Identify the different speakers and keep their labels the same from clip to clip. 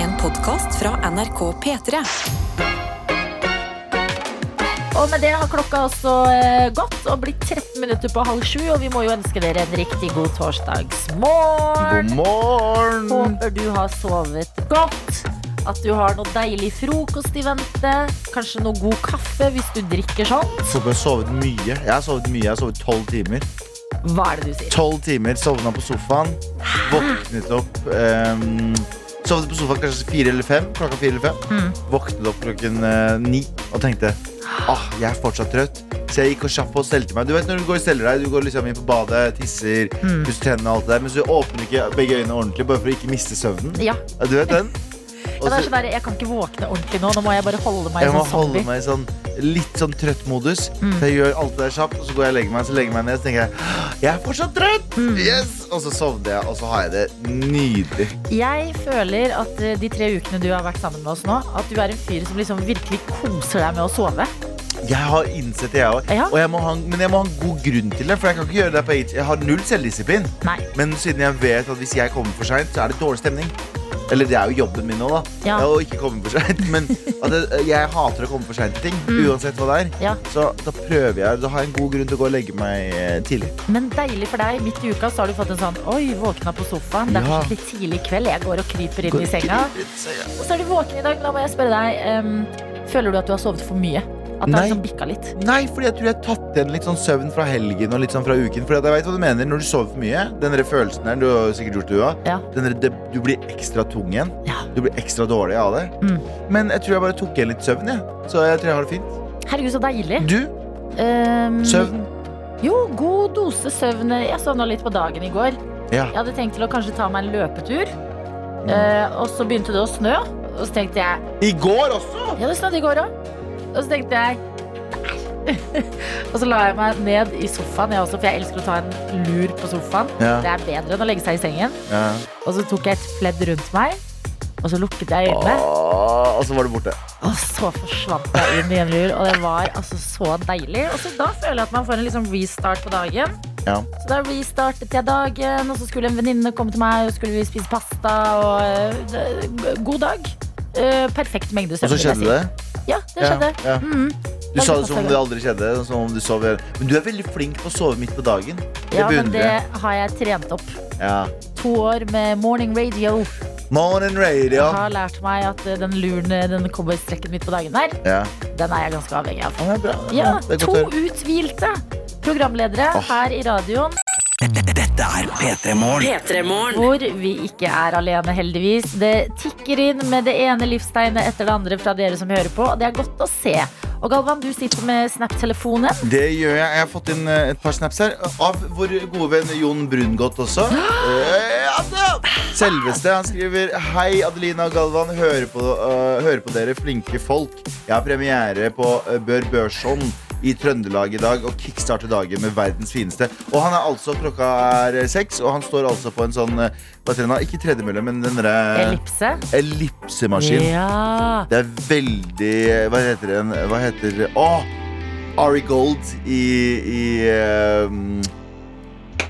Speaker 1: En podkast fra NRK P3.
Speaker 2: Og med det har klokka også eh, gått og blitt 13 minutter på halv sju. Og vi må jo ønske dere en riktig god torsdagsmorgen.
Speaker 3: God morgen!
Speaker 2: Håper du har sovet godt. At du har noe deilig frokost i vente. Kanskje noe god kaffe hvis du drikker sånn.
Speaker 3: Folk har sovet mye. Jeg har sovet mye, jeg har sovet tolv timer.
Speaker 2: Hva er det du sier?
Speaker 3: Tolv timer, sovna på sofaen, våknet opp ehm, Sovnet på sofaen kanskje fire eller fem, klokka fire eller fem.
Speaker 2: Hmm.
Speaker 3: Våknet opp klokken eh, ni og tenkte ah, jeg er fortsatt trøtt. Så jeg gikk og kjapt og stelte meg. Du vet når du går og steller deg, du går liksom inn på badet, tisser,
Speaker 2: Mm.
Speaker 3: pusser tennene og alt det der, men så åpner du ikke begge øynene ordentlig bare for å ikke miste søvnen.
Speaker 2: Ja,
Speaker 3: Ja, Du vet den?
Speaker 2: ja,
Speaker 3: Og
Speaker 2: det er
Speaker 3: så-
Speaker 2: sånn der, Jeg kan ikke våkne ordentlig nå. Nå må jeg bare holde meg
Speaker 3: Altså- Jeg må
Speaker 2: som
Speaker 3: holde
Speaker 2: zombie.
Speaker 3: meg i sånn litt sånn trøtt modus.
Speaker 2: Mm.
Speaker 3: Så jeg gjør alt det der kjapt, og så går jeg og legger meg, så legger jeg meg ned, så tenker jeg jeg er fortsatt trøtt!
Speaker 2: Mm.
Speaker 3: Yes! Og så sovner jeg, og så har jeg det nydelig.
Speaker 2: Jeg føler at eh, de tre ukene du har vært sammen med oss nå, at du er en fyr som liksom virkelig koser deg med å sove.
Speaker 3: Jeg har innsett det, jeg òg.
Speaker 2: Ja.
Speaker 3: Og jeg må ha, en- men jeg må ha en god grunn til det. For jeg kan ikke gjøre det på eget Jeg har null selvdisiplin.
Speaker 2: Nei.
Speaker 3: Men siden jeg vet at hvis jeg kommer for seint, så er det dårlig stemning. Eller det er jo jobben min nå, da.
Speaker 2: Ja.
Speaker 3: Å ikke komme for seint. Men at jeg, jeg hater å komme for seint til ting. Uansett hva det er.
Speaker 2: Mm. Ja.
Speaker 3: Så da prøver jeg. Da har jeg en god grunn til å gå og legge meg eh, tidlig.
Speaker 2: Men deilig for deg, midt i uka så har du fått en sånn Oi, våkna på sofaen. Det er
Speaker 3: Ja.
Speaker 2: kanskje litt tidlig i kveld. Jeg går og kryper inn i senga. Og så er du våken i dag. La meg spørre deg. em, føler du at du har sovet for mye? At det har
Speaker 3: Nei.
Speaker 2: liksom bikka litt?
Speaker 3: Nei, fordi jeg tror jeg har tatt igjen litt sånn søvn fra helgen og litt sånn fra uken. Fordi at jeg vet hva du mener Når du sover for mye, den der følelsen der, du har sikkert gjort det du òg,
Speaker 2: Ja.
Speaker 3: den der- det- du blir ekstra tung igjen.
Speaker 2: Ja. Mm.
Speaker 3: Du blir ekstra dårlig av det. Men jeg tror jeg bare tok igjen litt søvn, jeg. Så jeg tror jeg har det fint.
Speaker 2: Herregud, så deilig.
Speaker 3: Du,
Speaker 2: Em,
Speaker 3: søvn?
Speaker 2: Jo, god dose søvn. Jeg sovna litt på dagen i går.
Speaker 3: Ja.
Speaker 2: Jeg hadde tenkt til å kanskje ta meg en løpetur,
Speaker 3: Mm.
Speaker 2: eh, og så begynte det å snø. Og så tenkte jeg
Speaker 3: I går også!
Speaker 2: Ja, det snødde i går òg. Og så tenkte jeg «Nei». Og så la jeg meg ned i sofaen, jeg også, for jeg elsker å ta en lur på sofaen.
Speaker 3: Ja.
Speaker 2: Det er bedre enn å legge seg i sengen.
Speaker 3: ja.
Speaker 2: Og så tok jeg et pledd rundt meg, og så lukket jeg øynene.
Speaker 3: Åh, Ah, og så var det borte.
Speaker 2: Og så forsvant jeg inn i en lur, og det var altså så deilig. Og så da føler jeg at man får en liksom restart på dagen.
Speaker 3: Ja.
Speaker 2: Så da restartet jeg dagen, og så skulle en venninne komme til meg, og skulle vi spise pasta, og eh, det- god dag. Eh, perfekt mengde søvn.
Speaker 3: Og så
Speaker 2: vil jeg
Speaker 3: skjedde
Speaker 2: si.
Speaker 3: det?
Speaker 2: Ja, det skjedde.
Speaker 3: Ja, ja.
Speaker 2: Mhm.
Speaker 3: Du sa det som om det aldri skjedde. Som om du sov Men du er veldig flink på å sove midt på dagen. Det
Speaker 2: Ja, men
Speaker 3: beundrer
Speaker 2: det
Speaker 3: jeg.
Speaker 2: har jeg trent opp.
Speaker 3: Ja.
Speaker 2: To år med morning radio.
Speaker 3: Morning
Speaker 2: Jeg
Speaker 3: radio.
Speaker 2: har lært meg at eh, den luren, eh, den cowboystrekken midt på dagen der,
Speaker 3: Ja.
Speaker 2: den er jeg ganske avhengig av.
Speaker 3: Ja, det er bra. Det er
Speaker 2: Ja,
Speaker 3: bra. Det er
Speaker 2: to
Speaker 3: godt å høre.
Speaker 2: uthvilte programledere her i radioen, hvor vi ikke er alene, heldigvis. Det tikker inn med det ene livstegnet etter det andre fra dere som hører på, og det er godt å se. Og Galvan, du sitter med Snap-telefonen.
Speaker 3: Det gjør jeg. Jeg har fått inn eh, et par snaps her av vår gode venn Jon Brungot også. Eh, altså, Selveste. Han skriver Hei, Adelina og Galvan. Hører på, eh, hører på dere, flinke folk. Jeg har premiere på eh, Bør Børson i Trøndelag i dag og kickstarter dagen med verdens fineste. Og han er altså klokka er seks, og han står altså på en sånn eh, Hva heter den? da? Ikke tredemølle, men den derre
Speaker 2: Ellipse.
Speaker 3: ellipsemaskin.
Speaker 2: Ja.
Speaker 3: Det er veldig Hva heter den? Hva heter Å! Ari Gold i, i ehm,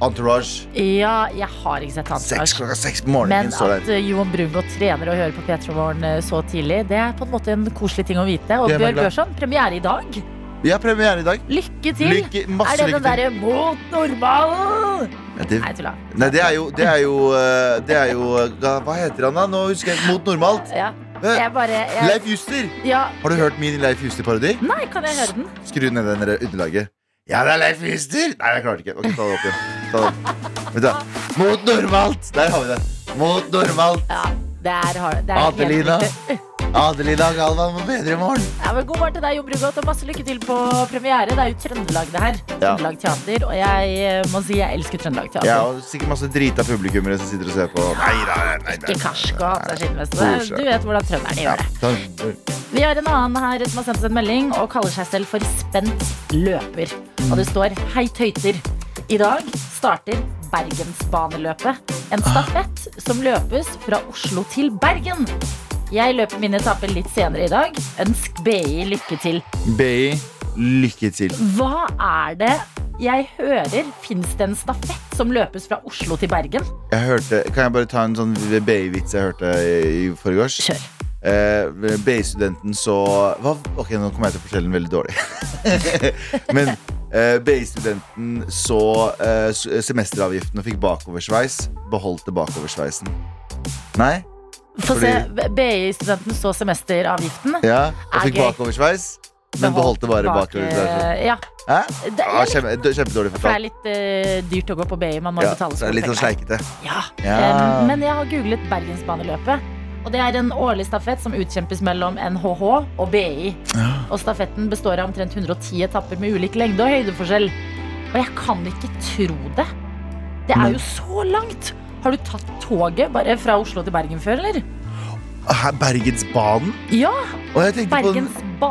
Speaker 3: Entourage.
Speaker 2: ja, jeg har ikke sett hans
Speaker 3: Seks
Speaker 2: Lars.
Speaker 3: klokka seks på morgenen.
Speaker 2: Men
Speaker 3: står
Speaker 2: at
Speaker 3: der.
Speaker 2: eh, Johan Brungot trener og hører på P3 Morgen eh, så tidlig, det er på en måte en koselig ting å vite. Og
Speaker 3: Det er meg
Speaker 2: Bjørn
Speaker 3: glad.
Speaker 2: Børson, premiere i dag.
Speaker 3: Vi har premiere i dag.
Speaker 2: Lykke til!
Speaker 3: Lykke, masse
Speaker 2: er det
Speaker 3: lykke
Speaker 2: den
Speaker 3: til.
Speaker 2: derre mot normalen?
Speaker 3: Ja, det,
Speaker 2: Nei, tulla.
Speaker 3: nei, det er jo Det er jo, eh, det er jo eh, Hva heter han, da? Nå husker jeg Mot normalt.
Speaker 2: Ja,
Speaker 3: Eh,
Speaker 2: jeg bare jeg,
Speaker 3: Leif Juster!
Speaker 2: ja.
Speaker 3: Har du hørt min Leif Juster-parodi?
Speaker 2: Nei, kan jeg høre den?
Speaker 3: Skru ned den der underlaget. Ja, det er Leif Juster! Nei, jeg klarte ikke. Ok, ta det opp igjen. Ta det opp. Vent da. Mot normalt! Der har vi det. Mot normalt.
Speaker 2: Ja, det er, har- det er helt
Speaker 3: Adelina.
Speaker 2: riktig.
Speaker 3: Adelina og Galvan må bedre i morgen.
Speaker 2: Ja, men god morgen til deg, Jon Brungot, og masse lykke til på premiere. Det er jo Trøndelag, det her.
Speaker 3: Ja.
Speaker 2: Trøndelag Teater. Og jeg eh, må si jeg elsker Trøndelag Teater.
Speaker 3: Ja, og sikkert masse drita publikummere som sitter og ser på. Nei, nei, nei, nei,
Speaker 2: Ikke Karsk og hatt seg skinnveste.
Speaker 3: Kos seg.
Speaker 2: Du vet hvordan trønderne gjør det.
Speaker 3: nei.
Speaker 2: Vi har en annen her som har sendt oss en melding og kaller seg selv for Spent løper. Og det står Hei tøyter. I dag starter Bergensbaneløpet. En stafett som løpes fra Oslo til Bergen. Jeg løper min etappe litt senere i dag. Ønsk BI lykke til.
Speaker 3: BI, lykke til.
Speaker 2: Hva er det Jeg hører Fins det en stafett som løpes fra Oslo til Bergen?
Speaker 3: Jeg hørte, kan jeg bare ta en sånn BI-vits jeg hørte i, i forgårs?
Speaker 2: Kjør.
Speaker 3: Eh, BI-studenten så hva? Ok, nå kommer jeg til å fortelle den veldig dårlig. Men eh, BI-studenten så eh, s- semesteravgiften og fikk bakoversveis. Beholdt det bakoversveisen. Nei?
Speaker 2: Få se.
Speaker 3: Fordi-
Speaker 2: BI-studenten så semesteravgiften.
Speaker 3: Ja, og
Speaker 2: Er
Speaker 3: fikk
Speaker 2: gøy.
Speaker 3: bakoversveis, men beholdt det bare
Speaker 2: bak-
Speaker 3: bakoversveisen.
Speaker 2: Ja.
Speaker 3: Hæ?
Speaker 2: Det er,
Speaker 3: Ah,
Speaker 2: litt,
Speaker 3: kjempe, kjempedårlig
Speaker 2: for det er
Speaker 3: fortalt.
Speaker 2: litt eh, dyrt å gå på BI. Man må
Speaker 3: Ja,
Speaker 2: betale
Speaker 3: så er det litt sånn
Speaker 2: skolepenger.
Speaker 3: sleikete.
Speaker 2: Ja.
Speaker 3: Ja.
Speaker 2: Em, Eh, men jeg har googlet Bergensbaneløpet. Og det er en årlig stafett som utkjempes mellom NHH og BI. Og stafetten består av omtrent 110 etapper med ulik lengde og høydeforskjell. Og jeg kan ikke tro det. Det er
Speaker 3: Men-
Speaker 2: jo så langt! Har du tatt toget bare fra Oslo til Bergen før, eller?
Speaker 3: Hæ, Bergensbanen?
Speaker 2: Ja,
Speaker 3: Og jeg tenkte på den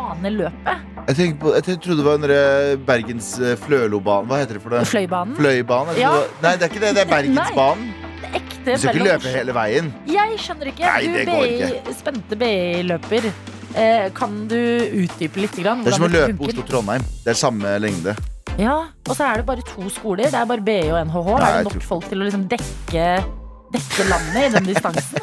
Speaker 2: Bergensbaneløpet.
Speaker 3: Jeg, tenker på, jeg ten- trodde det var den der Bergens eh, Flølobanen. Hva heter det for det?
Speaker 2: Fløibanen.
Speaker 3: Fløibanen? jeg
Speaker 2: Ja.
Speaker 3: trodde det var- Nei, det er ikke det. Det er Bergensbanen.
Speaker 2: Det
Speaker 3: Du
Speaker 2: ekte
Speaker 3: skal ikke
Speaker 2: mellom
Speaker 3: løpe hele veien.
Speaker 2: Jeg skjønner ikke.
Speaker 3: Nei, det
Speaker 2: du
Speaker 3: går
Speaker 2: BI, spente BI-løper. Eh, kan du utdype litt? Grann,
Speaker 3: Det er som å
Speaker 2: hvordan dette
Speaker 3: løpe
Speaker 2: funker?
Speaker 3: Oslo-Trondheim. Det er samme lengde.
Speaker 2: Ja, Og så er det bare to skoler. Det er bare BI og NHH.
Speaker 3: Nei,
Speaker 2: er
Speaker 3: jeg
Speaker 2: det
Speaker 3: tror-
Speaker 2: nok folk til å liksom dekke, dekke landet i den distansen?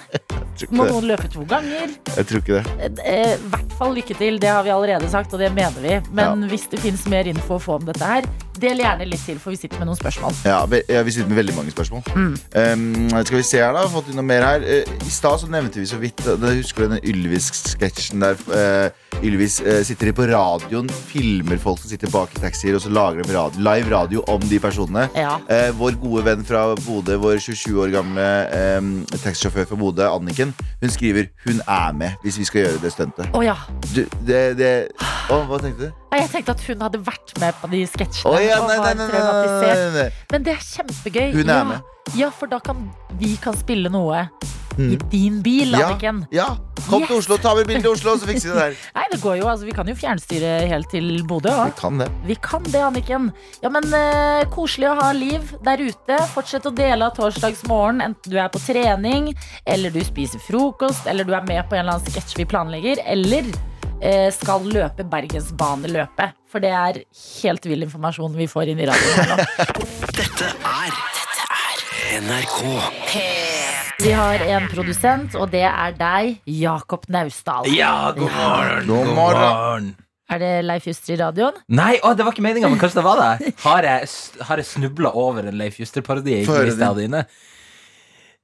Speaker 3: Jeg
Speaker 2: Må
Speaker 3: tror ikke
Speaker 2: noen
Speaker 3: det.
Speaker 2: løpe to ganger?
Speaker 3: Jeg tror ikke det.
Speaker 2: Eh, eh, I hvert fall lykke til. Det har vi allerede sagt, og det mener vi. Men hvis det fins mer info å få om dette her, del gjerne litt til, for vi sitter med noen spørsmål.
Speaker 3: Ja, ve- ja, vi sitter med veldig mange spørsmål. Um, skal vi se her, da. Har Fått inn noe mer her. Eh, I stad så nevnte vi så vidt eh, da Husker du den Ylvis-sketsjen der eh, Ylvis eh, sitter på radioen, filmer folk som sitter bak i taxier, og så lager de radio, live radio om de personene?
Speaker 2: Ja.
Speaker 3: Eh, vår gode venn fra Bodø, vår 27 år gamle eh, taxisjåfør fra Bodø, Anniken, hun skriver 'Hun er med' hvis vi skal gjøre det stuntet.
Speaker 2: Å ja.
Speaker 3: Du, det, det Å, hva tenkte du?
Speaker 2: Nei, Jeg tenkte at hun hadde vært med på de sketsjene.
Speaker 3: Å ja,
Speaker 2: og
Speaker 3: nei, nei,
Speaker 2: var
Speaker 3: nei, nei, nei,
Speaker 2: traumatisert.
Speaker 3: nei, nei.
Speaker 2: Men det er kjempegøy.
Speaker 3: Hun er
Speaker 2: ja.
Speaker 3: med.
Speaker 2: Ja, for da kan vi kan spille noe i
Speaker 3: Mm.
Speaker 2: din bil,
Speaker 3: Ja.
Speaker 2: Anniken.
Speaker 3: Ja, kom til
Speaker 2: Yes.
Speaker 3: Oslo, ta med bil til Oslo, så fikser vi det der.
Speaker 2: Nei, det går jo, altså, Vi kan jo fjernstyre helt til Bodø.
Speaker 3: Vi
Speaker 2: også.
Speaker 3: kan det.
Speaker 2: Vi kan det, Anniken. Ja, men eh, Koselig å ha liv der ute. Fortsett å dele av torsdagsmorgen, enten du er på trening, eller du spiser frokost, eller du er med på en eller annen sketsj vi planlegger, eller eh, skal løpe Bergensbaneløpet. For det er helt vill informasjon vi får inn i radioen. her nå.
Speaker 4: NRK.
Speaker 2: Vi har en produsent, og det er deg, Jakob Naustdal.
Speaker 4: Ja, god morgen.
Speaker 3: God morgen.
Speaker 2: Er det Leif Juster i radioen?
Speaker 4: Nei, å, det var ikke meninga, men kanskje det var det. Har jeg, s- har jeg snubla over en Leif Juster-parodi?
Speaker 3: Få høre
Speaker 4: Ikke dine.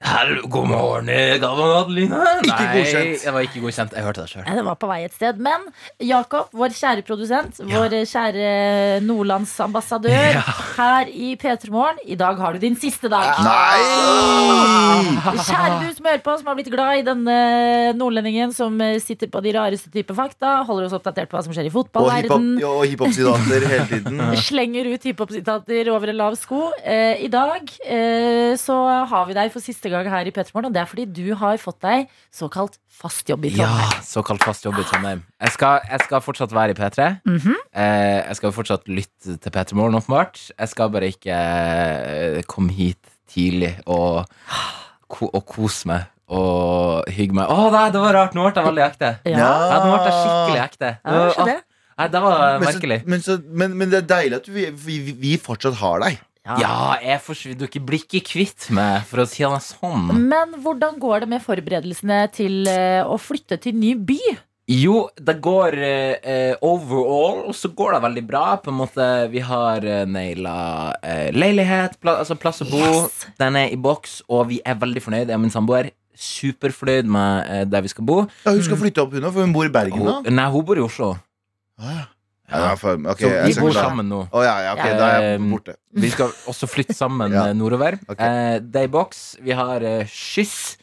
Speaker 4: Hallo, god morgen, Galvan og Adeline. Nei,
Speaker 3: godkjent.
Speaker 4: det var ikke godkjent. Jeg hørte det sjøl.
Speaker 2: Nei, Eh, det var på vei et sted. Men Jakob, vår kjære produsent, vår eh, kjære nordlandsambassadør her i P3 Morgen, i dag har du din siste dag.
Speaker 3: Ah! Nei!
Speaker 2: Kjære du som hører på, som har blitt glad i denne nordlendingen som eh, sitter på de rareste typer fakta, holder oss oppdatert på hva som skjer i
Speaker 3: Og hiphop-
Speaker 2: fotballverdenen.
Speaker 3: ja, og hiphop-sidater hele tiden.
Speaker 2: Slenger ut hiphop-sitater over en lav sko. Eh, I dag eh, så har vi deg for siste gang her i Petermorgen, og det er fordi du har fått deg såkalt fast jobb i
Speaker 4: Ja,
Speaker 2: Trondheim.
Speaker 4: såkalt fast jobb i Trondheim. Jeg skal, jeg skal fortsatt være i P3.
Speaker 2: Mhm.
Speaker 4: eh, jeg skal fortsatt lytte til P3 Morgen, åpenbart. Jeg skal bare ikke eh, komme hit tidlig og, ko, og kose meg og hygge meg. Å nei, det var rart! Nå ble jeg veldig ekte.
Speaker 2: Ja.
Speaker 4: Ja, nå ble jeg skikkelig ekte.
Speaker 2: Ja, det var ikke det?
Speaker 4: Nei, det var
Speaker 3: Men, så,
Speaker 4: merkelig.
Speaker 3: men, så, men, men det er deilig at vi, vi, vi fortsatt har deg.
Speaker 4: Ja, jeg forsvinner du ikke blir ikke kvitt meg, for å si det sånn.
Speaker 2: Men hvordan går det med forberedelsene til eh, å flytte til ny by?
Speaker 4: Jo, det går eh, eh, overall, og så går det veldig bra. På en måte, Vi har uh, naila eh, leilighet, pla altså plass å bo.
Speaker 2: Yes!
Speaker 4: Den er i boks, og vi er veldig fornøyd. Jeg og min samboer superfornøyd med eh, der vi skal bo.
Speaker 3: Ja, hun skal
Speaker 2: Mm.
Speaker 3: flytte opp, hun òg, for hun bor i Bergen nå.
Speaker 4: Hun, nei, hun bor i Oslo,
Speaker 3: Ah, Ja, ja, for- ok,
Speaker 4: så
Speaker 3: jeg
Speaker 4: vi
Speaker 3: skal
Speaker 4: bor
Speaker 3: ikke-
Speaker 4: sammen nå.
Speaker 3: Å ja, ja, ok, da er jeg
Speaker 4: Um,
Speaker 3: borte.
Speaker 4: Vi skal også flytte sammen
Speaker 3: Ja.
Speaker 4: eh, nordover.
Speaker 3: Ok.
Speaker 4: Eh, det er i boks. Vi har eh, skyss.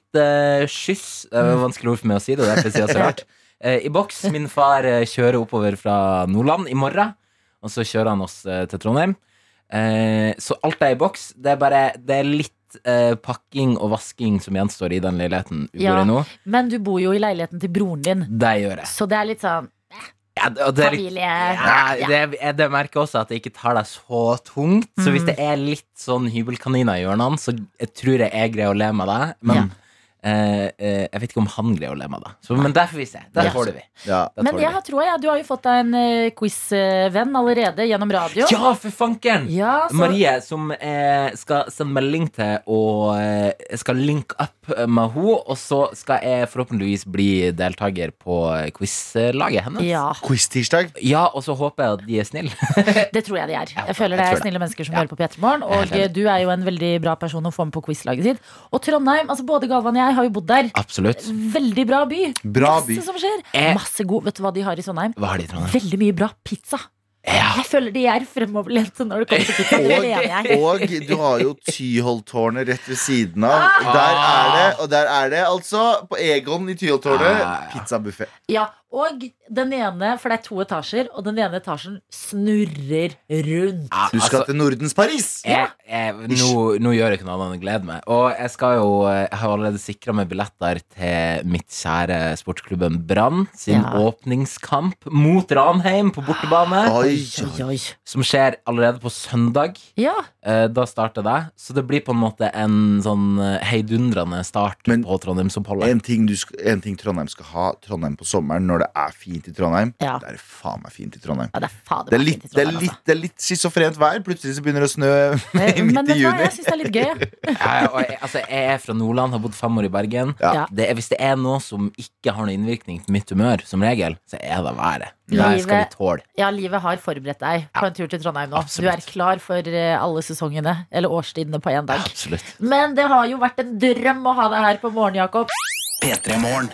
Speaker 4: Flytteskyss. Det er vanskelig ord for meg å si det. det er derfor jeg sier det så rart eh, I boks. Min far eh, kjører oppover fra Nordland i morgen, og så kjører han oss eh, til Trondheim. Eh, så alt er i boks. Det er bare det er litt eh, pakking og vasking som gjenstår i den leiligheten vi
Speaker 2: Ja.
Speaker 4: bor i nå.
Speaker 2: Men du bor jo i leiligheten til broren din,
Speaker 4: Det gjør jeg.
Speaker 2: så det er litt sånn
Speaker 4: Ja, det- og det er litt-
Speaker 2: familie...
Speaker 4: ja, det, jeg- det merker også at jeg ikke tar deg så tungt. Så
Speaker 2: Mm.
Speaker 4: hvis det er litt sånn hybelkaniner i hjørnene, så jeg tror jeg jeg greier å le med deg. Men eh, eh, Jeg vet ikke om han greier å le meg, da. Så, men der får vi se. Der
Speaker 2: Ja.
Speaker 4: tåler vi.
Speaker 3: Ja.
Speaker 4: Der
Speaker 2: Men
Speaker 4: tåler
Speaker 2: jeg
Speaker 4: vi.
Speaker 2: har troa, ja. Du har jo fått deg en eh, quizvenn allerede gjennom radio.
Speaker 4: Ja, for fankeren!
Speaker 2: Ja, så-
Speaker 4: Marie, som eh, skal sende melding til og eh, jeg skal link up med henne. Og så skal jeg forhåpentligvis bli deltaker på quizlaget hennes.
Speaker 2: Ja,
Speaker 3: Quiz-tirsdag.
Speaker 4: Ja, og så håper jeg at de er snille.
Speaker 2: det tror jeg de er. Jeg
Speaker 4: Eh. jeg
Speaker 2: føler det
Speaker 4: tror
Speaker 2: er
Speaker 4: det.
Speaker 2: snille mennesker som
Speaker 4: Ja.
Speaker 2: hører på P3 Morgen.
Speaker 4: er
Speaker 2: Og
Speaker 4: helt enig.
Speaker 2: eh, du er jo en veldig bra person å få med på quizlaget sitt. Og Trondheim, altså både Galvan og jeg har jo bodd der.
Speaker 4: Absolutt.
Speaker 2: Veldig bra by.
Speaker 3: Bra by.
Speaker 2: Masse som skjer.
Speaker 4: Eh.
Speaker 2: Masse god Vet du hva de har i Trondheim?
Speaker 4: Hva har de i Trondheim?
Speaker 2: Veldig mye bra pizza.
Speaker 4: Ja.
Speaker 2: Jeg føler de er fremoverlente når det kommer til pizza. Det mener jeg.
Speaker 3: Og, og du har jo Tyholttårnet rett ved siden
Speaker 2: Ah!
Speaker 3: av. Der er det, og der er det altså, på Egon i Tyholttårnet,
Speaker 4: Ah! Ja, ja, ja.
Speaker 3: pizzabuffé.
Speaker 2: Ja, og den ene, for det er to etasjer, og den ene etasjen snurrer rundt.
Speaker 4: Ja,
Speaker 3: Du skal
Speaker 4: altså,
Speaker 3: til Nordens Paris!
Speaker 4: jeg, jeg, nå, nå gjør jeg ikke noe annet enn å glede meg. Og jeg, skal jo, jeg har allerede sikra meg billetter til mitt kjære sportsklubben Brann sin
Speaker 2: Ja.
Speaker 4: åpningskamp mot Ranheim på bortebane,
Speaker 3: Oi,
Speaker 2: Oi, oi.
Speaker 4: som skjer allerede på søndag.
Speaker 2: Ja,
Speaker 4: Eh, Da starter det. Så det blir på en måte en sånn eh, heidundrende start
Speaker 3: Men-
Speaker 4: på Trondheimsoppholdet.
Speaker 3: En ting, du sk- en ting Trondheim skal ha Trondheim på sommeren når det er fint i Trondheim.
Speaker 2: Ja.
Speaker 3: Det er faen meg fint i Trondheim.
Speaker 2: ja det er fader
Speaker 3: Det er
Speaker 2: meg
Speaker 3: litt,
Speaker 2: fint i
Speaker 3: det er
Speaker 2: Trondheim,
Speaker 3: litt, det er litt schizofrent vær. Plutselig så begynner det å snø
Speaker 2: altså. Men
Speaker 3: midt
Speaker 2: vet
Speaker 3: i
Speaker 2: du hva,
Speaker 3: juni.
Speaker 2: jeg syns det er litt gøy. jeg.
Speaker 4: Ja, ja, og jeg, altså, jeg er fra Nordland, har bodd fem år i Bergen.
Speaker 3: Ja.
Speaker 2: Ja.
Speaker 4: Det er, hvis det er noe som ikke har noen innvirkning på mitt humør, som regel, så er det været. Der skal vi
Speaker 2: Livet-
Speaker 4: tåle.
Speaker 2: Ja, livet har forberedt deg på en tur til Trondheim nå. Du
Speaker 4: Absolutt.
Speaker 2: er klar for eh, alle sesongene, eller årstidene, på én dag.
Speaker 4: Absolutt.
Speaker 2: Men det har jo vært en drøm å ha deg her på morgen, Jakob.
Speaker 5: P3-morgen.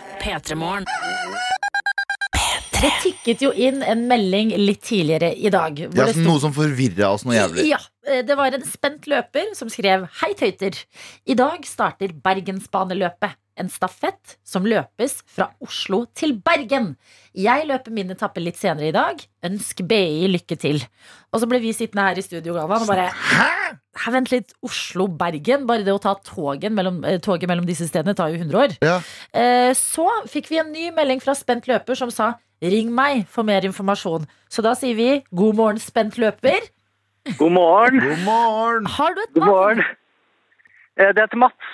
Speaker 2: Det tikket jo inn en melding litt tidligere i dag. hvor
Speaker 3: Det er
Speaker 2: det
Speaker 3: altså
Speaker 2: sto-
Speaker 3: noe som forvirra oss noe jævlig.
Speaker 2: Ja, eh, det var en spent løper som skrev Hei tøyter, i dag starter Bergensbaneløpet En stafett som løpes fra Oslo til Bergen Jeg løper min etappe litt senere i dag Ønsk BI lykke til Og så ble vi sittende her i studio Galvan og bare Hæ? Vent litt, Oslo-Bergen Bare det å ta togen mellom, eh, toget mellom disse stedene tar jo 100 år
Speaker 3: Ja.
Speaker 2: Eh, Så fikk vi en ny melding fra Spent Løper som sa Ring meg for mer informasjon Så da sier vi God morgen Spent Løper
Speaker 6: God morgen.
Speaker 3: God morgen!
Speaker 2: Har du et
Speaker 6: God
Speaker 2: navn?
Speaker 6: morgen. Eh, Det heter Mats.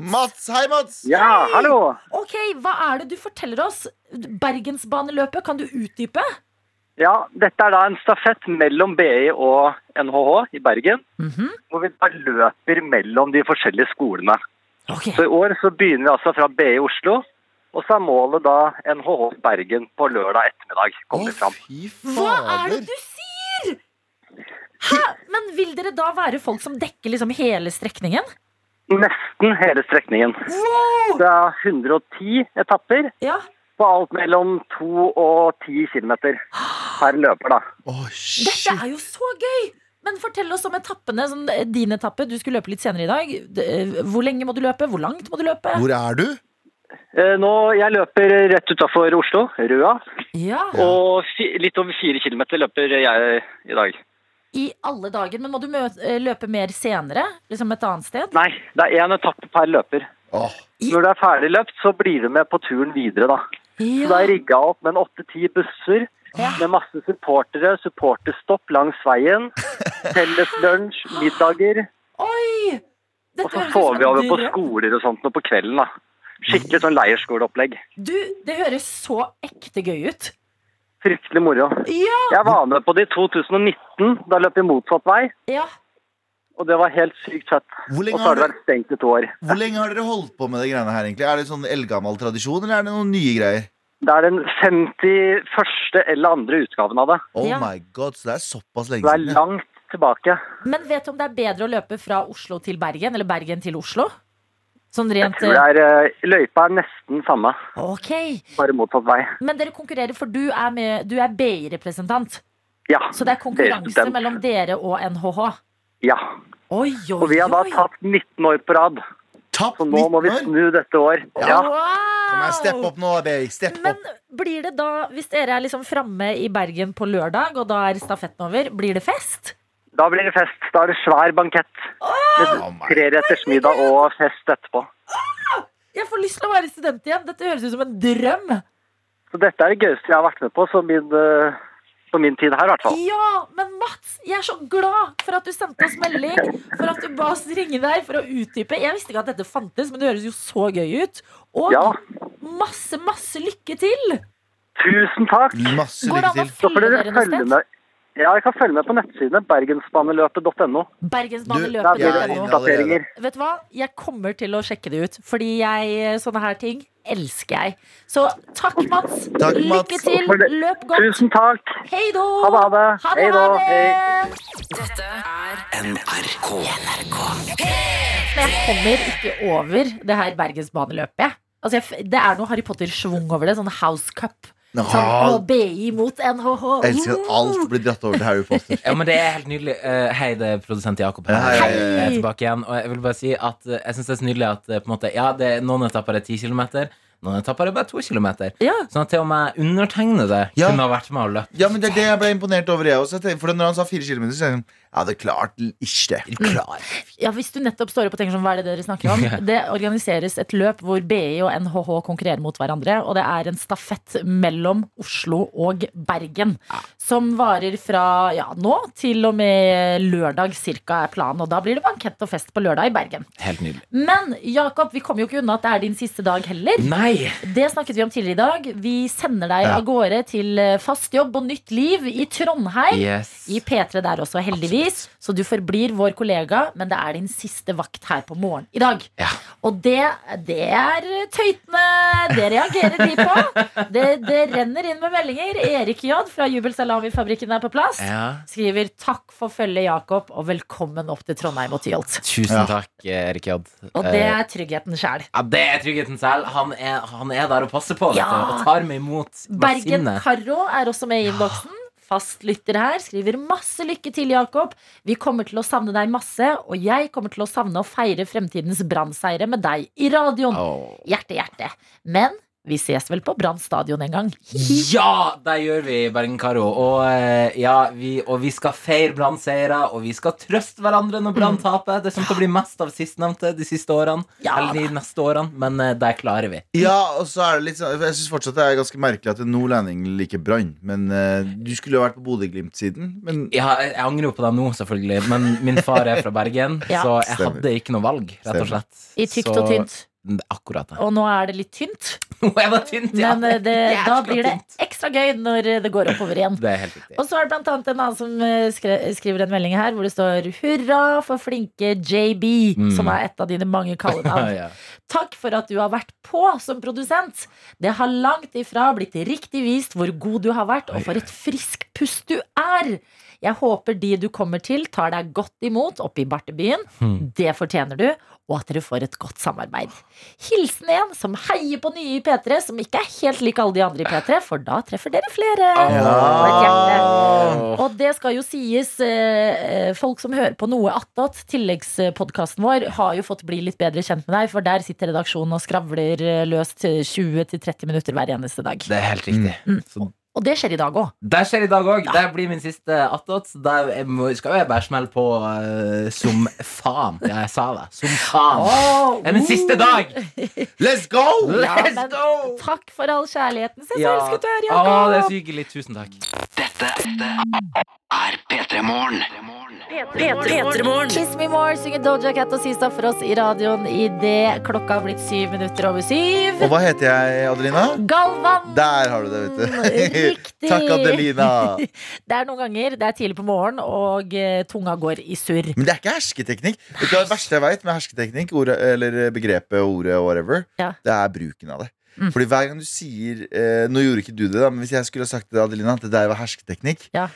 Speaker 3: Mats! Hei, Mats!
Speaker 6: Ja, hallo.
Speaker 2: Ok, hva er det du forteller oss? Bergensbaneløpet, kan du utdype?
Speaker 6: Ja, dette er da en stafett mellom BI og NHH i Bergen. Hvor vi da løper mellom de forskjellige skolene.
Speaker 2: Ok,
Speaker 6: Så i år så begynner vi altså fra BI i Oslo. Og så er målet da NHH i Bergen på lørdag ettermiddag.
Speaker 3: Å,
Speaker 6: kommer vi fram.
Speaker 3: fy
Speaker 2: Hva er det
Speaker 3: fader!
Speaker 2: du sier? Hæ? Men vil dere da være folk som dekker liksom hele strekningen?
Speaker 6: Nesten hele strekningen. Det er 110 etapper
Speaker 2: Ja.
Speaker 6: på alt mellom 2 og 10 km per løper, da.
Speaker 3: Å,
Speaker 2: Dette
Speaker 3: shit.
Speaker 2: er jo så gøy! Men fortell oss om etappene. Sånn, eh, din etappe, du skulle løpe litt senere i dag. D- eh, Hvor lenge må du løpe? Hvor langt må du løpe?
Speaker 3: Hvor er du?
Speaker 6: Eh, Nå, jeg løper rett utafor Oslo, Røa.
Speaker 2: Ja,
Speaker 6: Og fi, litt over fire kilometer løper jeg i dag.
Speaker 2: I alle dager. Men må du mø eh, løpe mer senere? Liksom et annet sted?
Speaker 6: Nei, det er én etappe per løper.
Speaker 3: Åh,
Speaker 6: Når det er ferdig løpt, så blir du med på turen videre, da. Så det
Speaker 2: Ja.
Speaker 6: er rigga opp med en åtte-ti busser med masse supportere, supporterstopp langs veien. Felles lunsj, middager.
Speaker 2: Oi! Dette
Speaker 6: Og så
Speaker 2: høres ut som
Speaker 6: sover vi
Speaker 2: en
Speaker 6: over på
Speaker 2: drøm.
Speaker 6: skoler og sånt nå på kvelden, da. Skikkelig sånn leirskoleopplegg.
Speaker 2: Du, det høres så ekte gøy ut.
Speaker 6: Fryktelig moro.
Speaker 2: Ja!
Speaker 6: Jeg var med på det i 2019. Da løp vi motsatt vei,
Speaker 2: ja.
Speaker 6: og det var helt sykt fett.
Speaker 3: Hvor
Speaker 6: Og
Speaker 3: lenge
Speaker 6: så har
Speaker 3: har
Speaker 6: det
Speaker 3: dere
Speaker 6: vært stengt i to år.
Speaker 3: hvor lenge har dere holdt på med det greiene her, egentlig? Er det sånn eldgammel tradisjon, eller er det noen nye greier?
Speaker 6: Det er den 51. eller andre utgaven av det.
Speaker 3: Oh
Speaker 2: Ja.
Speaker 3: my god, så det er såpass
Speaker 6: Det
Speaker 3: lenge
Speaker 6: er
Speaker 3: siden. ja.
Speaker 6: langt tilbake.
Speaker 2: Men vet du om det er bedre å løpe fra Oslo til Bergen, eller Bergen til Oslo? Sånn
Speaker 6: Jeg
Speaker 2: rent eh,
Speaker 6: tror det er, eh, løypa er nesten samme,
Speaker 2: Ok.
Speaker 6: bare motsatt vei.
Speaker 2: Men dere konkurrerer, for du er, med- du er BI-representant.
Speaker 6: Ja.
Speaker 2: Så det er konkurranse
Speaker 6: student.
Speaker 2: mellom dere og NHH.
Speaker 6: Ja.
Speaker 2: Oi, oi,
Speaker 6: Og vi har da
Speaker 2: oi.
Speaker 6: tatt 19 år på rad,
Speaker 3: Tapt
Speaker 6: så nå må vi
Speaker 3: 19 år!
Speaker 6: snu dette år. Ja.
Speaker 3: Kom her, stepp
Speaker 2: Wow!
Speaker 3: opp nå, Erik. Stepp
Speaker 2: Men
Speaker 3: opp.
Speaker 2: blir det da, hvis dere er liksom framme i Bergen på lørdag, og da er stafetten over, blir det fest?
Speaker 6: Da blir det fest. Da er det svær bankett.
Speaker 3: Oh my
Speaker 6: Treretters middag og fest etterpå.
Speaker 2: Jeg får lyst til å være student igjen. Dette høres ut som en drøm.
Speaker 6: Så dette er det gøyeste jeg har vært med på, så min eh, På min tid her, i hvert fall.
Speaker 2: Ja, men Mats, jeg er så glad for at du sendte oss melding. For at du ba oss ringe deg for å utdype. Jeg visste ikke at dette fantes, men det høres jo så gøy ut. Og
Speaker 6: Ja,
Speaker 2: masse, masse lykke til!
Speaker 6: tusen takk.
Speaker 3: Masse
Speaker 2: Går det
Speaker 3: lykke
Speaker 2: an å
Speaker 3: til.
Speaker 6: Så får
Speaker 2: fyre
Speaker 6: dere
Speaker 2: dere noe
Speaker 6: følge
Speaker 2: sted?
Speaker 6: med. Ja, jeg kan følge med på nettsidene bergensbaneløpet.no.
Speaker 3: Du,
Speaker 6: Der blir
Speaker 3: jeg er
Speaker 6: det
Speaker 3: inne
Speaker 2: bergensbaneløpet.no.
Speaker 6: oppdateringer.
Speaker 2: Vet du hva? Jeg kommer til å sjekke det ut, fordi jeg, sånne her ting elsker jeg. Så takk, Mats.
Speaker 3: Takk, Mats.
Speaker 2: Lykke til. Løp godt.
Speaker 6: Tusen takk.
Speaker 2: Hei då!
Speaker 6: Ha det, ha det.
Speaker 2: Ha
Speaker 6: Hei
Speaker 2: det,
Speaker 6: då.
Speaker 2: ha
Speaker 6: Hei.
Speaker 2: det. Men jeg kommer ikke over det her bergensbaneløpet. jeg. Altså, jeg, f- det er noe Harry Potter-schwung over det. Sånn House Cup.
Speaker 3: Nå,
Speaker 2: Sånn ABI mot NHH.
Speaker 3: Jeg elsker at alt blir dratt over til Harry Potter.
Speaker 4: Ja, men det er helt nydelig. Eh, hei, det er produsent Jakob her.
Speaker 3: Hei.
Speaker 4: Jeg er tilbake igjen. Og jeg vil bare si at eh, jeg syns det er så nydelig at eh, på en måte, ja, det er noen etapper er 10 km, noen etapper er bare 2 km.
Speaker 2: Ja.
Speaker 4: Sånn at til og med undertegnede
Speaker 3: Ja.
Speaker 4: kunne ha vært med og løpt.
Speaker 3: Ja, men det er det jeg ble imponert over, jeg også. Jeg tenkte- For når han sa fire kilometer, så tenkte jeg sånn, ja, det er klart ikke det. Klar.
Speaker 2: ja, Hvis du nettopp står opp og tenker sånn, hva er det dere snakker om?
Speaker 4: Ja.
Speaker 2: Det organiseres et løp hvor BI og NHH konkurrerer mot hverandre. Og det er en stafett mellom Oslo og Bergen. Som varer fra ja, nå til og med lørdag cirka er planen. Og da blir det bankett og fest på lørdag i Bergen.
Speaker 4: Helt nydelig.
Speaker 2: Men Jakob, vi kommer jo ikke unna at det er din siste dag heller.
Speaker 4: Nei!
Speaker 2: Det snakket vi om tidligere i dag. Vi sender deg
Speaker 3: Ja.
Speaker 2: av gårde til eh, fast jobb og nytt liv i Trondheim.
Speaker 4: Yes.
Speaker 2: I P3 der også, heldigvis. Så du forblir vår kollega, men det er din siste vakt her på morgen i dag.
Speaker 4: Ja.
Speaker 2: Og det, det er tøytene. Det reagerer de på. Det, det renner inn med meldinger. Erik J fra Jubel Salami-fabrikken er på plass.
Speaker 4: Ja.
Speaker 2: Skriver 'Takk for følget, Jakob, og velkommen opp til Trondheim og Tyholt'.
Speaker 4: Tusen
Speaker 3: Ja.
Speaker 4: takk, Erik Jodd.
Speaker 2: Og det er tryggheten sjæl.
Speaker 4: Ja, det er tryggheten selv. Han er, han er der og passer på vet
Speaker 2: Ja.
Speaker 4: du, og tar meg imot med
Speaker 2: Bergen
Speaker 4: sinnet.
Speaker 2: Caro er også med i innboksen. Fastlytter her. Skriver masse lykke til, Jakob. Vi kommer til å savne deg masse, og jeg kommer til å savne å feire fremtidens brannseiere med deg i radioen.
Speaker 4: Åh.
Speaker 2: Hjerte, hjerte. Men vi ses vel på Brann stadion en gang.
Speaker 4: Ja, det gjør vi, Bergen Karo. Og, eh, ja, vi, og vi skal feire Brann-seiere, og vi skal trøste hverandre når Brann taper. Det som kan bli mest av sistnevnte de siste årene.
Speaker 2: Ja.
Speaker 4: Eller de neste årene, men eh, det klarer vi.
Speaker 3: Ja, og så er det litt sånn Jeg syns fortsatt det er ganske merkelig at en nordlending liker brann. Men eh, du skulle jo vært på Bodø-Glimt-siden. Men
Speaker 4: Jeg, jeg angrer jo på det nå, selvfølgelig, men min far er fra Bergen,
Speaker 2: Ja.
Speaker 4: så jeg
Speaker 3: Stemmer.
Speaker 4: hadde ikke noe valg, rett og
Speaker 3: Stemmer.
Speaker 4: slett.
Speaker 2: I tykt
Speaker 4: Så-
Speaker 2: og tynt.
Speaker 4: Det er Akkurat det.
Speaker 2: Og nå er det litt tynt,
Speaker 4: Nå er det tynt, ja.
Speaker 2: men eh, det,
Speaker 4: Jævla
Speaker 2: da blir det
Speaker 4: tynt.
Speaker 2: ekstra gøy når eh, det går oppover igjen.
Speaker 4: Det er helt riktig.
Speaker 2: Og så er det blant annet en annen som eh, skre- skriver en melding her hvor det står 'Hurra for flinke JB',
Speaker 4: Mm.
Speaker 2: som er et av dine mange kallenavn.
Speaker 4: Ja.
Speaker 2: Takk for at du har vært på som produsent. Det har langt ifra blitt riktig vist hvor god du har vært, og for et frisk pust du er. Jeg håper de du kommer til, tar deg godt imot oppe i bartebyen.
Speaker 4: Hmm.
Speaker 2: Det fortjener du, og at dere får et godt samarbeid. Hilsen en som heier på nye i P3, som ikke er helt lik alle de andre i P3, for da treffer dere flere. Og et hjerte. Og det skal jo sies, eh, eh, folk som hører på noe attåt, tilleggspodkasten vår, har jo fått bli litt bedre kjent med deg, for der sitter redaksjonen og skravler eh, løst 20-30 minutter hver eneste dag.
Speaker 4: Det er helt riktig.
Speaker 2: Mm.
Speaker 4: Så
Speaker 2: Og det skjer i dag òg.
Speaker 4: Det skjer i dag òg. Det blir min siste attåt. Der jeg må- skal jo jeg bare smelle på eh, som faen. Ja, jeg sa det. Som faen. Det er min siste dag!
Speaker 3: let's go!
Speaker 2: Ja,
Speaker 4: Let's
Speaker 2: men-
Speaker 4: go!
Speaker 2: Takk for all kjærligheten. Se, så
Speaker 4: Ja.
Speaker 2: elsket du er,
Speaker 3: Ah,
Speaker 4: Å, det er
Speaker 2: Jakob.
Speaker 4: så hyggelig. Tusen takk.
Speaker 2: Kiss me more, synger Doja Cat og Sista for oss i radioen idet klokka har blitt syv minutter over syv.
Speaker 3: Og hva heter jeg, Adelina?
Speaker 2: Galvan!
Speaker 3: Der har du det, vet du.
Speaker 2: Riktig.
Speaker 3: Takk, Adelina.
Speaker 2: Det er noen ganger det er tidlig på morgenen, og eh, tunga går i surr.
Speaker 3: Men det er ikke hersketeknikk. Vet du hva det verste jeg vet med hersketeknikk, ordet, eller begrepet ordet whatever,
Speaker 2: Ja.
Speaker 3: det er bruken av det.
Speaker 2: Mm.
Speaker 3: Fordi hver gang du sier eh, Nå gjorde ikke du det, da, men hvis jeg skulle ha sagt til Adelina at det der var hersketeknikk
Speaker 2: Ja.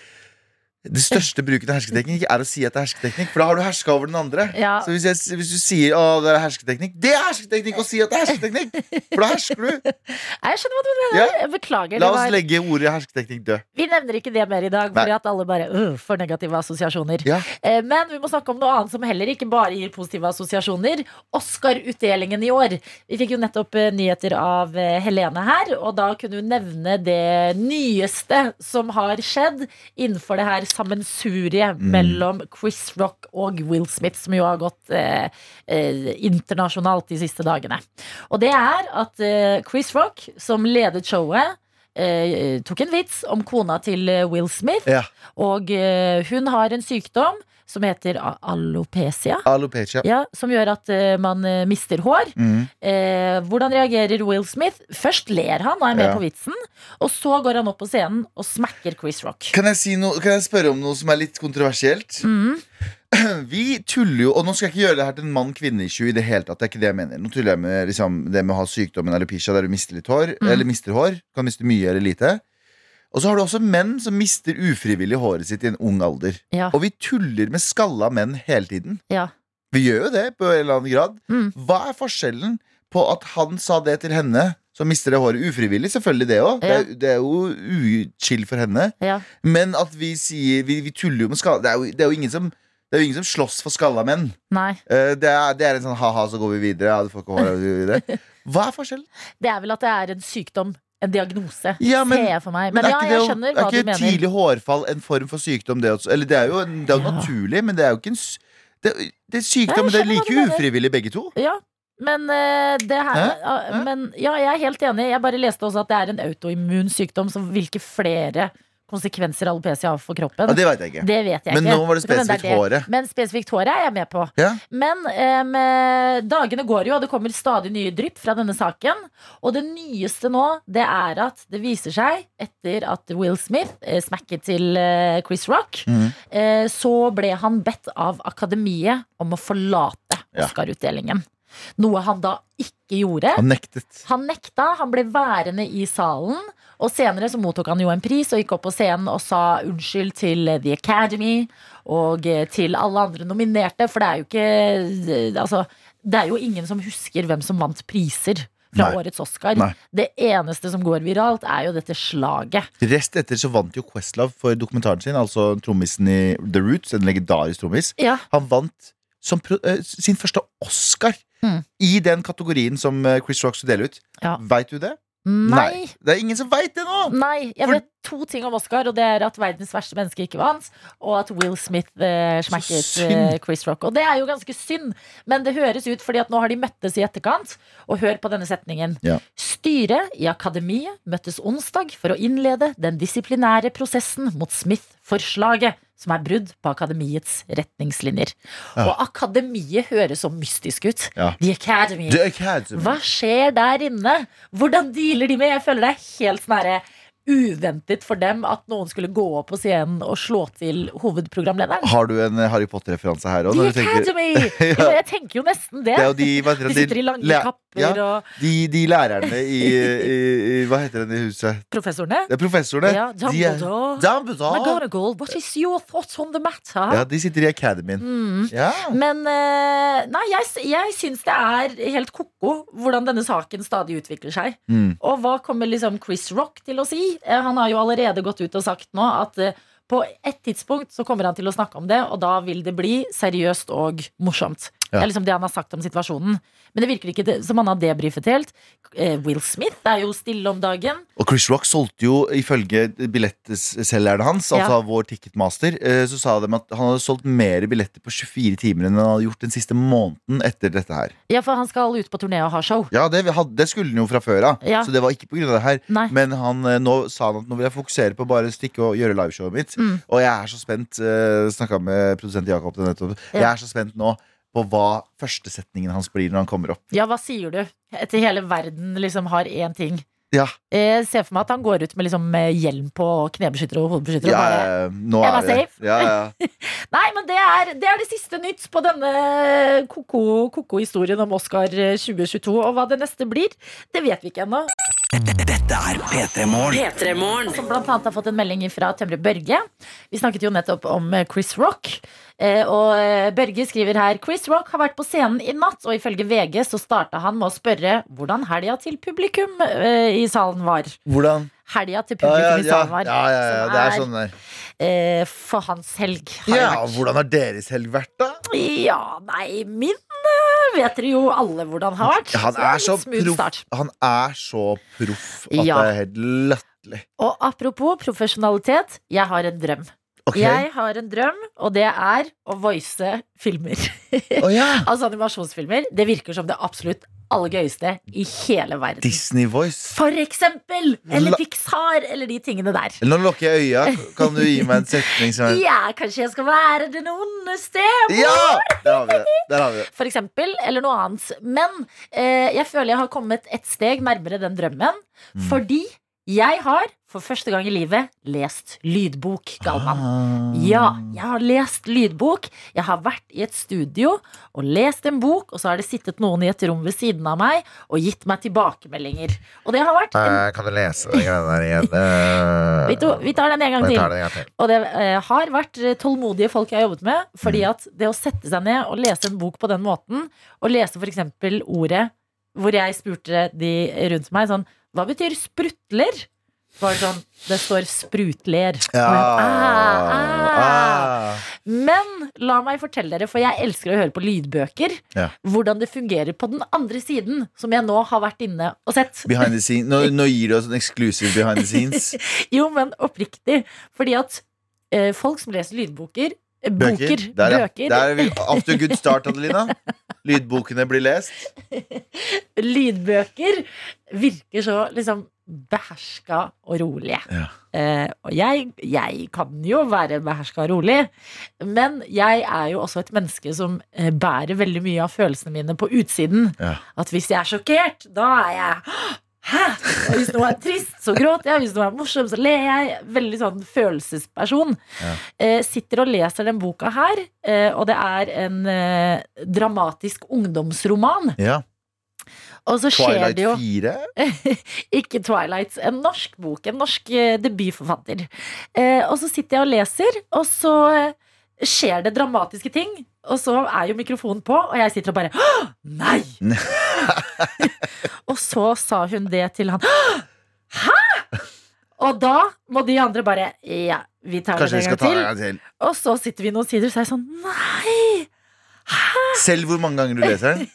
Speaker 3: Det største bruken av hersketeknikk er å si at det er hersketeknikk, for da har du herska over den andre.
Speaker 2: Ja.
Speaker 3: Så hvis, jeg, hvis du sier å, det er hersketeknikk, det er hersketeknikk å si at det er hersketeknikk! For da hersker du.
Speaker 2: Jeg skjønner hva du mener.
Speaker 3: Ja.
Speaker 2: Jeg Beklager.
Speaker 3: La
Speaker 2: det
Speaker 3: oss
Speaker 2: var,
Speaker 3: legge ordet hersketeknikk død.
Speaker 2: vi nevner ikke det mer i dag,
Speaker 3: Nei.
Speaker 2: fordi at alle bare øh, får negative assosiasjoner.
Speaker 3: Ja.
Speaker 2: Eh, Men vi må snakke om noe annet som heller ikke bare gir positive assosiasjoner. Oscar-utdelingen i år. Vi fikk jo nettopp eh, nyheter av eh, Helene her, og da kunne hun nevne det nyeste som har skjedd innenfor det her sammensuriet mellom Chris Rock og Will Smith, som jo har gått eh, eh, internasjonalt de siste dagene. Og det er at eh, Chris Rock, som ledet showet eh, tok en vits om kona til eh, Will Smith.
Speaker 3: Ja.
Speaker 2: Og eh, hun har en sykdom som heter a- alopecia.
Speaker 3: Alopecia.
Speaker 2: Ja, som gjør at eh, man eh, mister hår.
Speaker 3: Mm.
Speaker 2: Eh, hvordan reagerer Will Smith? Først ler han og er med
Speaker 3: Ja.
Speaker 2: på vitsen. Og så går han opp på scenen og smekker Chris Rock.
Speaker 3: Kan, jeg si noe- kan jeg spørre om noe som er litt kontroversielt?
Speaker 2: Mhm.
Speaker 3: Vi tuller jo, og nå skal jeg ikke gjøre det her til en mann-kvinne-issue i det hele tatt. Det er ikke det jeg mener. Nå tuller jeg med liksom, det med å ha sykdommen alopecia der du mister litt hår.
Speaker 2: Mm.
Speaker 3: Eller mister hår. Kan miste mye eller lite. Og så har du også menn som mister ufrivillig håret sitt i en ung alder.
Speaker 2: Ja.
Speaker 3: Og vi tuller med skalla menn hele tiden.
Speaker 2: Ja.
Speaker 3: Vi gjør jo det på en eller annen grad.
Speaker 2: Mm.
Speaker 3: Hva er forskjellen på at han sa det til henne, som mister det håret ufrivillig? Selvfølgelig det òg.
Speaker 2: Ja.
Speaker 3: Det, er- det er jo uchill for henne.
Speaker 2: Ja.
Speaker 3: Men at vi sier Vi, vi tuller jo med skalla. Det er jo, det er jo ingen som det er jo ingen som slåss for skalla menn.
Speaker 2: Nei.
Speaker 3: Eh, det, er, det er en sånn ha-ha, så går vi videre. Ja, du får ikke hår, ja, du går videre. Hva er forskjellen?
Speaker 2: Det er vel at det er en sykdom. En diagnose,
Speaker 3: Ja, men-
Speaker 2: ser jeg for meg. Men, ja,
Speaker 3: ikke
Speaker 2: jeg
Speaker 3: det å-
Speaker 2: skjønner
Speaker 3: er
Speaker 2: hva du
Speaker 3: ikke
Speaker 2: mener.
Speaker 3: tidlig hårfall en form for sykdom, det også? Eller det er jo, en, det er jo
Speaker 2: Ja.
Speaker 3: naturlig, men det er jo ikke en s- Det, det er
Speaker 2: Nei, jeg
Speaker 3: sykdom, men det er
Speaker 2: skjønner hva du
Speaker 3: like
Speaker 2: mener.
Speaker 3: ufrivillig, begge to.
Speaker 2: Ja, men eh, det her
Speaker 3: Hæ?
Speaker 2: ah,
Speaker 3: Hæ?
Speaker 2: Men ja, jeg er helt enig. Jeg bare leste også at det er en autoimmun sykdom som hvilke flere konsekvenser alopecia har for kroppen.
Speaker 3: Ja, det veit jeg ikke.
Speaker 2: Det vet jeg
Speaker 3: Men
Speaker 2: ikke.
Speaker 3: nå var det
Speaker 2: Så kan hende er
Speaker 3: spesifikt håret.
Speaker 2: Men spesifikt håret er jeg med på.
Speaker 3: Ja.
Speaker 2: Men em, eh, dagene går jo, og det kommer stadig nye drypp fra denne saken. Og det nyeste nå, det er at det viser seg, etter at Will Smith eh, smekket til eh, Chris Rock,
Speaker 3: Mhm.
Speaker 2: eh, så ble han bedt av Akademiet om å forlate
Speaker 3: Ja.
Speaker 2: Oscar-utdelingen. Noe han da ikke gjorde.
Speaker 3: Han nektet.
Speaker 2: Han nekta, han ble værende i salen. Og senere så mottok han jo en pris og gikk opp på scenen og sa unnskyld til eh, The Academy og eh, til alle andre nominerte, for det er jo ikke eh, Altså, det er jo ingen som husker hvem som vant priser fra
Speaker 3: Nei.
Speaker 2: årets Oscar.
Speaker 3: Nei.
Speaker 2: Det eneste som går viralt, er jo dette slaget.
Speaker 3: Rest etter så vant jo Questlove for dokumentaren sin, altså trommisen i The Roots, en legendarisk trommis.
Speaker 2: Ja,
Speaker 3: Han vant som, pro- eh, sin første Oscar
Speaker 2: Mm.
Speaker 3: i den kategorien som eh, Chris Rock skulle dele ut.
Speaker 2: Ja.
Speaker 3: Veit du det?
Speaker 2: Nei.
Speaker 3: Det er ingen som veit det nå!
Speaker 2: Nei, jeg
Speaker 3: For-
Speaker 2: vet to ting om Oscar, og det er at verdens verste menneske ikke vant, og at Will Smith eh, smakket
Speaker 3: synd.
Speaker 2: eh, Chris Rock. Og det er jo ganske synd, men det høres ut fordi at nå har de møttes i etterkant. Og hør på denne setningen.
Speaker 3: Ja.
Speaker 2: Styret i Akademiet møttes onsdag for å innlede den disiplinære prosessen mot Smith-forslaget, som er brudd på Akademiets retningslinjer.
Speaker 3: Ja.
Speaker 2: Og Akademiet høres så mystisk ut.
Speaker 3: Ja.
Speaker 2: The Academy.
Speaker 3: Det er ikke her som-
Speaker 2: Hva skjer der inne? Hvordan dealer de med? Jeg føler det er helt sånn herre uventet for dem at noen skulle gå opp på scenen og slå til hovedprogramlederen.
Speaker 3: Har du en eh, Harry Potter-referanse her òg?
Speaker 2: The Academy! Jo, men jeg tenker jo nesten det.
Speaker 3: Det er jo de, hva heter
Speaker 2: De
Speaker 3: det,
Speaker 2: sitter i lange
Speaker 3: læ-
Speaker 2: kapper,
Speaker 3: ja,
Speaker 2: og
Speaker 3: de, de lærerne i, i, i Hva heter den i huset?
Speaker 2: professorene
Speaker 3: Det er professorene.
Speaker 2: Ja,
Speaker 3: De er-
Speaker 2: Dumbledore.
Speaker 3: Dumbledore.
Speaker 2: McGonagall, what is your thoughts on the matter?
Speaker 3: Ja, de sitter i Academyen.
Speaker 2: Mm.
Speaker 3: Ja.
Speaker 2: Men eh, nei, jeg, s- jeg syns det er helt ko-ko hvordan denne saken stadig utvikler seg.
Speaker 3: Mm.
Speaker 2: Og hva kommer liksom Chris Rock til å si? Eh, Han har jo allerede gått ut og sagt nå at eh, på et tidspunkt så kommer han til å snakke om det, og da vil det bli seriøst og morsomt.
Speaker 3: Ja.
Speaker 2: Det er liksom det han har sagt om situasjonen. Men det virker ikke det- som han har debrifet helt. Eh, Will Smith er jo stille om dagen.
Speaker 3: Og Chris Rock solgte jo ifølge billettselgeren hans,
Speaker 2: Ja.
Speaker 3: altså vår ticketmaster, eh, så sa de at han hadde solgt mer billetter på 24 timer enn han hadde gjort den siste måneden etter dette her.
Speaker 2: Ja, for han skal ut på turné og ha show.
Speaker 3: Ja, det, vi hadde, det skulle han jo fra før av,
Speaker 2: Ja.
Speaker 3: så det var ikke på grunn av det her.
Speaker 2: Nei.
Speaker 3: Men han, eh, nå sa han at nå vil jeg fokusere på bare å stikke og gjøre liveshowet mitt.
Speaker 2: Mm.
Speaker 3: Og jeg er så spent. Uh, Snakka med produsent Jakob det nettopp.
Speaker 2: Ja.
Speaker 3: Jeg er så spent nå på hva førstesetningen hans blir når han kommer opp.
Speaker 2: Ja, hva sier du? Etter hele verden liksom har én ting.
Speaker 3: Ja,
Speaker 2: Eh, Jeg ser for meg at han går ut med liksom eh, hjelm på og knebeskytter og hodebeskytter.
Speaker 3: ja,
Speaker 2: Og bare,
Speaker 3: ja, nå
Speaker 2: Jeg
Speaker 3: er
Speaker 2: var
Speaker 3: vi der.
Speaker 2: safe.
Speaker 3: Ja, ja.
Speaker 2: Nei, men det er, det er det siste nytt på denne ko-ko- ko-ko-historien om Oscar 2022. Og hva det neste blir, det vet vi ikke ennå. Som blant annet har fått en melding fra Tømre Børge. Vi snakket jo nettopp om eh, Chris Rock. Eh, og eh, Børge skriver her Chris Rock har vært på scenen i natt, og ifølge VG så starta han med å spørre hvordan helga til publikum eh, i salen var.
Speaker 3: Hvordan?
Speaker 2: Helga til
Speaker 3: Ja,
Speaker 2: publikum
Speaker 3: ja,
Speaker 2: i
Speaker 3: ja,
Speaker 2: salen
Speaker 3: ja,
Speaker 2: var.
Speaker 3: ja, ja, det er
Speaker 2: som
Speaker 3: sånn der.
Speaker 2: eh, For hans helg. har
Speaker 3: Ja,
Speaker 2: det vært.
Speaker 3: hvordan har deres helg vært, da?
Speaker 2: Ja, nei, min eh, vet dere jo alle hvordan har vært.
Speaker 3: Ja, Han
Speaker 2: det var
Speaker 3: er så
Speaker 2: litt smooth start.
Speaker 3: proff Han er så proff at
Speaker 2: Ja.
Speaker 3: det er helt latterlig.
Speaker 2: Og apropos profesjonalitet, jeg har en drøm.
Speaker 3: Ok.
Speaker 2: Jeg har en drøm, og det er å voice filmer.
Speaker 3: Å ja!
Speaker 2: altså animasjonsfilmer. Det virker som det absolutt aller gøyeste i hele verden.
Speaker 3: Disney Voice.
Speaker 2: For eksempel! Eller
Speaker 3: La-
Speaker 2: Pixar, eller de tingene der.
Speaker 3: Nå lukker jeg øya. Kan du gi meg en setning som er
Speaker 2: Ja, kanskje jeg skal være den onde stemor.
Speaker 3: Ja! Der har vi det. Der har vi det.
Speaker 2: For eksempel, eller noe annet. Men eh, jeg føler jeg har kommet et steg nærmere den drømmen.
Speaker 7: Mm.
Speaker 2: Fordi jeg har, for første gang i livet, lest lydbok,
Speaker 7: Ah.
Speaker 2: Galvan.
Speaker 3: Ah.
Speaker 2: Ja, jeg har lest lydbok. Jeg har vært i et studio og lest en bok, og så har det sittet noen i et rom ved siden av meg og gitt meg tilbakemeldinger. Og det har vært en
Speaker 7: Eh, kan du lese den greia der igjen? Eh,
Speaker 2: vi, to, vi tar den en gang
Speaker 7: vi
Speaker 2: til.
Speaker 7: tar det en gang til.
Speaker 2: Og det eh, har vært eh, tålmodige folk jeg har jobbet med. Fordi
Speaker 3: Mm.
Speaker 2: at det å sette seg ned og lese en bok på den måten, og lese f.eks. ordet hvor jeg spurte de rundt meg sånn Hva betyr sprutler? Så var det sånn Det står sprutler.
Speaker 3: Ja.
Speaker 2: Og jeg, ah, ah.
Speaker 3: Ah.
Speaker 2: Men la meg fortelle dere, for jeg elsker å høre på lydbøker,
Speaker 3: Ja.
Speaker 2: hvordan det fungerer på den andre siden, som jeg nå har vært inne og sett.
Speaker 3: Behind the scenes. Nå, nå gir du oss en exclusive behind the scenes.
Speaker 2: Jo, men oppriktig. Fordi at eh, folk som leser lydboker eh, Boker,
Speaker 3: Bøker.
Speaker 2: bøker,
Speaker 3: Der, ja. Der er vi off to a good start, Adelina. Lydbokene blir lest.
Speaker 2: lydbøker virker så liksom beherska og rolige.
Speaker 3: Ja.
Speaker 2: Eh, og jeg, jeg kan jo være beherska og rolig, men jeg er jo også et menneske som eh, bærer veldig mye av følelsene mine på utsiden.
Speaker 3: Ja.
Speaker 2: At hvis jeg er sjokkert, da er jeg Hæ? Og hvis noe er trist, så gråter jeg. Hvis noe er morsomt, så ler jeg. Veldig sånn følelsesperson. Eh, sitter og leser den boka her, eh, og det er en eh, dramatisk ungdomsroman.
Speaker 3: Ja.
Speaker 2: Og så skjer
Speaker 3: Twilight
Speaker 2: det jo
Speaker 3: 4.
Speaker 2: Ikke Twilight, en norsk bok. En norsk eh, debutforfatter. Eh, og så sitter jeg og leser, og så eh, skjer det dramatiske ting. Og så er jo mikrofonen på, og jeg sitter og bare Å, nei! og så sa hun det til han. Hæ?! Og da må de andre bare Ja, vi tar
Speaker 3: Kanskje
Speaker 2: det
Speaker 3: vi
Speaker 2: en
Speaker 3: skal
Speaker 2: gang
Speaker 3: ta det
Speaker 2: til.
Speaker 3: en gang til.
Speaker 2: Og så sitter vi noen sider, så er jeg sånn Nei!
Speaker 3: Selv hvor mange ganger du leser den?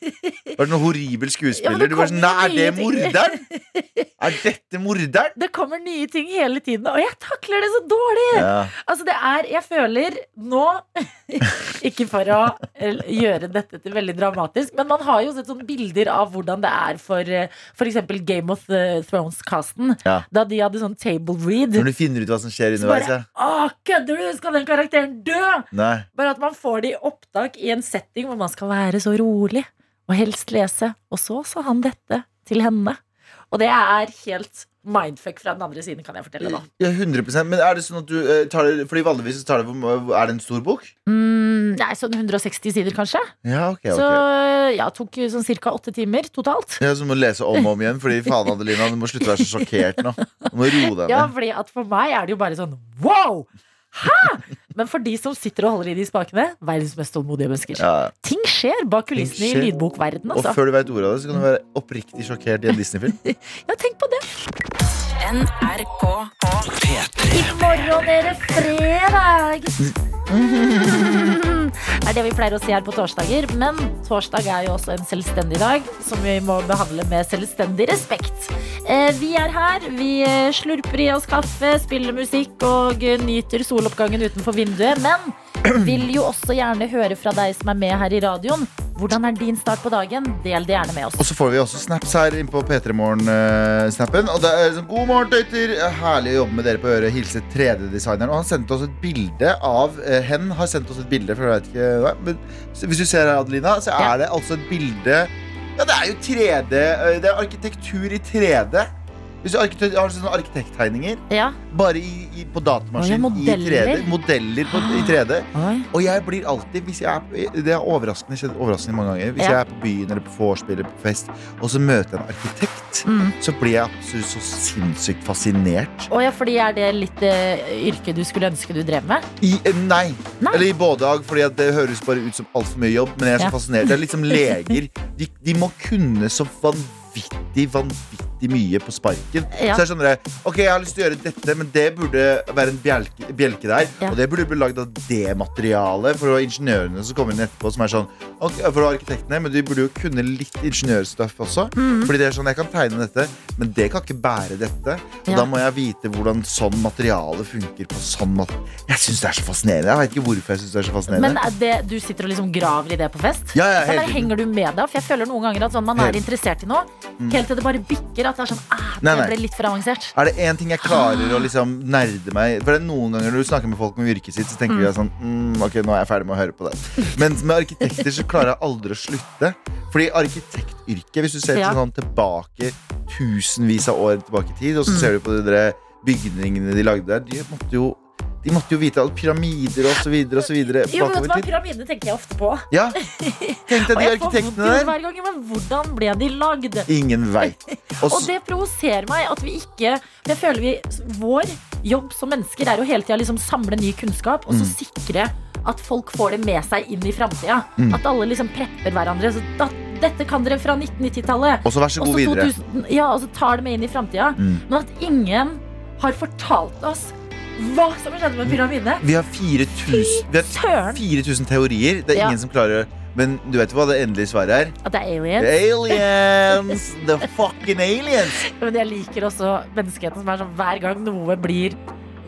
Speaker 3: Var det noen horribel
Speaker 2: Ja, men
Speaker 3: skuespiller?
Speaker 2: det
Speaker 3: du var sånn,
Speaker 2: kommer jo
Speaker 3: Nei, er det
Speaker 2: nye ting."
Speaker 3: morderen? Er dette morderen?
Speaker 2: Det kommer nye ting hele tiden, og jeg takler det så dårlig!
Speaker 3: Ja.
Speaker 2: Altså det er, jeg føler nå Ikke for å eh, gjøre dette til veldig dramatisk Men man har jo sett sånne bilder av hvordan det er For eh, for eksempel Game of eh, Thrones-casten
Speaker 3: Ja.
Speaker 2: Da de hadde sånn table read
Speaker 3: Når du finner ut hva som skjer
Speaker 2: Så
Speaker 3: underveis, ja.
Speaker 2: bare, åh, kødder du? Skal den karakteren dø?
Speaker 3: Nei.
Speaker 2: Bare at man får det i opptak i en setting Hvor man skal være så rolig Og helst lese Og så sa han dette til henne Og det er helt mindfuck fra den andre siden Kan jeg fortelle da
Speaker 3: Ja, 100 Men er det sånn at du eh, tar det Fordi vanligvis så tar det hvor- Er det en stor bok?
Speaker 2: mm, Nei, sånn 160 sider kanskje
Speaker 3: Ja, ok. ok.
Speaker 2: Så ja, tok jo sånn cirka åtte timer totalt.
Speaker 3: Ja, så må du lese om og om igjen, fordi faen, Adelina, du må slutte å være så sjokkert nå. Du må roe deg ned.
Speaker 2: Ja, fordi at for meg er det jo bare sånn wow! Hæ?! Men for de som sitter og holder i de spakene, verdens mest tålmodige mennesker.
Speaker 3: Ja.
Speaker 2: Ting skjer bak kulissene
Speaker 3: skjer.
Speaker 2: i lydbokverdenen,
Speaker 3: Og
Speaker 2: altså.
Speaker 3: før du veit ordet av det, så kan du være oppriktig sjokkert i en Disney-film.
Speaker 2: Ja, tenk på det.
Speaker 1: NRK.
Speaker 2: I morgen er det fredag! Det er det vi pleier å si her på torsdager, men torsdag er jo også en selvstendig dag, som vi må behandle med selvstendig respekt. Eh, Vi er her, vi eh, slurper i oss kaffe, spiller musikk og eh, nyter soloppgangen utenfor vinduet, men vil jo også gjerne høre fra deg som er med her i radioen. Hvordan er din start på dagen? Del det gjerne med oss.
Speaker 3: Og så får vi også snaps her inne på P3 Morgen-snappen. Og det er sånn, God morgen, tøyter! Herlig å jobbe med dere på øret. Hilse 3D-designeren. Og han sendte oss et bilde av eh, Hen har sendt oss et bilde, for jeg vet ikke hva. Men så hvis du ser her, Adelina, så
Speaker 2: Ja.
Speaker 3: er det altså et bilde Ja, det er jo 3D. eh, Det er arkitektur i 3D. Hvis du arkitekt- har sånne arkitekttegninger
Speaker 2: Ja.
Speaker 3: Bare i, i, på datamaskin.
Speaker 2: Å, ja,
Speaker 3: I
Speaker 2: modeller.
Speaker 3: 3D, modeller på, i 3D.
Speaker 2: Oi.
Speaker 3: Og jeg blir alltid hvis jeg er, eh, Det er overraskende, skjedd overraskende mange ganger. Hvis
Speaker 2: Ja.
Speaker 3: jeg er på byen eller på vors eller på fest, og så møter jeg en arkitekt,
Speaker 2: Mm.
Speaker 3: så blir jeg absolutt så sinnssykt fascinert.
Speaker 2: Å ja, fordi er det litt eh, yrke du skulle ønske du drev med?
Speaker 3: I, eh, nei.
Speaker 2: Nei.
Speaker 3: Eller i bådag, fordi at det høres bare ut som altfor mye jobb. Men jeg er så
Speaker 2: Ja.
Speaker 3: fascinert. Det er litt som leger. De, de må kunne så vanvittig, vanvittig vanvittig mye på sparken.
Speaker 2: Ja.
Speaker 3: Så jeg skjønner det. Ok, jeg har lyst til å gjøre dette, men det burde være en bjelke, bjelke der.
Speaker 2: Ja.
Speaker 3: Og det burde bli lagd av det materialet. For det var ingeniørene som kommer inn etterpå, som er sånn ok, For det var arkitektene, men de burde jo kunne litt ingeniørstuff også.
Speaker 2: Mm.
Speaker 3: Fordi det er sånn, jeg kan tegne dette, men det kan ikke bære dette. Og
Speaker 2: Ja.
Speaker 3: da må jeg vite hvordan sånn materiale funker på sånn måte. Jeg syns det er så fascinerende. Jeg vet ikke hvorfor jeg syns det er så fascinerende.
Speaker 2: Men er det, du sitter og liksom graver i det på fest?
Speaker 3: Ja, ja,
Speaker 2: Da
Speaker 3: hele
Speaker 2: bare
Speaker 3: tiden.
Speaker 2: henger du med deg? For jeg føler noen ganger at sånn, man
Speaker 3: Helt. Mm.
Speaker 2: er interessert i noe, helt til det bare bikker. At det er sånn, ah,
Speaker 3: Nei,
Speaker 2: det
Speaker 3: nei.
Speaker 2: ble litt for avansert.
Speaker 3: Er det én ting jeg klarer å liksom nerde meg For det er Noen ganger når du snakker med folk om yrket sitt, så tenker vi sånn mm, Ok, nå er jeg ferdig med å høre på det. Mens med arkitekter så klarer jeg aldri å slutte. Fordi arkitektyrket, hvis du ser
Speaker 2: Ja.
Speaker 3: til sånn tilbake tusenvis av år tilbake i tid, og så
Speaker 2: Mm.
Speaker 3: ser du på de der bygningene de lagde der, de måtte jo, de måtte jo vite alt. Pyramider og så videre og så videre
Speaker 2: Jo, men vet du
Speaker 3: bakover
Speaker 2: hva,
Speaker 3: i tid.
Speaker 2: Pyramidene tenker jeg ofte på.
Speaker 3: Ja, Tenk deg
Speaker 2: Og jeg får vondt
Speaker 3: de
Speaker 2: i
Speaker 3: arkitektene
Speaker 2: hodet
Speaker 3: der.
Speaker 2: hver gang, men hvordan ble de lagd?
Speaker 3: Ingen veit. Og
Speaker 2: Og
Speaker 3: så-
Speaker 2: det provoserer meg at vi ikke for Jeg føler vi, Vår jobb som mennesker er å hele tida liksom samle ny kunnskap og så sikre at folk får det med seg inn i framtida.
Speaker 3: Mm.
Speaker 2: At alle liksom prepper hverandre. Så da, dette kan dere fra 1990-tallet.
Speaker 3: og så vær så
Speaker 2: Og så
Speaker 3: god videre.
Speaker 2: 2000 Ja, og så tar det med inn i framtida.
Speaker 3: Mm.
Speaker 2: Men at ingen har fortalt oss hva som skjedde med pyramidene.
Speaker 3: Vi har 4000 vi har
Speaker 2: Søren!
Speaker 3: 4000 teorier. Det er
Speaker 2: Ja.
Speaker 3: ingen som klarer Men du vet hva det endelige svaret er?
Speaker 2: At det er aliens.
Speaker 3: Aliens! The fucking aliens!
Speaker 2: Men jeg liker også menneskeheten som er sånn hver gang noe blir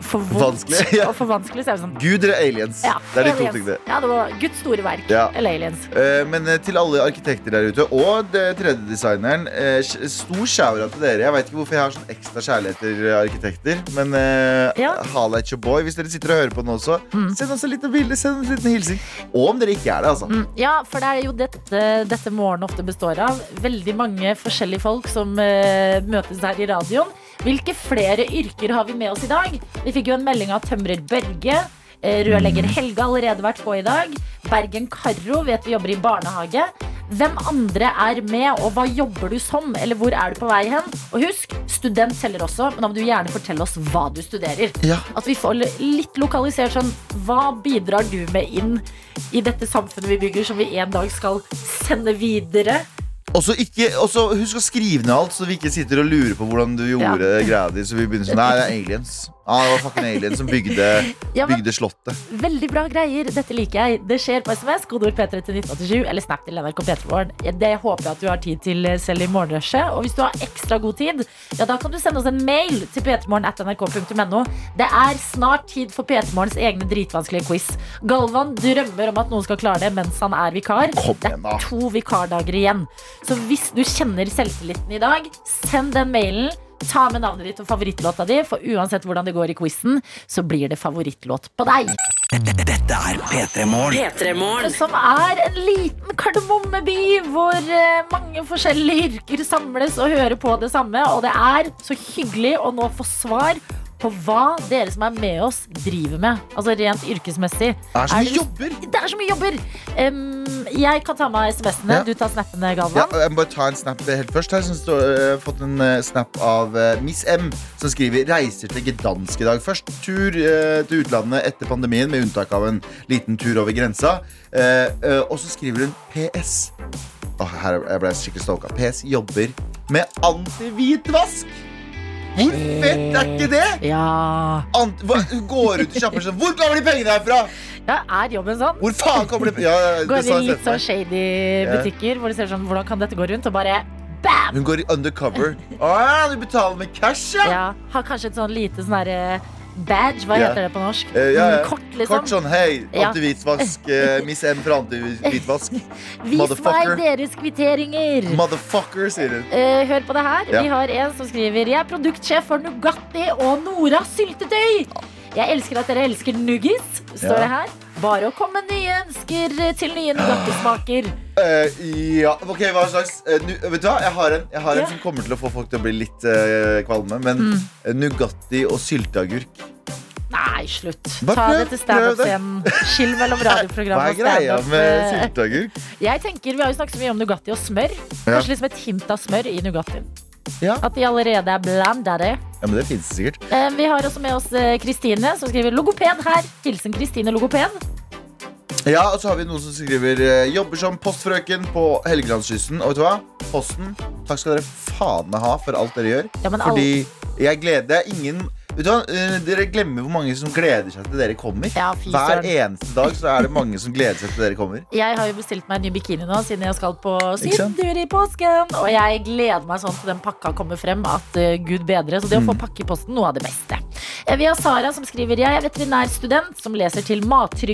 Speaker 2: for vondt
Speaker 3: Vanskelig, ja.
Speaker 2: og for vanskelig, så er vi sånn
Speaker 3: Gud eller aliens.
Speaker 2: ja,
Speaker 3: det er de to
Speaker 2: aliens.
Speaker 3: tingene.
Speaker 2: Ja, det var Guds store verk.
Speaker 3: Ja.
Speaker 2: Eller aliens.
Speaker 3: Eh, Men eh, til alle arkitekter der ute, og det tredje designeren, eh, sj- stor skjæra til dere. Jeg vet ikke hvorfor jeg har sånn ekstra kjærlighet til eh, arkitekter, men eh,
Speaker 2: Ja. Mm.
Speaker 3: hala at your boy. Hvis dere sitter og hører på den også, send oss en liten bilde, send oss en liten hilsen. Og om dere ikke er det, altså.
Speaker 2: Mm, Ja, for det er jo dette, dette morgenen ofte består av. Veldig mange forskjellige folk som eh, møtes her i radioen. Hvilke flere yrker har vi med oss i dag? Vi fikk jo en melding av tømrer Børge. eh,
Speaker 3: Mm.
Speaker 2: Rørlegger Helge har allerede vært på i dag. Bergen Karro vet vi jobber i barnehage. Hvem andre er med, og hva jobber du som, eller hvor er du på vei hen? Og husk, student teller også, men da må du gjerne fortelle oss hva du studerer.
Speaker 3: Ja.
Speaker 2: At vi får litt lokalisert sånn Hva bidrar du med inn i dette samfunnet vi bygger, som vi en dag skal sende videre?
Speaker 3: Og så ikke- og så husk å skrive ned alt, så vi ikke sitter og lurer på hvordan du gjorde greia di. Så vi begynner sånn Nei, det er aliens. Ja, det var fucking aliens som bygde,
Speaker 2: Ja, men-
Speaker 3: bygde slottet.
Speaker 2: Veldig bra greier. Dette liker jeg. Det skjer på SMS, kodeord P3 til 1987 eller Snap til NRK Petermorgen. Det håper jeg at du har tid til eh, selv i morgenrushet. Og hvis du har ekstra god tid, ja, da kan du sende oss en mail til p3morgen.nrk.no. Det er snart tid for P3morgens egne dritvanskelige quiz. Galvan drømmer om at noen skal klare det mens han er vikar.
Speaker 3: Kom
Speaker 2: Det
Speaker 3: igjen, da.
Speaker 2: er to vikardager igjen. Så hvis du kjenner selvtilliten i dag, send den mailen. Ta med navnet ditt og favorittlåta di, for uansett hvordan det går i quizen, så blir det favorittlåt på deg.
Speaker 1: P3-morgen.
Speaker 2: Som er en liten kardemommeby hvor eh, mange forskjellige yrker samles og hører på det samme. Og det er så hyggelig å nå få svar på hva dere som er med oss, driver med. Altså rent yrkesmessig.
Speaker 3: Det er så mye
Speaker 2: det-
Speaker 3: jobber!
Speaker 2: Det er så mye jobber! Em, jeg kan ta med SMS-ene.
Speaker 3: Ja.
Speaker 2: Du tar snappene,
Speaker 3: Ja,
Speaker 2: Galvan.
Speaker 3: jeg må bare ta en snap helt først. Her som står, jeg har fått en eh, snap av eh, Miss M, som skriver 'Reiser til Gdansk i dag'. Først tur eh, til utlandet etter pandemien, med unntak av en liten tur over grensa. Eh, eh, og så skriver hun PS. Åh, her jeg ble jeg skikkelig stalka. PS jobber med antihvitvask! Hvor fett
Speaker 2: Eh.
Speaker 3: er ikke det?
Speaker 2: Ja.
Speaker 3: Ant hva, hun går ut og kjapper seg. Hvor kommer de pengene herfra?
Speaker 2: ja. Er jobben sånn?
Speaker 3: Hvor faen kommer de ja, det
Speaker 2: Går
Speaker 3: sa
Speaker 2: inn
Speaker 3: jeg
Speaker 2: i litt
Speaker 3: selv.
Speaker 2: sånn shady
Speaker 3: Ja.
Speaker 2: butikker hvor de ser sånn Hvordan kan dette gå rundt? Og bare bam!
Speaker 3: Hun går i undercover. Ah, du betaler med cash, ja?
Speaker 2: Ja, har kanskje et sånn lite sånn derre badge, hva
Speaker 3: Ja.
Speaker 2: heter det på norsk?
Speaker 3: Eh, ja, ja.
Speaker 2: Mm, Kort, liksom.
Speaker 3: Kort sånn hei,
Speaker 2: Ja.
Speaker 3: antihvitvask. eh, Miss M fra antihvitvask.
Speaker 2: Vis meg
Speaker 3: motherfucker.
Speaker 2: deres kvitteringer!
Speaker 3: Motherfucker, sier hun.
Speaker 2: Eh, hør på det her.
Speaker 3: Ja.
Speaker 2: Vi har en som skriver Jeg er produktsjef for Nugatti og Nora syltetøy. Jeg elsker at dere elsker nuggis, står
Speaker 3: Ja.
Speaker 2: det her. Bare å komme med nye ønsker til nye Nugatti-smaker.
Speaker 3: Eh, ja, ok, hva slags eh, nu, Vet du hva, jeg har en, jeg har en
Speaker 2: Ja. Mm.
Speaker 3: som kommer til å få folk til å bli litt eh, kvalme. Men eh, Nugatti og sylteagurk.
Speaker 2: Nei, slutt.
Speaker 3: Bare
Speaker 2: Ta
Speaker 3: prøv,
Speaker 2: det til standup-scenen. Skill mellom
Speaker 3: Hva
Speaker 2: radioprogram
Speaker 3: er
Speaker 2: og
Speaker 3: greia
Speaker 2: standup.
Speaker 3: med
Speaker 2: eh,
Speaker 3: sylteagurk?
Speaker 2: Jeg tenker, Vi har jo snakket så mye om Nugatti og smør.
Speaker 3: Ja.
Speaker 2: Kanskje liksom et hint av smør i Nugattien.
Speaker 3: Ja.
Speaker 2: At de allerede er blandede.
Speaker 3: Ja, men det finnes sikkert.
Speaker 2: Eh, Vi har også med oss eh, Kristine, som skriver 'logoped her'. Hilsen Kristine logoped.
Speaker 3: Ja, og så har vi noen som skriver eh, Jobber som postfrøken på Helgelandskysten. Og vet du hva? Posten, takk skal dere faen meg ha for alt dere gjør.
Speaker 2: Ja, men alle-
Speaker 3: Fordi jeg gleder det er ingen Vet du hva? Eh, Dere glemmer hvor mange som gleder seg til dere kommer.
Speaker 2: Ja, fy
Speaker 3: Hver
Speaker 2: søren.
Speaker 3: eneste dag så er det mange som gleder seg til dere kommer.
Speaker 2: Jeg har jo bestilt meg en ny bikini nå, siden jeg skal på
Speaker 3: Ikke sant?
Speaker 2: sydentur i påsken. Og jeg gleder meg sånn til den pakka kommer frem, at eh, gud bedre. Så det å få
Speaker 3: Mm.
Speaker 2: pakke i posten, noe av det beste. Eh, Vi har Sara som skriver Jeg er veterinærstudent som leser til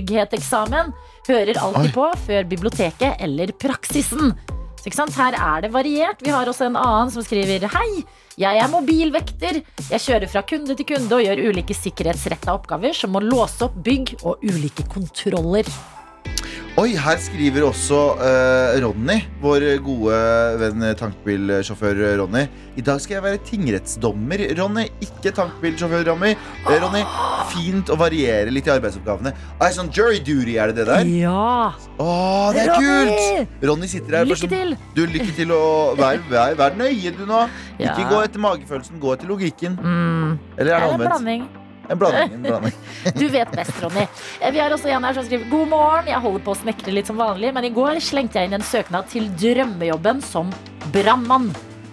Speaker 2: mattryggheteksamen. Hører alltid
Speaker 3: Oi.
Speaker 2: på før biblioteket eller praksisen. Så ikke sant? Her er det variert. Vi har også en annen som skriver Hei, jeg er mobilvekter. Jeg kjører fra kunde til kunde og gjør ulike sikkerhetsretta oppgaver som å låse opp bygg og ulike kontroller.
Speaker 3: Oi, her skriver også eh, Ronny, vår gode venn eh, tankbilsjåfør eh, Ronny. I dag skal jeg være tingrettsdommer, Ronny, ikke tankbilsjåfør Ronny. Eh, Ronny, Fint å variere litt i arbeidsoppgavene. Ah, sånn jury duty, er det det der?
Speaker 2: Ja!
Speaker 3: Å, det er
Speaker 2: Ronny!
Speaker 3: kult! Ronny sitter her. bare
Speaker 2: Lykke
Speaker 3: sånn,
Speaker 2: til!
Speaker 3: Du, lykke til og vær, vær, vær nøye, du nå.
Speaker 2: Ja.
Speaker 3: Ikke gå etter magefølelsen, gå etter logikken.
Speaker 2: Mm.
Speaker 3: Eller
Speaker 2: Det er
Speaker 3: er det
Speaker 2: en
Speaker 3: omvendt?
Speaker 2: blanding.
Speaker 3: En blanding. En blanding.
Speaker 2: Du vet best, Ronny. Eh, Vi har også en her som skriver God morgen, jeg holder på å snekre litt som vanlig, men i går slengte jeg inn en søknad til drømmejobben som brannmann.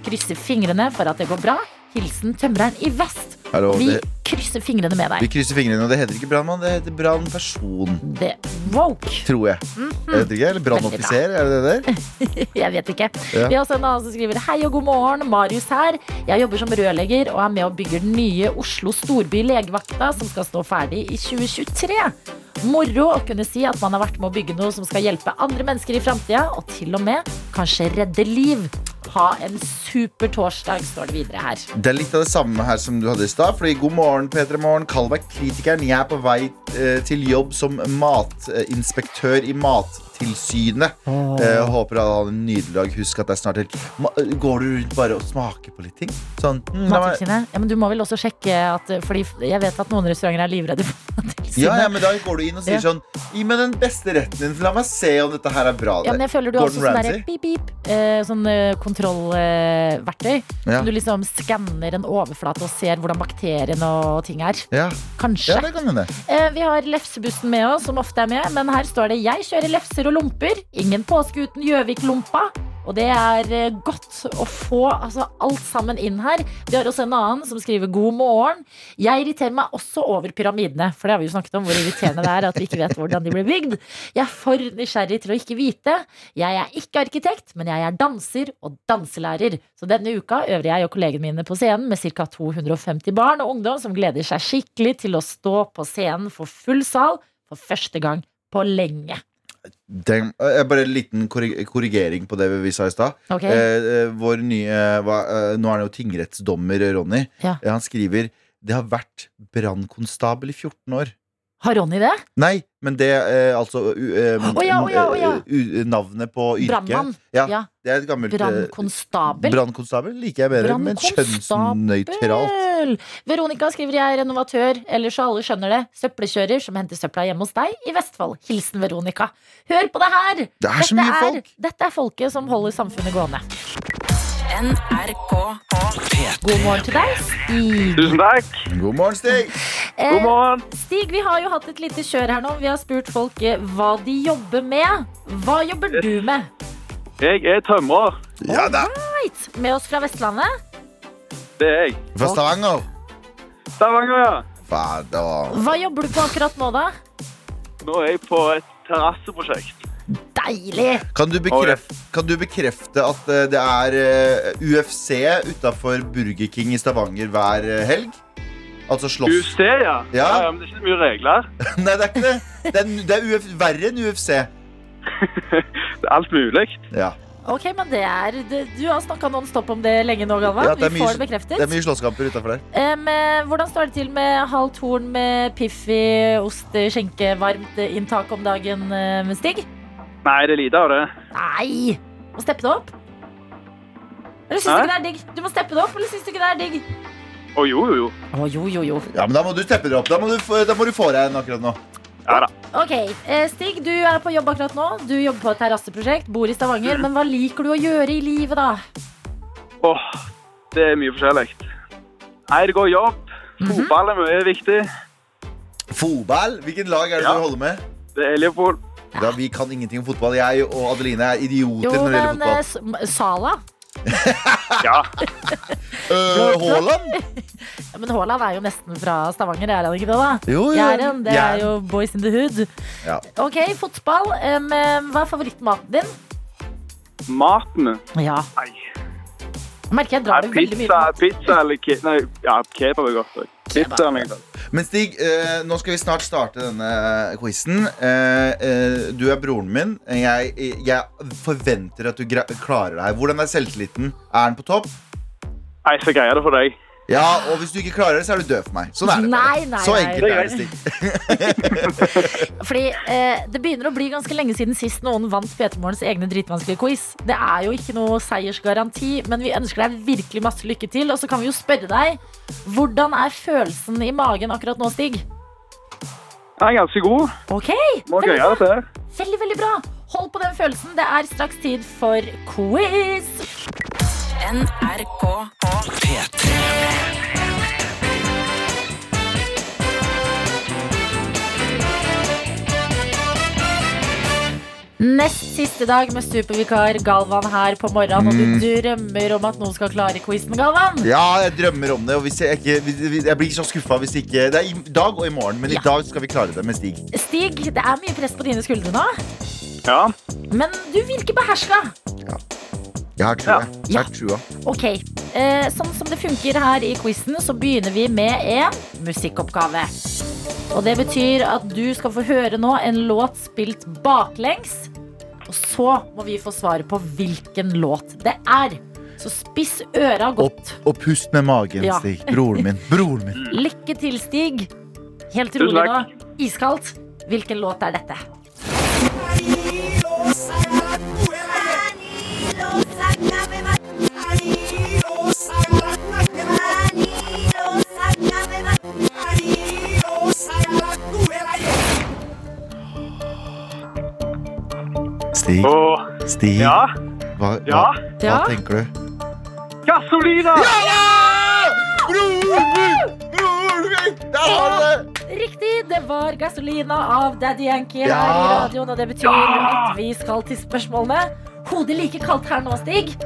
Speaker 2: Krysser fingrene for at det går bra. Hilsen tømreren i vest.
Speaker 3: Hallo,
Speaker 2: Vi
Speaker 3: det,
Speaker 2: krysser fingrene med
Speaker 3: vi
Speaker 2: deg.
Speaker 3: krysser fingrene, og det heter ikke brannmann, det heter brannperson.
Speaker 2: Det woke.
Speaker 3: Tror jeg.
Speaker 2: Mhm.
Speaker 3: jeg vet ikke, eller brannoffiser, er det det der?
Speaker 2: Jeg vet ikke.
Speaker 3: Ja.
Speaker 2: Vi har også en annen som skriver Hei og god morgen, Marius her. Jeg jobber som rørlegger og er med og bygger den nye Oslo storby legevakta som skal stå ferdig i 2023. Moro å kunne si at man har vært med å bygge noe som skal hjelpe andre mennesker i framtida, og til og med kanskje redde liv. Ha en super torsdag, står det videre her.
Speaker 3: Det er litt av det samme her som du hadde i stad. Fordi god morgen, P3 Morgen. Kall meg kritikeren. Jeg er på vei eh, til jobb som matinspektør i Mattilsynet. Eh, håper alle har en nydelig dag. Husk at det er snart helg. Ma- Går du rundt bare og smaker på litt ting? Sånn mm, la meg-
Speaker 2: Mattilsynet. Ja, men du må vel også sjekke at Fordi jeg vet at noen restauranter er livredde for Mattilsynet.
Speaker 3: Ja, ja, men da går du inn og sier
Speaker 2: Ja.
Speaker 3: sånn Gi meg den beste retten din, for la meg se om dette her er bra.
Speaker 2: Ja, men jeg føler du har
Speaker 3: Gordon
Speaker 2: også sånn
Speaker 3: Ramsay?
Speaker 2: derre pip, pip, eh, sånn eh, kontrollverktøy.
Speaker 3: Ja.
Speaker 2: Som du liksom skanner en overflate og ser hvordan bakterien og ting er.
Speaker 3: Ja.
Speaker 2: Kanskje.
Speaker 3: ja, det kan hende.
Speaker 2: Eh, vi har lefsebussen med oss, som ofte er med, men her står det 'Jeg kjører lefser og lomper'. Ingen påske uten Gjøvik-lompa. Og det er eh, godt å få altså, alt sammen inn her. Vi har også en annen som skriver 'God morgen'. Jeg irriterer meg også over pyramidene, for det har vi jo snakket om, hvor irriterende det er at vi ikke vet hvordan de ble bygd. Jeg er for nysgjerrig til å ikke vite. Jeg er ikke arkitekt, men jeg er danser og danselærer. Så denne uka øver jeg og kollegene mine på scenen med ca. 250 barn og ungdom som gleder seg skikkelig til å stå på scenen for full sal for første gang på lenge.
Speaker 3: Den, eh, bare en liten korri- korrigering på det vi sa i stad.
Speaker 2: Ok?
Speaker 3: Eh, eh, vår nye hva, eh, Nå er han jo tingrettsdommer, Ronny.
Speaker 2: Ja.
Speaker 3: Eh, han skriver det har vært brannkonstabel i 14 år.
Speaker 2: Har Ronny det?
Speaker 3: Nei, men det eh, altså u, eh,
Speaker 2: Å ja, å ja, å ja.
Speaker 3: u- eh, Navnet på yrket.
Speaker 2: Brannmann.
Speaker 3: Ja,
Speaker 2: Ja.
Speaker 3: det er et gammelt eh,
Speaker 2: Brannkonstabel.
Speaker 3: Brannkonstabel liker jeg bedre, men
Speaker 2: Brannkonstabel.
Speaker 3: kjønnsnøytralt.
Speaker 2: Veronica skriver jeg er renovatør, eller så alle skjønner det. Søppelkjører som henter søpla hjemme hos deg i Vestfold. Hilsen Veronica. Hør på det her!
Speaker 3: Det er så mye folk!
Speaker 2: dette er folket som holder samfunnet gående.
Speaker 1: NRK.
Speaker 2: God morgen til deg, Stig.
Speaker 6: Tusen takk.
Speaker 3: God morgen, Stig!
Speaker 6: God
Speaker 2: Eh,
Speaker 6: morgen.
Speaker 2: Stig, vi har jo hatt et lite kjør her nå. Vi har spurt folk eh, hva de jobber med. Hva jobber du med?
Speaker 6: Jeg er tømrer.
Speaker 3: Ja da!
Speaker 2: Right. Med oss fra Vestlandet.
Speaker 6: Det er jeg.
Speaker 3: Fra Stavanger.
Speaker 6: Stavanger, ja.
Speaker 3: Fader.
Speaker 2: Hva jobber du på akkurat nå, da?
Speaker 6: Nå er jeg på et terrasseprosjekt.
Speaker 2: Deilig!
Speaker 3: Kan du, bekref kan du bekrefte at eh, det er eh, UFC utafor Burger King i Stavanger hver eh, helg? Altså slåss
Speaker 6: UFC, ja.
Speaker 3: Ja.
Speaker 6: ja. Men det er ikke så mye regler.
Speaker 3: Nei, det er ikke det. Det er, det er Uf verre enn UFC.
Speaker 6: Det er alt mulig.
Speaker 3: Ja.
Speaker 2: Ok, men det er, det, Du har snakka non stop om det lenge nå, Galvan.
Speaker 3: Ja, det er
Speaker 2: vi
Speaker 3: mye-
Speaker 2: får det bekreftet.
Speaker 3: Det er mye slåsskamper utafor der.
Speaker 2: Em, eh, hvordan står det til med halv torn med Piffi, ost, skjenke, varmt eh, inntak om dagen, eh, med Stig?
Speaker 6: Nei, det er lite av det.
Speaker 2: Nei! Må steppe det opp. Eller syns du
Speaker 6: Hæ?
Speaker 2: ikke det er digg? Du må steppe det opp, eller syns du ikke det er digg?
Speaker 6: Å jo, jo, jo.
Speaker 2: Å, jo, jo, jo.
Speaker 3: Ja, men da må du steppe deg opp. Da må du, få- da må du få deg en akkurat nå.
Speaker 2: Ok, eh, Stig, du er på jobb akkurat nå. Du jobber på et terrasseprosjekt, bor i Stavanger. Men hva liker du å gjøre i livet, da?
Speaker 6: Åh, det er mye forskjellig. Nei, det går jobb. Fotball er mye viktig.
Speaker 3: Fotball? Hvilket lag er det
Speaker 6: Ja.
Speaker 3: du holder med?
Speaker 6: Det er Liverpool.
Speaker 3: Da, vi kan ingenting om fotball. Jeg og Adeline er idioter
Speaker 2: Jo,
Speaker 3: når det gjelder
Speaker 2: men eh,
Speaker 3: fotball.
Speaker 2: S- M- Sala
Speaker 6: Ja,
Speaker 3: Øh, Haaland?
Speaker 2: ja, Men Haaland er jo nesten fra Stavanger, er han ikke det, da?
Speaker 3: Jo, jo.
Speaker 2: Jæren, det er
Speaker 3: Jæren.
Speaker 2: jo boys in the hood.
Speaker 3: Ja.
Speaker 2: Ok, fotball. Em, em, hva er favorittmaten din?
Speaker 6: maten.
Speaker 2: Ja.
Speaker 6: Nei.
Speaker 2: Jeg merker jeg drar
Speaker 6: Er
Speaker 2: det veldig mye
Speaker 6: pizza, pizza eller ke Nei, ja, kebab er godt. også. Pizza er mye godt.
Speaker 3: Men Stig, eh, nå skal vi snart starte denne eh, quizen. Eh, du er broren min. Jeg, jeg forventer at du gra klarer deg. Hvordan er selvtilliten? Er den på topp?
Speaker 6: Nei, så greier jeg det for deg.
Speaker 3: Ja, og hvis du ikke klarer det, så er du død for meg. Sånn er det. bare.
Speaker 2: Nei, nei,
Speaker 3: så
Speaker 2: nei.
Speaker 3: enkelt er det, Stig.
Speaker 2: Fordi eh, Det begynner å bli ganske lenge siden sist noen vant Petermorgens egne dritvanskelige quiz. Det er jo ikke noe seiersgaranti, men vi ønsker deg virkelig masse lykke til. Og så kan vi jo spørre deg hvordan er følelsen i magen akkurat nå, Stig?
Speaker 6: Jeg er ganske god.
Speaker 2: Ok,
Speaker 6: Må
Speaker 2: veldig
Speaker 6: greie
Speaker 2: bra.
Speaker 6: dette. her.
Speaker 2: Veldig, veldig bra. Hold på den følelsen. Det er straks tid for quiz.
Speaker 1: NRK
Speaker 2: Nest siste dag med supervikar Galvan her på morgenen, og du drømmer om at noen skal klare quizen, Galvan.
Speaker 3: Ja, jeg drømmer om det. Og hvis jeg, ikke, hvis- hvis- jeg blir så skuffa hvis ikke Det er i dag og i morgen, men
Speaker 2: Ja.
Speaker 3: i dag skal vi klare det med Stig.
Speaker 2: Stig, det er mye press på dine skuldre nå,
Speaker 6: Ja.
Speaker 2: men du virker beherska.
Speaker 3: Jeg har trua.
Speaker 6: Ja.
Speaker 3: Jeg har trua.
Speaker 2: Ok, eh, sånn som det funker her i quizen, så begynner vi med en musikkoppgave. Og det betyr at du skal få høre nå en låt spilt baklengs. Og så må vi få svaret på hvilken låt det er. Så spiss øra godt.
Speaker 3: Og pust med magen,
Speaker 2: Ja.
Speaker 3: Stig. Broren min. Broren min.
Speaker 2: Lykke til, Stig. Helt
Speaker 6: Tusen
Speaker 2: rolig nå.
Speaker 6: takk.
Speaker 2: Iskaldt. Hvilken låt er dette?
Speaker 3: Stig,
Speaker 6: Og,
Speaker 3: Stig.
Speaker 6: ja.
Speaker 3: Hva, hva,
Speaker 6: Ja.
Speaker 3: hva
Speaker 2: Ja.
Speaker 3: tenker du?
Speaker 6: Gasolina!
Speaker 3: Broren min! Broren min! Der har du det!
Speaker 2: Riktig, det var Gasolina av Daddy Yankee
Speaker 3: Ja.
Speaker 2: her i radioen, og det betyr
Speaker 6: Ja.
Speaker 2: at vi skal til spørsmålene. Hodet like kaldt her nå, Stig.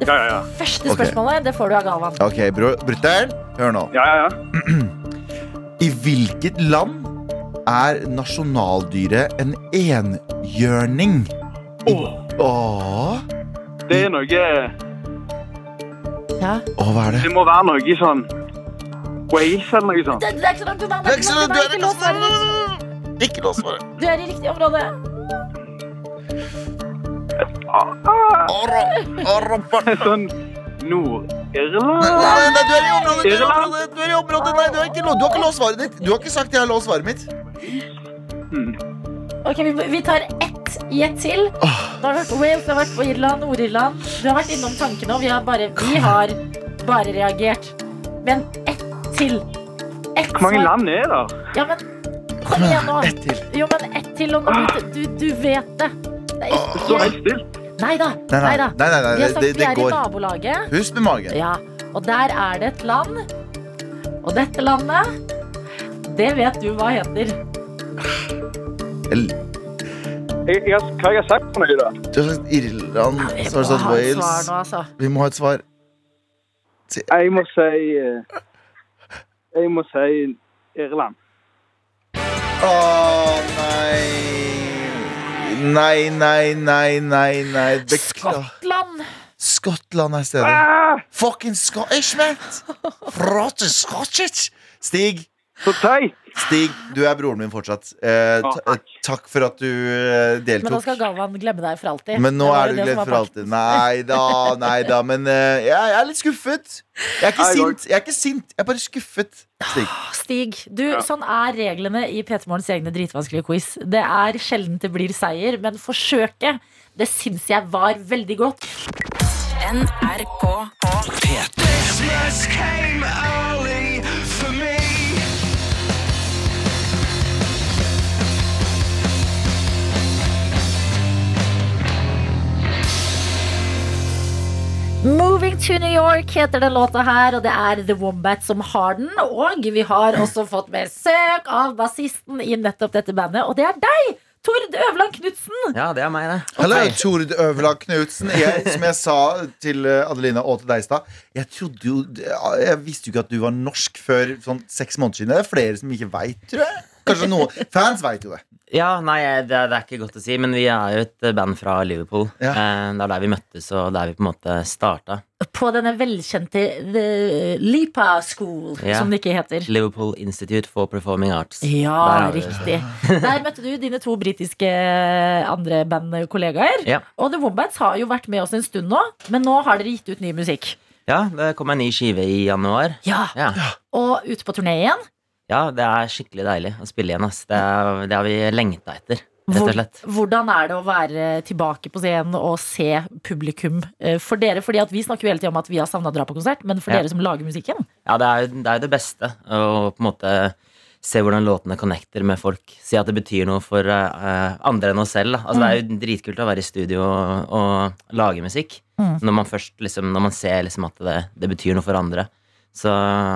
Speaker 2: Det
Speaker 6: Ja, ja, ja.
Speaker 2: første
Speaker 3: Ok.
Speaker 2: spørsmålet det får du av Galvan.
Speaker 3: Ok, bro- brutter'n, hør nå.
Speaker 6: Ja, ja, ja.
Speaker 3: I hvilket land er nasjonaldyret en enhjørning?
Speaker 6: Åh,
Speaker 3: Åh,
Speaker 6: det er noe
Speaker 2: Ja.
Speaker 3: åh, hva er det?
Speaker 6: Det må være noe sånn Waze eller noe sånt.
Speaker 2: Det, det er ikke så langt unna. det er ikke så langt unna, ikke lås døren din.
Speaker 3: Ikke lås for det.
Speaker 2: Du er i riktig område.
Speaker 6: Sånn Nord-Irland
Speaker 3: Nei, nei, du er i området, du er i
Speaker 6: Irland.
Speaker 3: området, du er i området. Nei, du har ikke, lå- du har ikke låst svaret ditt. Du har ikke sagt jeg har låst svaret mitt.
Speaker 2: Ok, Vi, vi tar ett i ett til. Du har vært på Wales, du har vært på Irland, Nord-Irland. Du har vært innom tankene, og vi har bare, vi har bare reagert. Men ett til. Ett
Speaker 6: Hvor mange
Speaker 2: svar.
Speaker 6: land er der?
Speaker 2: Ja, men kom igjen nå.
Speaker 3: Ett til.
Speaker 2: Jo, men ett til, og nå vet du, du vet det. det er
Speaker 6: Det står
Speaker 2: ikke...
Speaker 6: helt stilt.
Speaker 2: Nei da.
Speaker 3: Nei, nei,
Speaker 2: da.
Speaker 3: nei, nei, nei,
Speaker 2: Vi har
Speaker 3: det,
Speaker 2: sagt
Speaker 3: det,
Speaker 2: vi
Speaker 3: det
Speaker 2: er i
Speaker 3: går.
Speaker 2: nabolaget.
Speaker 3: Pust med magen.
Speaker 2: Ja, og der er det et land. Og dette landet, det vet du hva heter.
Speaker 3: Eller,
Speaker 6: Jeg, jeg, har- hva har jeg sagt for noe, da?
Speaker 3: Du har sagt Irland,
Speaker 2: Jeg
Speaker 3: så har
Speaker 2: må
Speaker 3: du
Speaker 2: ha et svar
Speaker 3: sagt sånn Wales.
Speaker 2: nå, altså.
Speaker 3: Vi må ha et svar.
Speaker 6: Jeg må si eh, Jeg må si Irland.
Speaker 3: Åh, nei. Nei, nei, nei, nei, nei. Beklager.
Speaker 2: Skottland.
Speaker 3: Skottland er stedet.
Speaker 6: Ah!
Speaker 3: Fucking Scottish, mate! Prate Scottish! Stig,
Speaker 6: Så teit!
Speaker 3: Stig, du er broren min fortsatt. Eh,
Speaker 6: Å,
Speaker 3: ta-
Speaker 6: takk.
Speaker 3: eh, takk for at du eh,
Speaker 2: Men nå skal
Speaker 3: deltok.
Speaker 2: Galvan glemme deg for alltid.
Speaker 3: Men nå
Speaker 2: Det var
Speaker 3: er du
Speaker 2: det som
Speaker 3: glemt
Speaker 2: var
Speaker 3: for alltid. Nei da, nei da. Men eh, jeg, jeg er litt skuffet. Jeg er ikke
Speaker 6: Nei, Lord.
Speaker 3: sint. Jeg er ikke sint, jeg er bare skuffet. Stig.
Speaker 2: pakten. Stig, du, sånn er reglene i P3 Morgens egne dritvanskelige quiz. Det er sjelden det blir seier, men forsøket, det syns jeg var veldig godt.
Speaker 1: NRK
Speaker 2: Moving to New York heter den låta her, og det er The Wombat som har den. Og vi har også fått besøk av bassisten i nettopp dette bandet, og det er deg, Tord Øverland Knutsen!
Speaker 8: Ja, det er meg, det.
Speaker 3: Hello, Tord Øverland Knutsen. Jeg, som jeg sa til eh, Adelina og til deg i stad, jeg trodde jo Jeg visste jo ikke at du var norsk før sånn seks måneder siden. Det er flere som ikke veit, tror jeg. Kanskje noen fans veit jo det.
Speaker 4: Ja, nei, eh, det, er- det er ikke godt å si, men vi er jo et band fra Liverpool.
Speaker 3: Ja.
Speaker 4: Eh, Det er der vi møttes, og der vi på en måte starta.
Speaker 2: På denne velkjente The Lipa School,
Speaker 4: Ja.
Speaker 2: som det ikke heter.
Speaker 4: Liverpool Institute for Performing Arts.
Speaker 2: Ja,
Speaker 4: Der er vi.
Speaker 2: riktig. Der møtte du dine to britiske andre bandkollegaer.
Speaker 4: Ja.
Speaker 2: Og The Wombats har jo vært med oss en stund nå, men nå har dere gitt ut ny musikk.
Speaker 4: ja, det kom en ny skive i januar.
Speaker 2: Ja,
Speaker 4: Ja,
Speaker 2: Og ute på turné igjen.
Speaker 4: ja det er skikkelig deilig å spille igjen. Ass. Det, er, det har vi lengta etter, rett og slett.
Speaker 2: Hvordan er det å være tilbake på scenen og se publikum eh, for dere? Fordi at Vi snakker jo hele tiden om at vi har savna å dra på konsert, men for
Speaker 4: Ja.
Speaker 2: dere som lager musikken
Speaker 4: Ja, det er jo det, er jo det beste å på en måte se hvordan låtene connecter med folk. Si at det betyr noe for eh, andre enn oss selv. Da. Altså, Det er jo dritkult å være i studio og, og lage musikk.
Speaker 2: Mm.
Speaker 4: Når man først liksom, når man ser liksom at det, det betyr noe for andre, så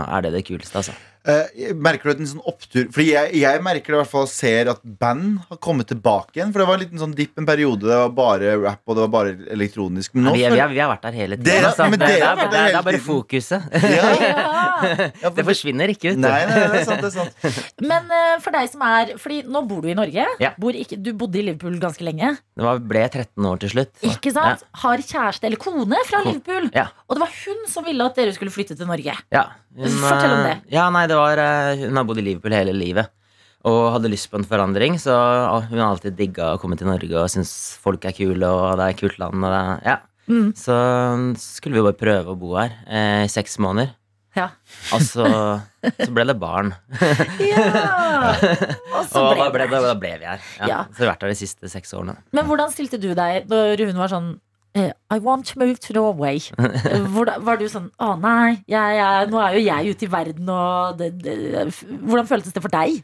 Speaker 4: er det det kuleste, altså.
Speaker 3: Eh, merker du en sånn opptur Fordi jeg, jeg merker det i hvert fall ser at band har kommet tilbake igjen. For det var en liten sånn dipp en periode. Det var bare rap, og det var bare elektronisk. Men nå
Speaker 4: Vi, er- vi,
Speaker 3: føler-
Speaker 4: er, vi har vært der hele tiden.
Speaker 3: Dere-
Speaker 4: altså.
Speaker 3: men
Speaker 4: det,
Speaker 3: dere
Speaker 4: det,
Speaker 3: har
Speaker 4: er,
Speaker 3: vært
Speaker 4: det,
Speaker 3: der
Speaker 4: er, det
Speaker 3: hele
Speaker 4: er bare
Speaker 3: tiden.
Speaker 4: fokuset.
Speaker 3: ja, ja,
Speaker 4: Det
Speaker 3: for-
Speaker 4: forsvinner ikke ut.
Speaker 3: Nei, nei, det er sant. Det er sant.
Speaker 2: Men eh, for deg som er Fordi nå bor du i Norge.
Speaker 4: Ja.
Speaker 2: Bor ikke, du bodde i Liverpool ganske lenge.
Speaker 4: Det var, ble 13 år til slutt.
Speaker 2: Ikke sant? Har kjæreste eller kone fra
Speaker 4: Ko-
Speaker 2: Liverpool.
Speaker 4: Ja.
Speaker 2: Og det var hun som ville at dere skulle flytte til Norge.
Speaker 4: Ja, hun,
Speaker 2: Fortell om
Speaker 4: eh,
Speaker 2: det.
Speaker 4: Ja, nei, det var, eh, hun har bodd i Liverpool hele livet og hadde lyst på en forandring. Så ah, hun har alltid digga å komme til Norge og syns folk er kule, og det er et kult land. Og det, er- ja.
Speaker 2: Mm.
Speaker 4: Så skulle vi bare prøve å bo her eh, i seks måneder.
Speaker 2: Ja.
Speaker 4: Og så, så ble det barn.
Speaker 2: Og så
Speaker 4: og da
Speaker 2: ble
Speaker 4: ble,
Speaker 2: det.
Speaker 4: da, da ble vi her. Ja.
Speaker 2: Ja.
Speaker 4: Så vi har vært her de siste seks årene.
Speaker 2: Men hvordan stilte du deg når hun var sånn eh, I want to move to Norway. Eh, Hvordan, var du sånn Å nei, jeg, er- nå er jo jeg ute i verden og det, det, f- Hvordan føltes det for deg?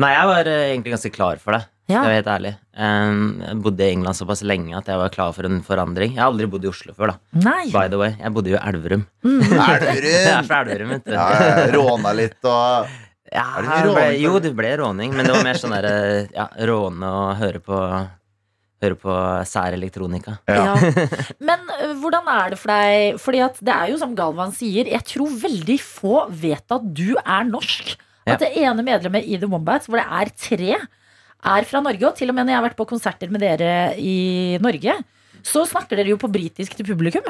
Speaker 4: Nei, jeg var eh, egentlig ganske klar for det.
Speaker 2: Ja.
Speaker 4: Skal jeg være helt ærlig. Eh, Jeg bodde i England såpass lenge at jeg var klar for en forandring. Jeg har aldri bodd i Oslo før, da.
Speaker 2: Nei.
Speaker 4: By the way, jeg bodde jo i Elverum. Jeg er
Speaker 3: Elverum!
Speaker 4: fra Elverum, vet du.
Speaker 3: Ja, ja, råna litt og
Speaker 4: Ja,
Speaker 3: Er det ikke
Speaker 4: jeg ble,
Speaker 3: råning?
Speaker 4: jo, det ble råning, men det var mer sånn derre ja, råne og høre på Høre på sær elektronika.
Speaker 2: Ja. Men eh, hvordan er det for deg? Fordi at det er jo som Galvan sier, jeg tror veldig få vet at du er norsk.
Speaker 4: Ja.
Speaker 2: At det ene medlemmet i The Wombats, hvor det er tre, er fra Norge. Og til og med når jeg har vært på konserter med dere i Norge, så snakker dere jo på britisk til publikum.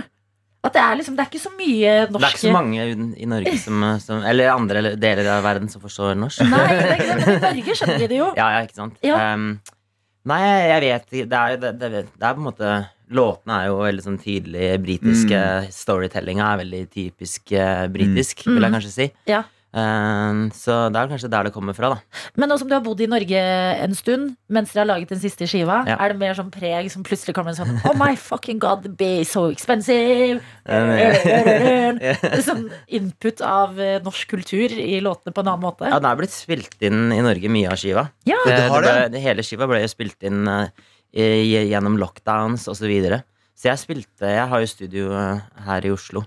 Speaker 2: At det er liksom, det er ikke så mye
Speaker 4: Det er ikke så
Speaker 2: norske
Speaker 4: mange uten- i Norge som, som Eller andre deler av verden som forstår norsk.
Speaker 2: Nei, det er ikke sant, men i Norge skjønner vi det jo.
Speaker 4: Ja, ja, ikke sant?
Speaker 2: Ja.
Speaker 4: Ehm, nei, jeg vet ikke det, er jo- det, det, det er på en måte Låtene er jo veldig sånn tydelig britiske.
Speaker 3: Mm.
Speaker 4: Storytellinga er veldig typisk eh, britisk, vil jeg kanskje si.
Speaker 2: Mm. Ja.
Speaker 4: Ehm, så det er kanskje der det kommer fra, da.
Speaker 2: Men nå som du har bodd i Norge en stund, mens dere har laget den siste skiva,
Speaker 4: Ja.
Speaker 2: er det mer sånn preg som plutselig kommer en sånn Oh my fucking god, the bay is so expensive! sånn input av eh, norsk kultur i låtene på en annen måte.
Speaker 4: Ja, den er blitt spilt inn i Norge, mye av skiva.
Speaker 2: Ja.
Speaker 4: Det,
Speaker 3: Det har
Speaker 4: Eh, det
Speaker 3: det.
Speaker 4: ble, hele skiva ble jo spilt inn eh, i- gjennom lockdowns osv. Så, videre. så jeg spilte Jeg har jo studio eh, her i Oslo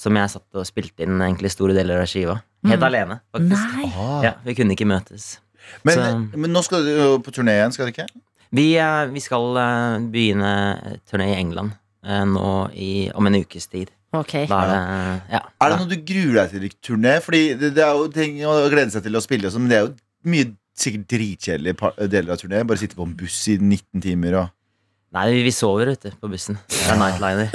Speaker 4: som jeg satt og spilte inn egentlig store deler av skiva.
Speaker 3: Mm.
Speaker 4: Helt alene, faktisk.
Speaker 2: Nei.
Speaker 4: Ja, vi kunne ikke møtes.
Speaker 3: men, men nå skal du jo på turné igjen, skal du ikke?
Speaker 4: Vi, eh, vi skal eh, begynne turné i England eh, nå i, om en ukes tid.
Speaker 2: Ok.
Speaker 4: Da er det Ja.
Speaker 3: Er det noe du gruer deg til i turné? Fordi det, det er jo ting å glede seg til å spille, og sånn, men det er jo mye sikkert dritkjedelige par- deler av turné. Bare sitte på en buss i 19 timer og
Speaker 4: Nei, vi, vi sover ute på bussen. Det er nightliner.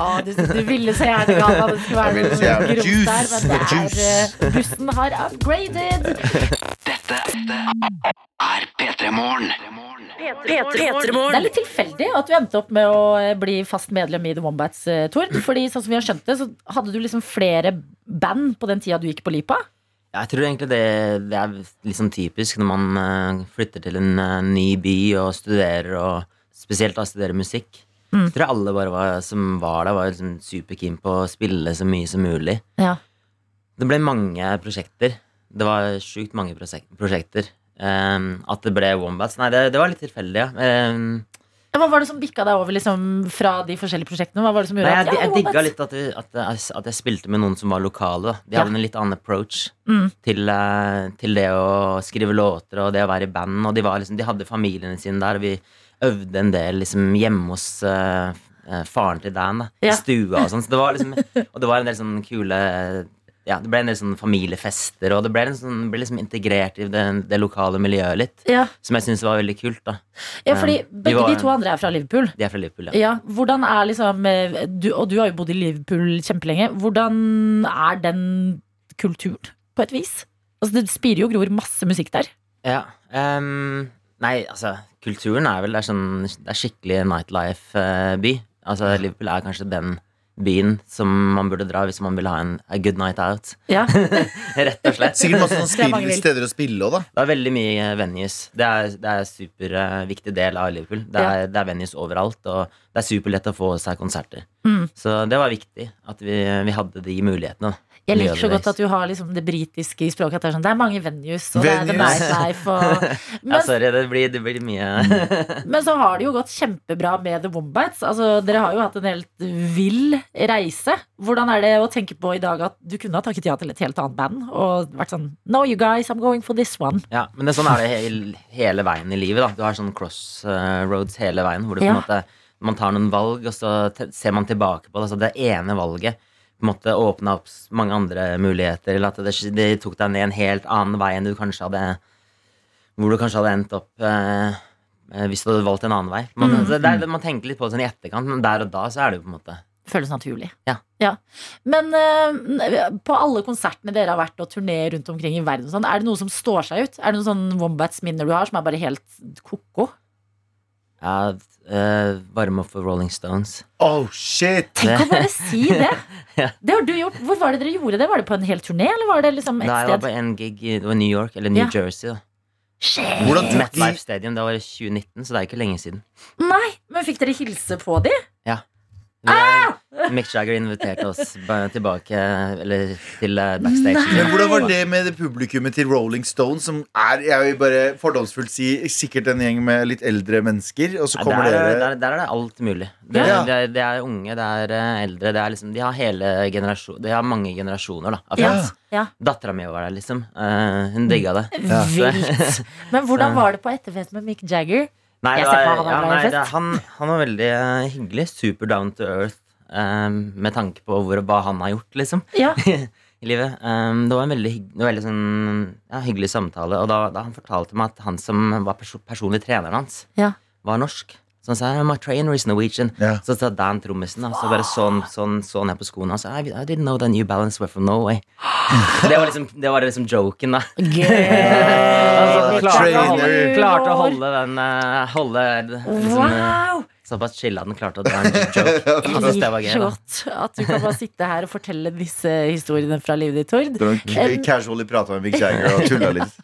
Speaker 2: Ah, du, du ville så gjerne ga hva det skulle
Speaker 3: Jeg
Speaker 2: være
Speaker 3: ville så gjerne.
Speaker 2: noe grums der,
Speaker 3: Juice.
Speaker 2: men det er
Speaker 3: Juice.
Speaker 2: eh, Bussen har upgraded! Det er litt tilfeldig at du endte opp med å eh, bli fast medlem i The Wombats, eh, Tord. Fordi sånn som vi har skjønt det, så hadde du liksom flere band på den tida du gikk på Lipa.
Speaker 4: Jeg tror egentlig det, det er litt sånn typisk når man eh, flytter til en eh, ny by og studerer, og spesielt da studerer musikk. Jeg tror alle bare var, som var der, var liksom superkeen på å spille så mye som mulig.
Speaker 2: Ja.
Speaker 4: Det ble mange prosjekter. Det var sjukt mange Ehm, prosek- prosjekter. Eh, at det ble Wombats Nei, det, det var litt tilfeldig, ja. Eh,
Speaker 2: Ja, Hva var det som bikka deg over liksom, fra de forskjellige prosjektene? Hva var det som
Speaker 4: Nei,
Speaker 2: gjorde
Speaker 4: jeg,
Speaker 2: at
Speaker 4: jeg
Speaker 2: det var
Speaker 4: digga
Speaker 2: bare-
Speaker 4: litt at, det- at, jeg- at jeg spilte med noen som var lokale. da. De
Speaker 2: Ja.
Speaker 4: hadde en litt annen approach
Speaker 2: Mm.
Speaker 4: til, eh, til det å skrive låter og det å være i band. Og de, var liksom, de hadde familiene sine der, og vi øvde en del liksom, hjemme hos eh, eh, faren til Dan. Da,
Speaker 2: Ja.
Speaker 4: I stua og sånn. Så det var liksom, og det var en del sånn kule ja, Det ble en del sånn familiefester, og det ble, en sånn, ble liksom integrert i det, det lokale miljøet litt.
Speaker 2: ja.
Speaker 4: Som jeg syns var veldig kult. da
Speaker 2: ja, fordi
Speaker 4: Um, vi
Speaker 2: begge
Speaker 4: var-
Speaker 2: de to andre er fra Liverpool.
Speaker 4: De er fra Liverpool, ja.
Speaker 2: Ja, hvordan er liksom eh, du, Og du har jo bodd i Liverpool kjempelenge. Hvordan er den kulturen, på et vis? Altså, det spirer jo og gror masse musikk der.
Speaker 4: Ja, ehm, nei, altså Kulturen er vel det er sånn, det er skikkelig nightlife-by. altså Liverpool er kanskje den byen som man burde dra hvis man vil ha en a good night out.
Speaker 2: Ja.
Speaker 4: Rett og slett.
Speaker 3: Sikkert masse sånne
Speaker 2: Det er mange
Speaker 3: spill,
Speaker 2: vil.
Speaker 3: steder å spille òg, da.
Speaker 4: Det er veldig mye eh, venues. Det er, det er en superviktig del av Liverpool. Det er, det er venues overalt, og det er superlett å få seg konserter.
Speaker 2: Mm.
Speaker 4: Så det var viktig at vi, vi hadde de mulighetene. da.
Speaker 2: Jeg liker så
Speaker 4: Miljøet
Speaker 2: godt at du har liksom det britiske i språket. At det er sånn Det er mange venues, og det er the
Speaker 3: Venues.
Speaker 2: nightlife og
Speaker 4: Ja,
Speaker 2: Men
Speaker 4: sorry, det blir, det blir mye
Speaker 2: Men så har det jo gått kjempebra med The Wombats. Altså, dere har jo hatt en helt vill reise. Hvordan er det å tenke på i dag at du kunne ha takket ja til et helt annet band og vært sånn No, you guys, I'm going for this one.
Speaker 4: Ja, men det, sånn er det he hele veien i livet. da Du har sånn crossroads hele veien, hvor du på
Speaker 2: Ja.
Speaker 4: en måte, man tar noen valg, og så te- ser man tilbake på det. Så det ene valget på en måte åpna opp s- mange andre muligheter, eller at det, sk- det tok deg ned en helt annen vei enn du kanskje hadde Hvor du kanskje hadde endt opp eh, eh, hvis du hadde valgt en annen vei. Man,
Speaker 2: Mm.
Speaker 4: så det, er- man tenker litt på det sånn i etterkant, men der og da så er det jo på en måte
Speaker 2: Føles naturlig.
Speaker 4: Ja.
Speaker 2: Men eh, på alle konsertene dere har vært og turné rundt omkring i verden, og sånn, er det noe som står seg ut? Er det noen sånn Wombats-minner du har som er bare helt ko-ko?
Speaker 4: ja, eh, varme opp for Rolling Stones.
Speaker 3: Oh shit!
Speaker 2: Tenk å bare si det!
Speaker 4: Ja.
Speaker 2: Det har du gjort. Hvor var det dere gjorde det? Var det på en hel turné, eller var det liksom et
Speaker 4: Nei, det
Speaker 2: sted?
Speaker 4: var bare en gig i det var i New York, eller New
Speaker 2: Ja.
Speaker 4: Jersey. da
Speaker 2: Shit!
Speaker 3: Hvordan tok de
Speaker 4: MetLife Stadium, det var i 2019, så det er ikke lenge siden.
Speaker 2: Nei, men fikk dere hilse på de?
Speaker 4: Vi,
Speaker 2: Ah!
Speaker 4: eh, Mick Jagger inviterte oss ba- tilbake Eller til eh,
Speaker 3: Men
Speaker 4: backstage.
Speaker 3: hvordan var det med det publikummet til Rolling Stones, som er jeg vil bare fordomsfullt si, sikkert en gjeng med litt eldre mennesker, og så
Speaker 4: Ja,
Speaker 3: kommer
Speaker 4: der, er-
Speaker 3: dere
Speaker 4: der, der er det alt mulig. Det,
Speaker 3: Ja.
Speaker 4: det, er, det er unge, det er eh, eldre. Det er liksom, de har hele generasjon De har mange generasjoner da, av
Speaker 2: Ja.
Speaker 4: fans.
Speaker 2: Ja.
Speaker 4: Dattera mi var der, liksom. Eh, hun digga det.
Speaker 2: Ja.
Speaker 4: Så-
Speaker 2: Men hvordan
Speaker 4: Så-
Speaker 2: var det på etterfest med Mick Jagger?
Speaker 4: Nei,
Speaker 2: Jeg
Speaker 4: det
Speaker 2: ser
Speaker 4: var-
Speaker 2: for meg han var
Speaker 4: ja,
Speaker 2: glad i
Speaker 4: nei, det-
Speaker 2: fest.
Speaker 4: han, han var veldig eh, hyggelig. Super down to earth eh, med tanke på hvor, hva han har gjort, liksom.
Speaker 2: Ja.
Speaker 4: i livet. Um, det var en veldig, hygg, det var veldig sånn, ja, hyggelig samtale. Og da, da han fortalte meg at han som var perso personlig treneren hans,
Speaker 2: Ja.
Speaker 4: var norsk. Så han sa my trainer is Norwegian.
Speaker 3: Ja.
Speaker 4: Så sa Dan trommisen, da, så bare sånn, sånn, sånn her på skoene hans. I, I didn't know that New Balance were from Norway. det var liksom, det var liksom joken, da.
Speaker 3: Ah,
Speaker 4: Han sånn, klarte, å holde,
Speaker 3: trainer.
Speaker 4: klarte Altså, å holde den eh, holde, liksom, eh,
Speaker 2: Wow!
Speaker 4: Såpass chilla at han klarte å dra en joke. Han syntes det var gøy,
Speaker 2: så
Speaker 4: da.
Speaker 2: godt at du kan bare sitte her og fortelle disse historiene fra livet ditt, Tord. Eh,
Speaker 3: Dere k-
Speaker 2: Em.
Speaker 3: casually prata med Mick Jagger og tulla litt.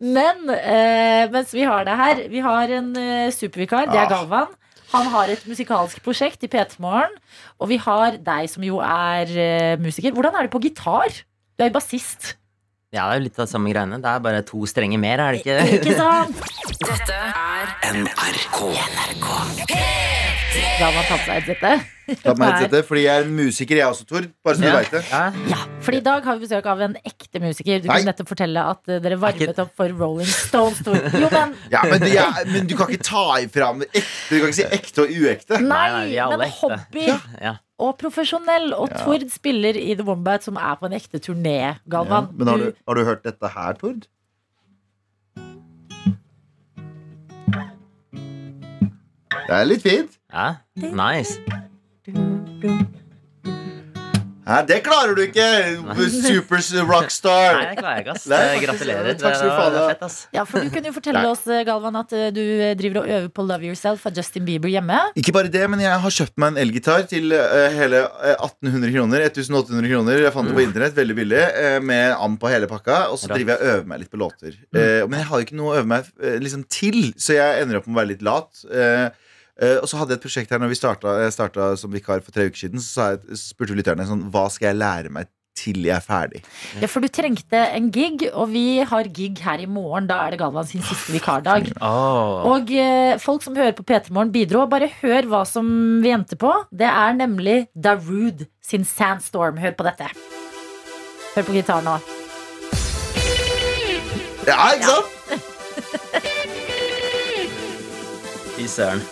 Speaker 2: Men eh, mens vi har deg her, vi har en eh, supervikar. Det er Galvan. Han har et musikalsk prosjekt i P3 Morgen. Og vi har deg som jo er eh, musiker. Hvordan er det på gitar? Du er jo bassist.
Speaker 4: Ja, det er jo litt av samme greiene. Det er bare to strenger mer, er det ikke?
Speaker 2: Ikke sant?
Speaker 1: Dette er
Speaker 2: Galvan tatt seg ut dette.
Speaker 3: La meg hete dette, fordi jeg er en musiker, jeg også, Tord. Bare så du
Speaker 4: Ja.
Speaker 3: vet det.
Speaker 4: Ja.
Speaker 2: Ja, for i dag har vi besøk av en ekte musiker. Du
Speaker 3: Nei.
Speaker 2: kunne nettopp fortelle at eh, dere
Speaker 4: Er
Speaker 2: varmet
Speaker 4: ikke-
Speaker 2: opp for Rolling Stones. Tor. Jo, men
Speaker 3: Ja, men, det- jeg- men du kan ikke ta ifra meg ekte. Du kan ikke si ekte og
Speaker 2: Nei,
Speaker 3: uekte.
Speaker 4: nei, vi er alle
Speaker 2: men
Speaker 4: ekte.
Speaker 2: hobby
Speaker 4: Ja.
Speaker 2: og profesjonell. Og Tord spiller i The Wombat, som er på en ekte turné, Galvan.
Speaker 3: Men har
Speaker 2: Du-
Speaker 3: du, har du hørt dette her, Tord? Det er litt fint.
Speaker 4: Ja, nice.
Speaker 3: Nei, det klarer du ikke, super rockstar.
Speaker 4: Nei, det klarer jeg ikke, ass. Eh,
Speaker 3: Nei, faktisk,
Speaker 4: Gratulerer.
Speaker 3: takk skal du
Speaker 4: Det
Speaker 3: faen
Speaker 4: var
Speaker 3: ha.
Speaker 4: fett, ass.
Speaker 2: Ja, for du kunne jo fortelle
Speaker 3: Nei.
Speaker 2: oss, eh, Galvan, at eh, du eh, driver og øver på Love Yourself av Justin Bieber hjemme.
Speaker 3: Ikke bare det, men jeg har kjøpt meg en elgitar til eh, hele eh, 1800 kroner. 1800 kroner, Jeg fant det på internett, veldig billig, eh, med am på hele pakka. Og så
Speaker 4: Rått.
Speaker 3: driver jeg og øver meg litt på låter. Eh, men jeg har jo ikke noe å øve meg eh, liksom, til, så jeg ender opp med å være litt lat. Eh, eh, og så hadde jeg et prosjekt her når vi starta, jeg starta som vikar for tre uker siden. Så sa jeg, spurte vi lytterne sånn Hva skal jeg lære meg til jeg er ferdig.
Speaker 2: Ja, for du trengte en gig, og vi har gig her i morgen. Da er det Galvan sin siste vikardag. Og eh, folk som hører på P3 Morgen bidro. Bare hør hva som vi endte på. Det er nemlig Darude sin Sandstorm. Hør på dette. Hør på gitar nå.
Speaker 3: Ja, ikke sant?
Speaker 4: Fy søren.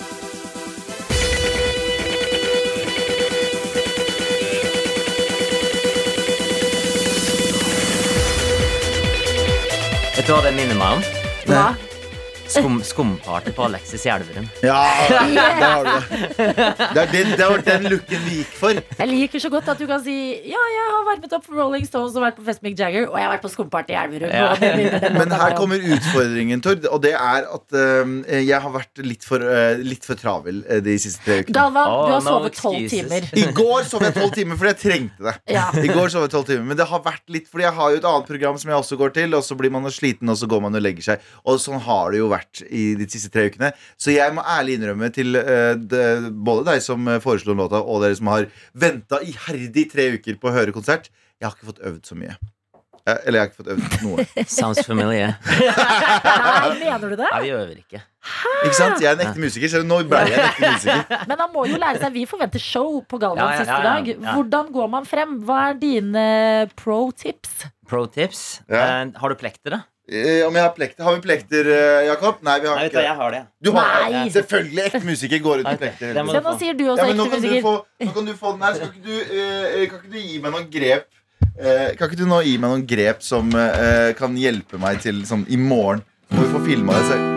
Speaker 4: Vet du hva det minner meg om?
Speaker 2: Hva?
Speaker 4: Skum, skumparty på Alexis Gjelverum.
Speaker 3: Ja, der har du det. Det, er den, det var den looken vi gikk for.
Speaker 2: Jeg liker så godt at du kan si Ja, jeg har varmet opp for Rolling Stones og vært på fest med Mick Jagger, og jeg har vært på skumparty i Elverum.
Speaker 4: Ja.
Speaker 2: og det minner den
Speaker 3: Men
Speaker 2: låta
Speaker 3: her
Speaker 2: meg om.
Speaker 3: kommer utfordringen, Tord. Og det er at øhm, jeg har vært litt for, øh, litt for travel øh, de siste tre ukene.
Speaker 2: Galvan,
Speaker 4: Oh,
Speaker 2: du har
Speaker 4: no
Speaker 2: sovet tolv timer.
Speaker 4: excuses.
Speaker 3: I går sov jeg tolv timer fordi jeg trengte det.
Speaker 2: Ja.
Speaker 3: I går sov jeg 12 timer, men det har vært litt Fordi jeg har jo et annet program som jeg også går til, og så blir man jo sliten, og så går man og legger seg. Og sånn har det jo vært i de siste tre ukene. Så jeg må ærlig innrømme til eh, det- både deg som eh, foreslo låta, og dere som har venta iherdig tre uker på å høre konsert. Jeg har ikke fått øvd så mye. Eh, Eller jeg har ikke fått øvd noe.
Speaker 4: Sounds familiar.
Speaker 2: Nei, mener du det?
Speaker 4: Nei, vi øver ikke.
Speaker 3: Ikke sant? Jeg er en ekte musiker, selv om nå ble jeg en ekte musiker.
Speaker 2: Men han må jo lære seg Vi forventer show på Galvan
Speaker 4: Ja, ja,
Speaker 2: siste
Speaker 4: ja, ja,
Speaker 2: dag.
Speaker 4: ja.
Speaker 2: Hvordan går man frem? Hva er dine pro tips?
Speaker 4: Pro tips.
Speaker 3: Ja.
Speaker 4: Eh, har du plekter, da?
Speaker 3: Eh, Om jeg har plekter Har vi plekter, eh, Jakob? Nei, vi har ikke det.
Speaker 4: har det.
Speaker 3: Du har
Speaker 2: Nei.
Speaker 3: Selvfølgelig, ekte musiker går ut
Speaker 4: Nei,
Speaker 3: med plekter.
Speaker 4: det må
Speaker 2: Se, nå sier du også
Speaker 3: Ja, men nå
Speaker 2: ekte
Speaker 3: kan, du
Speaker 2: musiker.
Speaker 3: få, nå kan du få den her. Skal ikke du, eh, kan ikke du gi meg noen grep eh, Kan ikke du nå gi meg noen grep som eh, kan hjelpe meg til sånn i morgen? Så må vi få filma det. selv.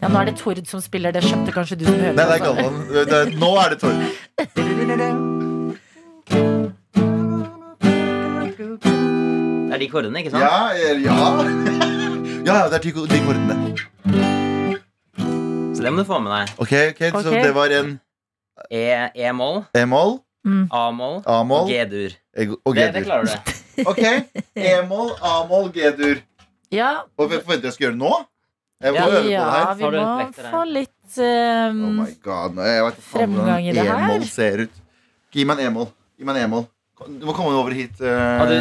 Speaker 2: Ja, nå er det Tord som spiller. Det skjønte kanskje du som hører
Speaker 3: Nei, det er
Speaker 2: på. altså.
Speaker 3: Galvan. Det er- Nå er det Torg.
Speaker 4: Det er de kordene, ikke sant?
Speaker 3: Ja, eh, ja. Ja, ja, det er de ko- de kordene.
Speaker 4: Så det må du få med deg.
Speaker 3: Ok, ok, så
Speaker 2: Ok.
Speaker 3: det var en
Speaker 4: E, E-moll,
Speaker 3: E-moll,
Speaker 4: A-moll og
Speaker 3: A-moll
Speaker 4: G-dur.
Speaker 3: e- og
Speaker 4: Det, det
Speaker 3: G-dur.
Speaker 4: klarer du.
Speaker 3: Ok, E-moll, A-moll, G-dur.
Speaker 2: Ja,
Speaker 3: Og hva forventer jeg skal gjøre det nå? Jeg må
Speaker 4: Ja,
Speaker 3: øve på det
Speaker 2: ja,
Speaker 3: her.
Speaker 2: vi
Speaker 4: Har du
Speaker 2: må
Speaker 4: en plekter her?
Speaker 2: få litt eh,
Speaker 3: Oh my god, nå- jeg vet ikke faen
Speaker 2: Fremgang i
Speaker 3: hvordan
Speaker 2: det her.
Speaker 3: e-moll ser ut. Gi meg en e-moll. Gi meg en e-moll. Kom- Du må komme over hit. eh,
Speaker 4: Og du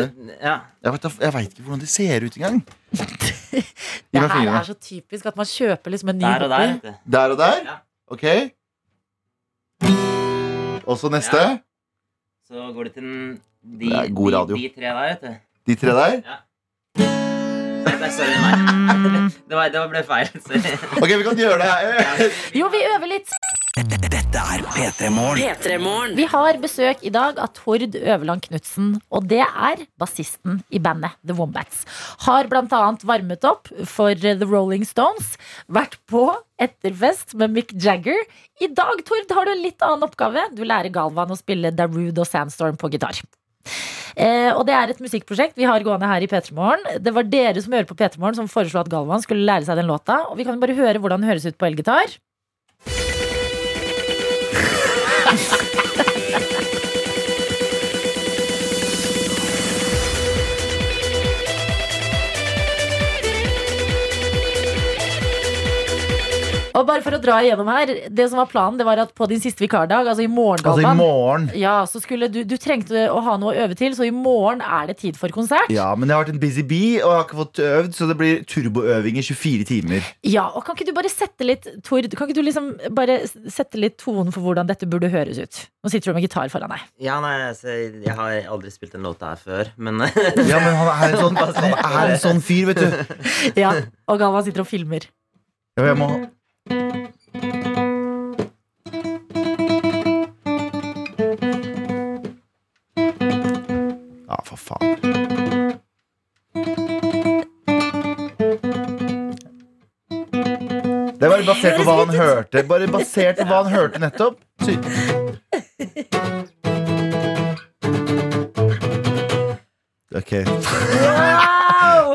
Speaker 4: ja.
Speaker 3: jeg, vet, da- jeg vet ikke hvordan de ser ut engang. Gi
Speaker 2: Det
Speaker 3: meg
Speaker 2: her
Speaker 3: fingrene.
Speaker 2: er så typisk at man kjøper liksom en ny
Speaker 4: Der og der.
Speaker 2: hopper.
Speaker 4: vet du.
Speaker 3: Der og der.
Speaker 4: Ja.
Speaker 3: Ok. Og så neste.
Speaker 4: Ja. Så går det til den- de,
Speaker 3: Det er god radio.
Speaker 4: de, de tre der, vet du.
Speaker 3: De tre der.
Speaker 4: Nei, nei, sorry, nei. Det, var, det ble feil. Sorry.
Speaker 3: Ok, vi kan gjøre det her.
Speaker 2: Jo, vi øver litt.
Speaker 1: P3morgen.
Speaker 2: Vi har besøk i dag av Tord Øverland Knutsen, og det er bassisten i bandet The Wombats. Har bl.a. varmet opp for The Rolling Stones, vært på etterfest med Mick Jagger. I dag, Tord, har du en litt annen oppgave. Du lærer Galvan å spille Darude og Sandstorm på gitar. Eh, og det er et musikkprosjekt vi har gående her i P3morgen. Det var dere som hører på P3morgen som foreslo at Galvan skulle lære seg den låta. Og vi kan bare høre hvordan den høres ut på elgitar. Og bare for å dra igjennom her, det som var planen, det var at på din siste vikardag, altså i morgen,
Speaker 3: Altså i
Speaker 2: Galvan,
Speaker 3: morgen.
Speaker 2: ja, så skulle du, du trengte å ha noe å øve til, så i morgen er det tid for konsert.
Speaker 3: Ja, men jeg har vært en busy bee og jeg har ikke fått øvd, så det blir turboøving i 24 timer.
Speaker 2: Ja, og Kan ikke du bare sette litt Tord, kan ikke du liksom bare s- sette litt tonen for hvordan dette burde høres ut? Nå sitter du med gitar foran deg.
Speaker 4: Ja, nei, altså, jeg har aldri spilt en låt her før, men
Speaker 3: Ja, men han er en sånn, han er en sånn fyr, vet du.
Speaker 2: Ja, Og Galvan sitter og filmer.
Speaker 3: Ja, jeg må Ja, for faen. Det er bare basert på hva han hørte. Bare basert på hva han hørte nettopp. Så- Ok.
Speaker 2: Wow!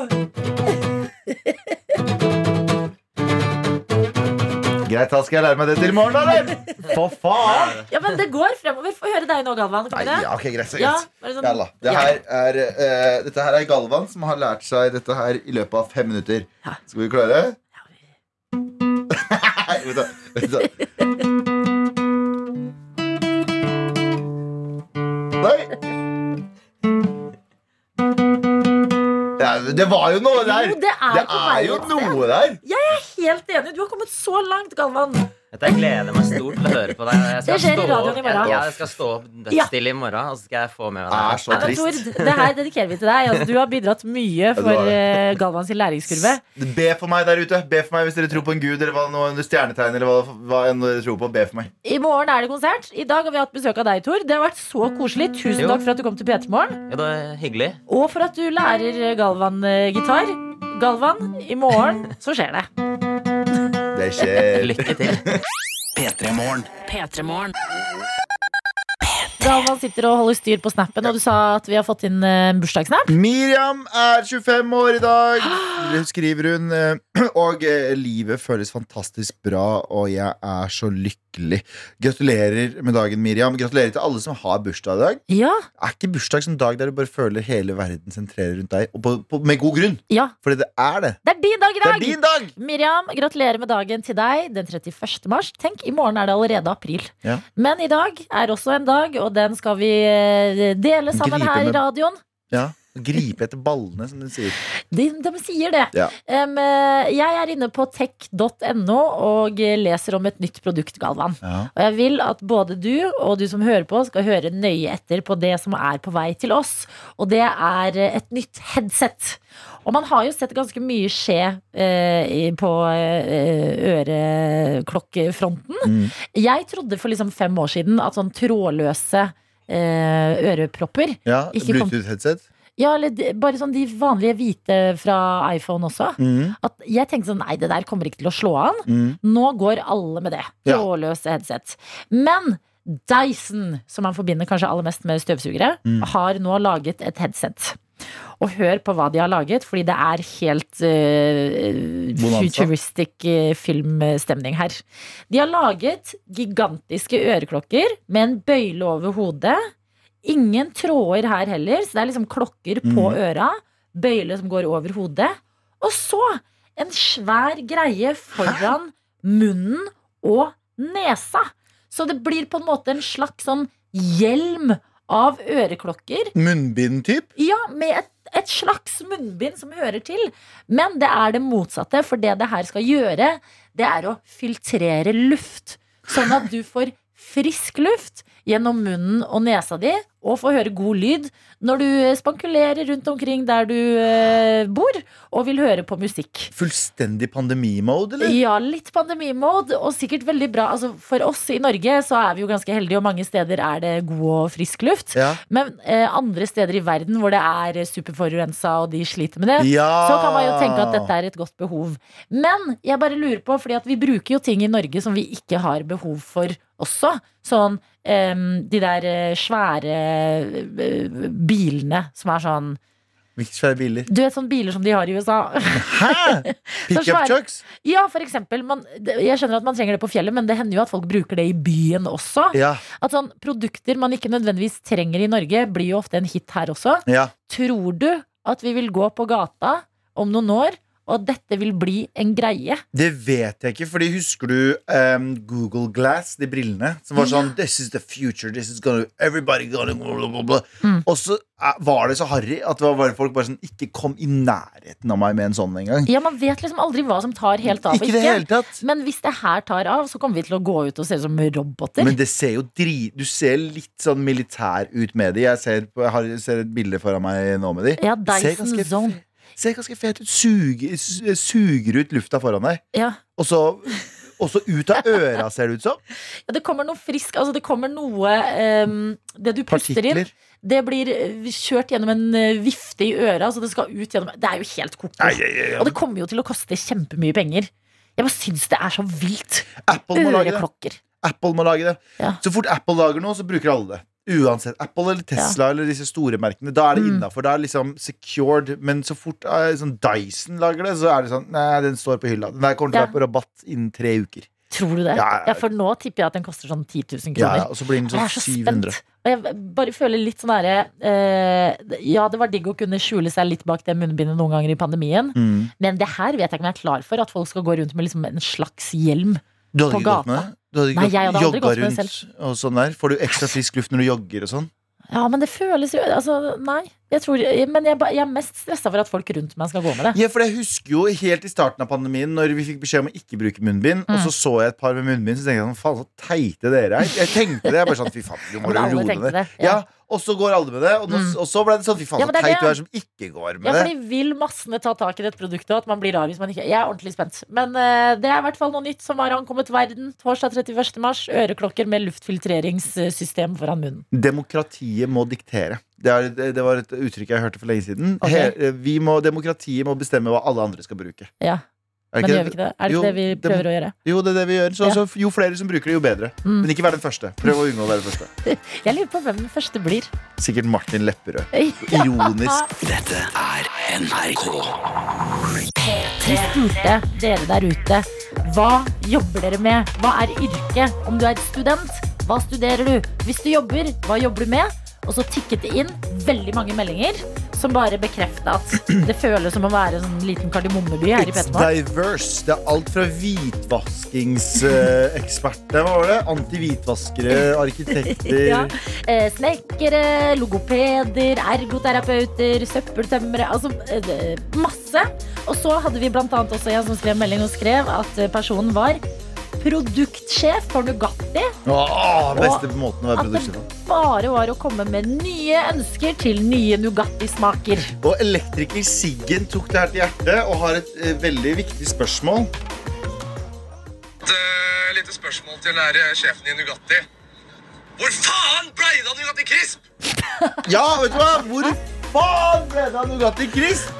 Speaker 3: Greit, da skal jeg lære meg det til i morgen, eller? For faen!
Speaker 2: Ja, men det går fremover. Få høre deg nå, Galvan. Kan
Speaker 3: Nei,
Speaker 2: vi det?
Speaker 3: ja, ok, greit, så
Speaker 2: Ja,
Speaker 3: greit.
Speaker 2: bare sånn-
Speaker 3: Jalla. Det her er, eh, dette her er Galvan som har lært seg dette her i løpet av fem minutter.
Speaker 2: Ja.
Speaker 3: Skal vi klare? Nei, vent da, vent da. Nei! er, det var jo noe der!
Speaker 2: Jo, det er
Speaker 3: det
Speaker 2: på
Speaker 3: er
Speaker 2: vei
Speaker 3: jo
Speaker 2: et sted.
Speaker 3: noe der!
Speaker 2: Helt enig. Du har kommet så langt, Galvan.
Speaker 4: Dette jeg gleder meg stort til å høre på deg. Jeg skal
Speaker 2: Det skjer i
Speaker 4: stå
Speaker 2: radioen i
Speaker 4: opp-
Speaker 2: morgen.
Speaker 4: Ja, jeg skal stå opp dødsstille i morgen, og så skal jeg få med meg
Speaker 3: Er
Speaker 4: det.
Speaker 3: så
Speaker 2: Ja, men Tord,
Speaker 3: trist.
Speaker 2: det her dedikerer vi til deg. Altså, du har bidratt mye
Speaker 3: Ja, du
Speaker 2: for
Speaker 3: har
Speaker 2: eh, Galvan sin læringskurve.
Speaker 3: Be for meg der ute. Be for meg hvis dere tror på en gud eller hva nå, en stjernetegn eller hva, hva enn dere tror på. Be for meg.
Speaker 2: I morgen er det konsert. I dag har vi hatt besøk av deg, Tor. Det har vært så koselig. Tusen
Speaker 4: Jo.
Speaker 3: Mm.
Speaker 2: takk for at du kom til P3 Morgen.
Speaker 4: Ja, det er hyggelig.
Speaker 2: Og for at du lærer Galvan eh, gitar. Galvan, i morgen så skjer det.
Speaker 3: Det skjer.
Speaker 4: Lykke til.
Speaker 1: P3 Morgen.
Speaker 2: Galvan sitter og holder styr på snappen, og du sa at vi har fått inn eh, en bursdagssnap.
Speaker 3: Miriam er 25 år i dag, skriver hun. eh, Og eh, livet føles fantastisk bra, og jeg er så lykkelig. Gratulerer med dagen, Miriam. Gratulerer til alle som har bursdag i dag.
Speaker 2: Ja,
Speaker 3: Er ikke bursdag som dag der du bare føler hele verden sentrerer rundt deg? Og på, på, med god grunn,
Speaker 2: ja.
Speaker 3: for det er det.
Speaker 2: Det er din dag i
Speaker 3: Det er
Speaker 2: dag!
Speaker 3: din dag!
Speaker 2: Miriam, gratulerer med dagen til deg den 31. mars. Tenk, i morgen er det allerede april.
Speaker 3: Ja.
Speaker 2: Men i dag er også en dag, og den skal vi eh, dele sammen
Speaker 3: Gripe
Speaker 2: her
Speaker 3: med-
Speaker 2: i radioen.
Speaker 3: Ja. Gripe etter ballene, som den sier.
Speaker 2: De, de sier det.
Speaker 3: Ja.
Speaker 2: Em, eh, jeg er inne på tech.no og eh, leser om et nytt produkt, Galvan.
Speaker 3: Ja.
Speaker 2: Og jeg vil at både du og du som hører på, skal høre nøye etter på det som er på vei til oss. Og det er eh, et nytt headset. Og man har jo sett ganske mye skje eh, i- på eh, øreklokkefronten.
Speaker 3: Mm.
Speaker 2: Jeg trodde for liksom fem år siden at sånn trådløse eh, ørepropper
Speaker 3: Ja,
Speaker 2: Ikke kom-
Speaker 3: Bluetooth-headset.
Speaker 2: Ja, eller de, bare sånn de vanlige hvite fra iPhone også.
Speaker 3: Mm,
Speaker 2: At jeg tenkte sånn, nei, det der kommer ikke til å slå an.
Speaker 3: mm.
Speaker 2: Nå går alle med det.
Speaker 3: Ja.
Speaker 2: Trådløse headset. Men Dyson, som man forbinder kanskje aller mest med støvsugere,
Speaker 3: Mm.
Speaker 2: har nå laget et headset. Og hør på hva de har laget, fordi det er helt eh,
Speaker 3: Bonanza.
Speaker 2: futuristic eh, filmstemning her. De har laget gigantiske øreklokker med en bøyle over hodet. Ingen tråder her heller, så det er liksom klokker på
Speaker 3: Mhm.
Speaker 2: øra. Bøyle som går over hodet. Og så en svær greie foran munnen og nesa. Så det blir på en måte en slags sånn hjelm av øreklokker.
Speaker 3: Munnbind-typ.
Speaker 2: Ja, med et, et slags munnbind som hører til. Men det er det motsatte, for det det her skal gjøre, det er å filtrere luft. Sånn at du får frisk luft gjennom munnen og nesa di, og får høre god lyd når du eh, spankulerer rundt omkring der du eh, bor, og vil høre på musikk.
Speaker 3: Fullstendig pandemimode, eller?
Speaker 2: Ja, litt pandemimode, og sikkert veldig bra. Altså, for oss i Norge så er vi jo ganske heldige, og mange steder er det god og frisk luft.
Speaker 3: Ja.
Speaker 2: Men eh, andre steder i verden hvor det er superforurensa, og de sliter med det,
Speaker 3: ja.
Speaker 2: så kan man jo tenke at dette er et godt behov. Men jeg bare lurer på, fordi at vi bruker jo ting i Norge som vi ikke har behov for også. Sånn em, de der eh, svære eh, bilene som er sånn
Speaker 3: Hvilke svære biler?
Speaker 2: Du vet sånne biler som de har i USA.
Speaker 3: Hæ? Pickup
Speaker 2: svære-
Speaker 3: trucks?
Speaker 2: Ja, for eksempel. Man, det- jeg skjønner at man trenger det på fjellet, men det hender jo at folk bruker det i byen også.
Speaker 3: Ja.
Speaker 2: At sånn Produkter man ikke nødvendigvis trenger i Norge, blir jo ofte en hit her også.
Speaker 3: ja.
Speaker 2: Tror du at vi vil gå på gata om noen år, og at dette vil bli en greie?
Speaker 3: Det vet jeg ikke, fordi husker du em, Google Glass, de brillene? Som var sånn This is the future. This is gonna Everybody gonna blah, blah, blah, blah.
Speaker 2: Mm.
Speaker 3: Og så eh, var det så harry at det var bare folk bare sånn Ikke kom i nærheten av meg med en sånn engang.
Speaker 2: Ja, Man vet liksom aldri hva som tar helt av. og
Speaker 3: Ikke i det hele tatt.
Speaker 2: Men hvis det her tar av, så kommer vi til å gå ut og se ut som roboter.
Speaker 3: Men det ser jo drit Du ser litt sånn militær ut med de. Jeg ser, på, jeg har, ser et bilde foran meg nå med de.
Speaker 2: ja,
Speaker 3: ser
Speaker 2: Dyson
Speaker 3: ganske
Speaker 2: Zone.
Speaker 3: Ser ganske fet ut. Suger, su- suger ut lufta foran deg.
Speaker 2: Ja.
Speaker 3: Og så, og så ut av øra, ser det ut som.
Speaker 2: ja, det kommer noe frisk Altså, det kommer noe em, Det du puster inn,
Speaker 3: Partikler.
Speaker 2: Det blir eh, kjørt gjennom en eh, vifte i øra, så det skal ut gjennom Det er jo helt koko.
Speaker 3: Nei, ja, ja,
Speaker 2: Og
Speaker 3: ja.
Speaker 2: det kommer jo til å koste kjempemye penger. Jeg bare syns det er så vilt.
Speaker 3: Apple må lage det.
Speaker 2: Øreklokker.
Speaker 3: Apple må lage det.
Speaker 2: Ja.
Speaker 3: Så fort Apple lager noe, så bruker alle det. Uansett. Apple eller Tesla eller disse store merkene. Da er det
Speaker 2: Mm.
Speaker 3: innafor. Da er det liksom secured. Men så fort eh, sånn Dyson lager det, så er det sånn Nei, den står på hylla. Den der kommer til å
Speaker 2: Ja.
Speaker 3: være på rabatt innen tre uker.
Speaker 2: Tror du det?
Speaker 3: Ja, ja.
Speaker 2: Ja, for nå tipper jeg at den koster sånn 10 000
Speaker 3: Ja, ja,
Speaker 2: kroner.
Speaker 3: og så blir den
Speaker 2: Jeg
Speaker 3: sånn
Speaker 2: er så
Speaker 3: 700.
Speaker 2: spent. Og jeg bare føler litt sånn herre eh, Ja, det var digg å kunne skjule seg litt bak det munnbindet noen ganger i pandemien,
Speaker 3: Mm.
Speaker 2: men det her vet jeg ikke om jeg er klar for. At folk skal gå rundt med liksom en slags hjelm.
Speaker 3: Du hadde
Speaker 2: På
Speaker 3: ikke gått med
Speaker 2: gata.
Speaker 3: det? Du hadde ikke
Speaker 2: Nei,
Speaker 3: gått,
Speaker 2: jeg hadde aldri
Speaker 3: jogga
Speaker 2: gått med det
Speaker 3: rundt og sånn der? Får du ekstra frisk luft når du jogger og sånn?
Speaker 2: Ja, men det føles jo altså, Nei. Jeg tror, men jeg, ba- jeg er mest stressa for at folk rundt meg skal gå med det.
Speaker 3: Ja, for jeg husker jo helt i starten av pandemien Når vi fikk beskjed om å ikke bruke munnbind Og
Speaker 2: Mm.
Speaker 3: så så jeg et par med munnbind Så tenkte jeg sånn, faen så teite dere er Jeg tenkte det, jeg bare sånn, fy faen, du må
Speaker 2: Men alle
Speaker 3: roe
Speaker 2: tenkte
Speaker 3: ned
Speaker 2: det, ja. Mm.
Speaker 3: ja. og så går alle med det Og, nå, og så ble det sånn, fy faen
Speaker 2: Ja, men
Speaker 3: så
Speaker 2: det er
Speaker 3: teit
Speaker 2: det.
Speaker 3: du er som ikke går med
Speaker 2: Ja,
Speaker 3: det
Speaker 2: fordi Vil massene ta tak i dette produktet? og At man blir rar hvis man ikke Jeg er ordentlig spent. Men eh, det er i hvert fall noe nytt som har ankommet verden. Torsdag 31. mars. Øreklokker med luftfiltreringssystem foran munnen.
Speaker 3: Demokratiet må diktere. Det, er, det, det var et uttrykk jeg hørte for lenge siden.
Speaker 2: Ok.
Speaker 3: He, vi må, demokratiet må bestemme hva alle andre skal bruke.
Speaker 2: Ja,
Speaker 3: Er
Speaker 2: Men
Speaker 3: ikke
Speaker 2: gjør vi ikke det? Er det
Speaker 3: Jo,
Speaker 2: ikke det vi
Speaker 3: det-
Speaker 2: prøver å gjøre?
Speaker 3: Jo, det er det vi gjør. Så,
Speaker 2: Ja.
Speaker 3: så jo flere som bruker det, jo bedre.
Speaker 2: Mm.
Speaker 3: Men ikke vær den første. Prøv å unngå å være den første.
Speaker 2: Jeg lurer på hvem den første blir.
Speaker 3: Sikkert Martin Lepperød.
Speaker 2: Hey.
Speaker 3: Ironisk.
Speaker 2: Vi spurte dere der ute hva jobber dere med. Hva er yrket? Om du er student, hva studerer du? Hvis du jobber, hva jobber du med? Og så tikket det inn veldig mange meldinger som bare bekrefta at det føles som å være en sånn liten kardemommeby her i
Speaker 3: It's
Speaker 2: Petermorgen.
Speaker 3: diverse. Det er alt fra hvitvaskingseksperter Hva var det? Antihvitvaskere, arkitekter
Speaker 2: Ja. Eh, Snekkere, logopeder, ergoterapeuter, søppeltømmere. Altså eh, masse. Og så hadde vi blant annet også en som skrev melding og skrev at eh, personen var produktsjef for Nugatti.
Speaker 3: Åh, Beste måten å
Speaker 2: At
Speaker 3: være
Speaker 2: det
Speaker 3: produksjon på.
Speaker 2: bare var å komme med nye ønsker til nye Nugatti-smaker.
Speaker 3: Og elektriker Siggen tok det her til hjertet og har et eh, veldig viktig spørsmål.
Speaker 9: Et eh, lite spørsmål til den her eh, sjefen i Nugatti. Hvor faen blei det av Nugatti Crisp?
Speaker 3: Ja, vet du hva? Hvor faen ble det av Nugatti Crisp?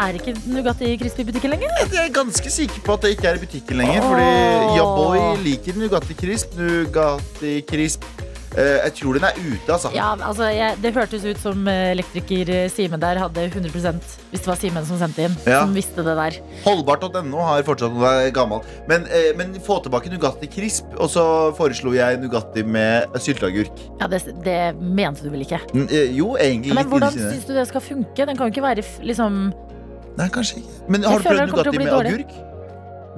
Speaker 2: Er ikke Nugatti Crispy-butikken lenger?
Speaker 3: Jeg er ganske sikker på at det ikke er i butikken lenger. Fordi ja, boy liker Nugatti Crisp. Nugatti Crisp. Eh, jeg tror den er ute, altså.
Speaker 2: Ja, altså, jeg, Det hørtes ut som eh, elektriker eh, Simen der hadde 100 hvis det var Simen som sendte inn.
Speaker 3: Ja.
Speaker 2: Som visste det der.
Speaker 3: Holdbart.no har fortsatt noe gammelt. Men, eh, men få tilbake Nugatti Crisp. Og så foreslo jeg Nugatti med sylteagurk.
Speaker 2: Ja, Det, det mente du vel ikke?
Speaker 3: Mm, eh, jo, egentlig
Speaker 2: Men
Speaker 3: litt inni
Speaker 2: hvordan
Speaker 3: sine.
Speaker 2: syns du det skal funke? Den kan jo ikke være f- liksom
Speaker 3: Nei, kanskje ikke. Men
Speaker 2: Jeg
Speaker 3: har du
Speaker 2: føler
Speaker 3: prøvd
Speaker 2: den kommer til å
Speaker 3: Nugatti
Speaker 2: bli
Speaker 3: med
Speaker 2: dårlig.
Speaker 3: agurk?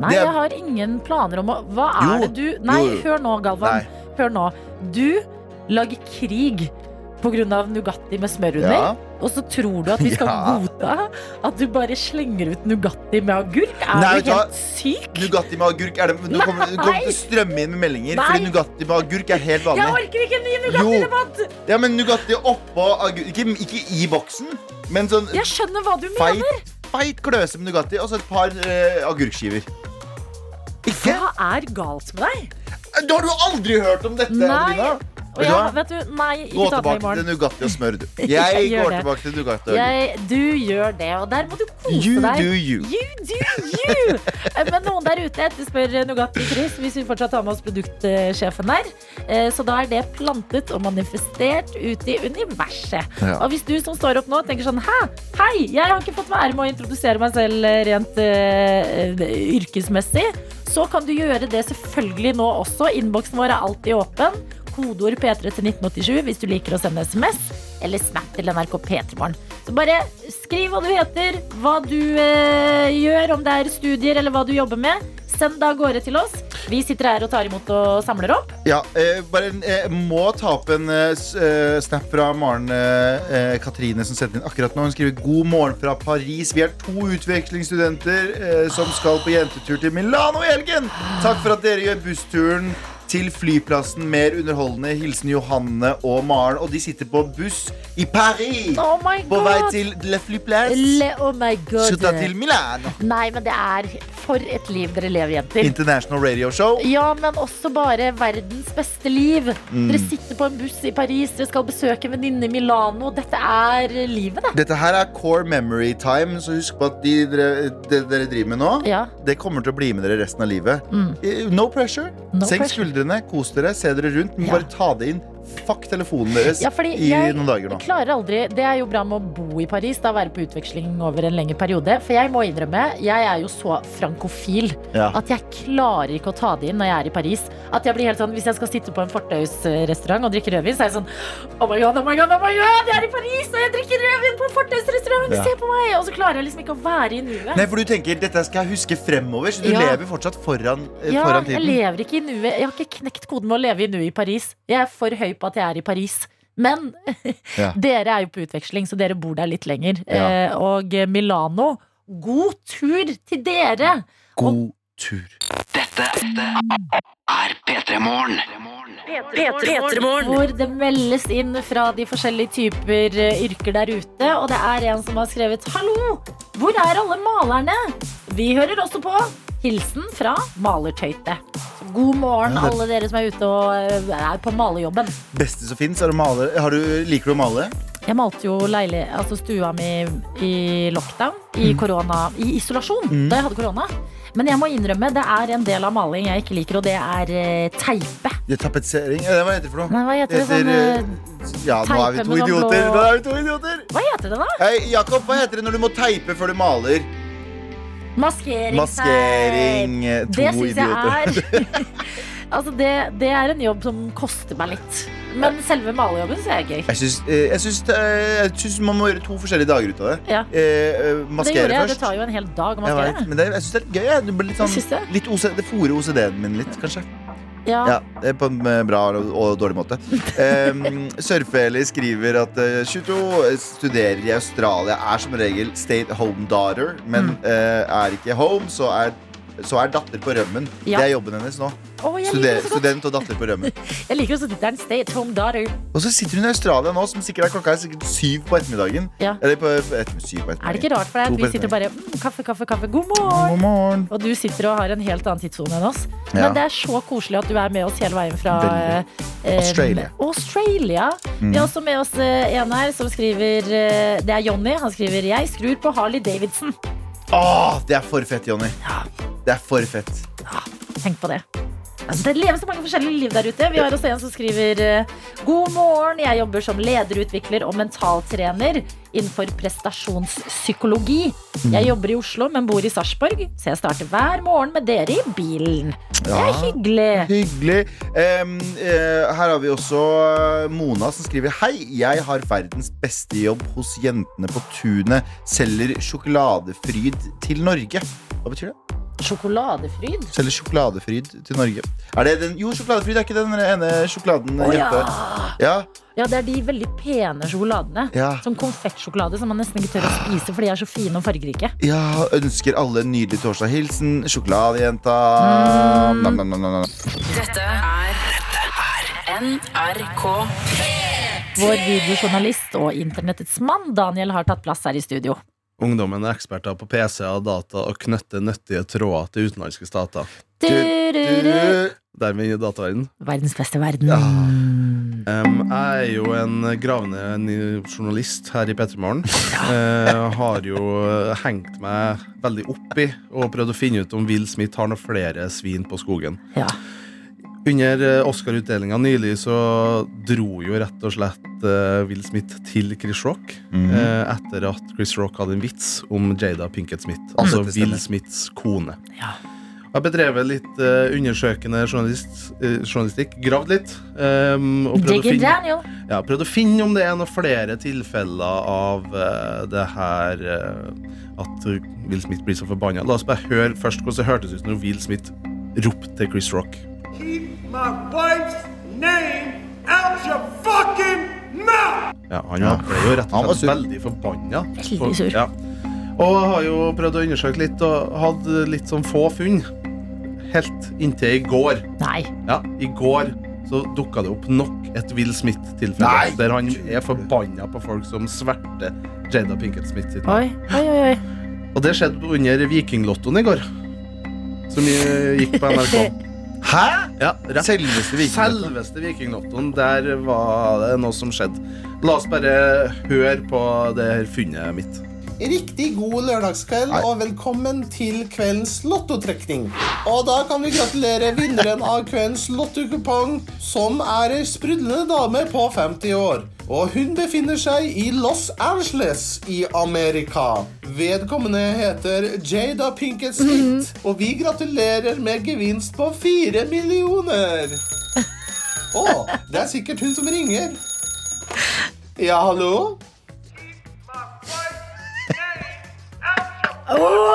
Speaker 2: Nei,
Speaker 3: Det er-
Speaker 2: jeg har ingen planer om å Hva er
Speaker 3: Jo,
Speaker 2: det du Nei,
Speaker 3: jo, jo.
Speaker 2: hør nå, Galvan.
Speaker 3: Nei.
Speaker 2: Hør nå. Du lager krig på grunn av Nugatti med smør under.
Speaker 3: Ja.
Speaker 2: Og så tror du at vi skal
Speaker 3: Ja.
Speaker 2: godta at du bare slenger ut Nugatti med agurk? Er
Speaker 3: Nei, vet
Speaker 2: du
Speaker 3: du hva?
Speaker 2: helt syk?
Speaker 3: Nugatti med agurk er det Nå kommer nå kommer det til å strømme inn med meldinger,
Speaker 2: Nei.
Speaker 3: fordi Nugatti med agurk er helt vanlig.
Speaker 2: Jeg orker ikke en ny
Speaker 3: Jo.
Speaker 2: Nugatti-debatt!
Speaker 3: Ja, men Nugatti oppå agurk ikke, ikke i boksen, men sånn
Speaker 2: Jeg skjønner hva du mener.
Speaker 3: feit, feit kløse med Nugatti og så et par eh, agurkskiver. Ikke?
Speaker 2: Hva er galt med deg?
Speaker 3: Da har du aldri hørt om dette,
Speaker 2: Nei.
Speaker 3: Adelina!
Speaker 2: Og
Speaker 3: Vet du
Speaker 2: jeg,
Speaker 3: hva?
Speaker 2: vet du, nei,
Speaker 3: Gå
Speaker 2: ikke ta den i
Speaker 3: tilbake til
Speaker 2: morgen.
Speaker 3: Nugatti og smør, du. Jeg,
Speaker 2: Jeg gjør
Speaker 3: går
Speaker 2: det.
Speaker 3: tilbake til Nugatti og agurk.
Speaker 2: Jeg, du gjør det, og der må du
Speaker 3: You
Speaker 2: kose deg.
Speaker 3: do you.
Speaker 2: do you. Eh, Men noen der ute etterspør Nugatti Chris, hvis vi fortsatt har med oss produktsjefen der. Eh, Så da er det plantet og manifestert ute i universet.
Speaker 3: Ja.
Speaker 2: Og hvis du som står opp nå tenker sånn Hæ? Hei, jeg har ikke fått være med å introdusere meg selv eh, rent eh, eh, yrkesmessig. Så kan du gjøre det selvfølgelig nå også. Innboksen vår er alltid åpen. Kodeord P3 til 1987 hvis du liker å sende SMS eller Snap til NRK P3morgen. Så bare skriv hva du heter, hva du eh, gjør, om det er studier eller hva du jobber med. Send det av gårde til oss. Vi sitter her og tar imot og samler opp.
Speaker 3: Ja, eh, bare en, eh, må ta opp en eh, s- eh, snap fra Maren eh, eh, Katrine som sendte inn akkurat nå. Hun skriver 'God morgen fra Paris'. Vi er to utvekslingsstudenter eh, som skal på jentetur til Milano i helgen. Takk for at dere gjør bussturen til flyplassen mer underholdende. Hilsen Johanne og Maren. Og de sitter på buss i Paris.
Speaker 2: Oh my
Speaker 3: På vei
Speaker 2: god!
Speaker 3: til Le Flyplace.
Speaker 2: Le, oh my god.
Speaker 3: Slutta til Milano.
Speaker 2: Nei, men det er for et liv dere lever, jenter.
Speaker 3: International Radio Show.
Speaker 2: Ja, men også bare verdens beste liv.
Speaker 3: Mm.
Speaker 2: Dere sitter på en buss i Paris, dere skal besøke en venninne i Milano. Dette er livet, det.
Speaker 3: Dette her er core memory time, så husk på at de, dere- det dere driver med nå
Speaker 2: Ja.
Speaker 3: Det kommer til å bli med dere resten av livet.
Speaker 2: Mm.
Speaker 3: Eh, No pressure.
Speaker 2: No
Speaker 3: Senk
Speaker 2: pressure.
Speaker 3: skuldrene, kos dere, se dere rundt. Men
Speaker 2: Ja.
Speaker 3: bare ta det inn. Fuck telefonen deres
Speaker 2: Ja, fordi
Speaker 3: i
Speaker 2: jeg-
Speaker 3: noen dager nå.
Speaker 2: Jeg klarer aldri, Det er jo bra med å bo i Paris, da være på utveksling over en lengre periode. For jeg må innrømme, jeg er jo så frankofil
Speaker 3: Ja.
Speaker 2: at jeg klarer ikke å ta det inn når jeg er i Paris. At jeg blir helt sånn, Hvis jeg skal sitte på en fortausrestaurant og drikke rødvin, så er jeg sånn Oh my god, oh my god, oh my god, jeg er i Paris, og jeg drikker rødvin på en fortausrestaurant!
Speaker 3: Ja.
Speaker 2: Se på meg! Og så klarer jeg liksom ikke å være i nuet.
Speaker 3: Nei, for du tenker dette skal jeg huske fremover, så du
Speaker 2: Ja.
Speaker 3: lever fortsatt foran, eh,
Speaker 2: Ja,
Speaker 3: foran
Speaker 2: jeg
Speaker 3: tiden.
Speaker 2: lever ikke i nuet. Jeg har ikke knekt koden med å leve i nuet i Paris. Jeg er for høy på at jeg er i Paris. Men
Speaker 3: Ja.
Speaker 2: dere er jo på utveksling, så dere bor der litt lenger.
Speaker 3: Ja.
Speaker 2: Eh, og Milano, god tur til dere!
Speaker 3: God tur.
Speaker 2: Hvor det meldes inn fra de forskjellige typer eh, yrker der ute. Og det er en som har skrevet 'Hallo! Hvor er alle malerne?' Vi hører også på. Hilsen fra Malertøyte. Så God morgen,
Speaker 3: Ja, det-
Speaker 2: alle dere som er ute og eh, er på malejobben.
Speaker 3: Beste som fins, er å male. Har du, liker du å male?
Speaker 2: Jeg malte jo leili altså stua mi i lockdown, i korona, i isolasjon,
Speaker 3: Mm.
Speaker 2: da jeg hadde korona. Men jeg må innrømme, det er en del av maling jeg ikke liker, og det er eh, teipe.
Speaker 3: Det er tapetsering eh, Hva heter det for noe?
Speaker 2: Nei, hva heter det? Sånn, eh,
Speaker 3: eh, Ja, nå er vi
Speaker 2: teipe
Speaker 3: to
Speaker 2: med noen
Speaker 3: idioter.
Speaker 2: blå-
Speaker 3: Nå er vi to idioter.
Speaker 2: hva heter det da?
Speaker 3: Hei, Jakob, hva heter det når du må teipe før du maler?
Speaker 2: Maskeringsteip.
Speaker 3: Maskering. eh, To
Speaker 2: Det syns jeg
Speaker 3: idioter.
Speaker 2: er Altså, det, det er en jobb som koster meg litt. Men selve malejobben så er det gøy.
Speaker 3: Jeg syns, eh, jeg, syns, eh, jeg syns man må gjøre to forskjellige dager ut av det.
Speaker 2: Ja.
Speaker 3: Eh, eh,
Speaker 2: Det
Speaker 3: maskere
Speaker 2: gjorde jeg. Det
Speaker 3: først.
Speaker 2: tar jo en hel dag å
Speaker 3: jeg
Speaker 2: maskere.
Speaker 3: vet, men det, jeg syns det er litt gøy. jeg. Det, blir litt
Speaker 2: Jeg syns
Speaker 3: sånn,
Speaker 2: det.
Speaker 3: litt OC, det fôrer OCD-en min litt, kanskje.
Speaker 2: Ja.
Speaker 3: Ja, det er På en eh, bra og, og dårlig måte. Um, Surfe-Eli skriver at eh, 22 studerer i Australia, er som regel stay at home daughter, men
Speaker 2: Mm.
Speaker 3: eh, er ikke home, så er, så er datter på rømmen.
Speaker 2: Ja.
Speaker 3: Det er jobben hennes nå.
Speaker 2: Å, jeg liker
Speaker 3: Studer,
Speaker 2: det så godt.
Speaker 3: student og datter på rømmen.
Speaker 2: Jeg liker også tittelen Stay at home daughter.
Speaker 3: Og så sitter hun i Australia nå, som sikkert er klokka er sikkert syv på ettermiddagen.
Speaker 2: Ja.
Speaker 3: Eller på, på etter, syv på ettermiddagen.
Speaker 2: Er det ikke rart for deg
Speaker 3: To
Speaker 2: at
Speaker 3: på
Speaker 2: vi sitter og bare mm, kaffe, kaffe, kaffe, god morgen?
Speaker 3: God morgen.
Speaker 2: Og du sitter og har en helt annen tidssone enn oss.
Speaker 3: Ja.
Speaker 2: Men det er så koselig at du er med oss hele veien fra
Speaker 3: Veldig.
Speaker 2: eh,
Speaker 3: Australia. Mm.
Speaker 2: eh, Australia. Vi har også med oss eh, en her som skriver eh, Det er Jonny. Han skriver 'Jeg skrur på Harley Davidson'.
Speaker 3: Åh, det er for fett, Jonny. Det er for fett.
Speaker 2: Tenk på det. Altså, det lever så mange forskjellige liv der ute. Vi har også en som skriver eh, God morgen, jeg jobber som lederutvikler og mentaltrener innenfor prestasjonspsykologi.
Speaker 3: Mm.
Speaker 2: Jeg jobber i Oslo, men bor i Sarpsborg, så jeg starter hver morgen med dere i bilen. Det er
Speaker 3: Ja.
Speaker 2: hyggelig.
Speaker 3: Hyggelig. Em, eh, her har vi også eh, Mona som skriver Hei, jeg har verdens beste jobb hos Jentene på tunet. Selger sjokoladefryd til Norge. Hva betyr det?
Speaker 2: Sjokoladefryd.
Speaker 3: Selger sjokoladefryd til Norge. Er det den? Jo, sjokoladefryd er ikke den ene sjokoladen
Speaker 2: Å, ja.
Speaker 3: jente Ja,
Speaker 2: ja, det er de veldig pene sjokoladene.
Speaker 3: ja.
Speaker 2: Sånn konfektsjokolade som man nesten ikke tør å spise fordi de er så fine og fargerike.
Speaker 3: ja. Ønsker alle en nydelig torsdag. Hilsen sjokoladejenta.
Speaker 2: Mm.
Speaker 3: Nam, nam, nam, nam, nam.
Speaker 1: Dette er Dette er NRK.
Speaker 2: Vår videojournalist og internettets mann Daniel har tatt plass her i studio.
Speaker 10: Ungdommen er eksperter på PC-er, data og knytter nyttige tråder til utenlandske stater.
Speaker 3: Du,
Speaker 2: Du-du-du.
Speaker 3: du.
Speaker 10: Dermed inn i dataverdenen.
Speaker 2: Verdens beste verden.
Speaker 3: Ja.
Speaker 10: Em, jeg er jo en gravende ny journalist her i Petremorgen. Uh, har jo hengt meg veldig opp i og prøvd å finne ut om Will Smith har noen flere svin på skogen.
Speaker 2: Ja.
Speaker 10: Under eh, Oscar-utdelinga nylig så dro jo rett og slett eh, Will Smith til Chris Rock.
Speaker 3: Mhm.
Speaker 10: eh, etter at Chris Rock hadde en vits om Jada Pinkett Smith. Altså
Speaker 3: dette Mm. stemmer.
Speaker 10: Will Smiths kone.
Speaker 2: Ja.
Speaker 10: Jeg har bedrevet litt eh, undersøkende journalist, eh, journalistikk. Gravd litt. ehm, og prøvd å,
Speaker 2: Digger
Speaker 10: finne,
Speaker 2: Daniel.
Speaker 10: ja, prøvd å finne om det er noen flere tilfeller av eh, det her eh, at Will Smith blir så forbanna. La oss bare høre først hvordan det hørtes ut når Will Smith ropte til Chris Rock.
Speaker 11: Keep my wife's name out your fucking mouth!
Speaker 10: Ja, han var- ble jo rett
Speaker 3: Han var
Speaker 10: og
Speaker 3: sur.
Speaker 10: slett veldig forbanna.
Speaker 2: Veldig
Speaker 10: For-
Speaker 2: sur.
Speaker 10: Ja. Og har jo prøvd å undersøke litt, og hadde litt sånn få funn. Helt inntil i går.
Speaker 2: Nei.
Speaker 10: Ja, I går så dukka det opp nok et Will
Speaker 3: Nei!
Speaker 10: Smith-tilfelle. Der han er forbanna på folk som sverter Jada Pinkett Smith sitt navn.
Speaker 2: Oi, oi, oi. oi.
Speaker 10: Og det skjedde under Vikinglottoen i går. Som eh, gikk på NRK.
Speaker 3: Hæ?
Speaker 10: Ja, rett
Speaker 3: Selveste vikinglottoen.
Speaker 10: Selveste vikinglottoen. Der var det noe som skjedde. La oss bare høre på det her funnet mitt.
Speaker 12: Riktig god lørdagskveld
Speaker 3: Nei.
Speaker 12: og velkommen til kveldens lottotrekning. Og da kan vi gratulere vinneren av kveldens lottokupong, som er ei sprudlende dame på 50 år. Og hun befinner seg i Los Angeles i Amerika. Vedkommende heter Jada Pinkett
Speaker 2: Mhm.
Speaker 12: Smith, og vi gratulerer med gevinst på fire millioner. Å, det er sikkert hun som ringer. Ja, hallo?
Speaker 2: Wow!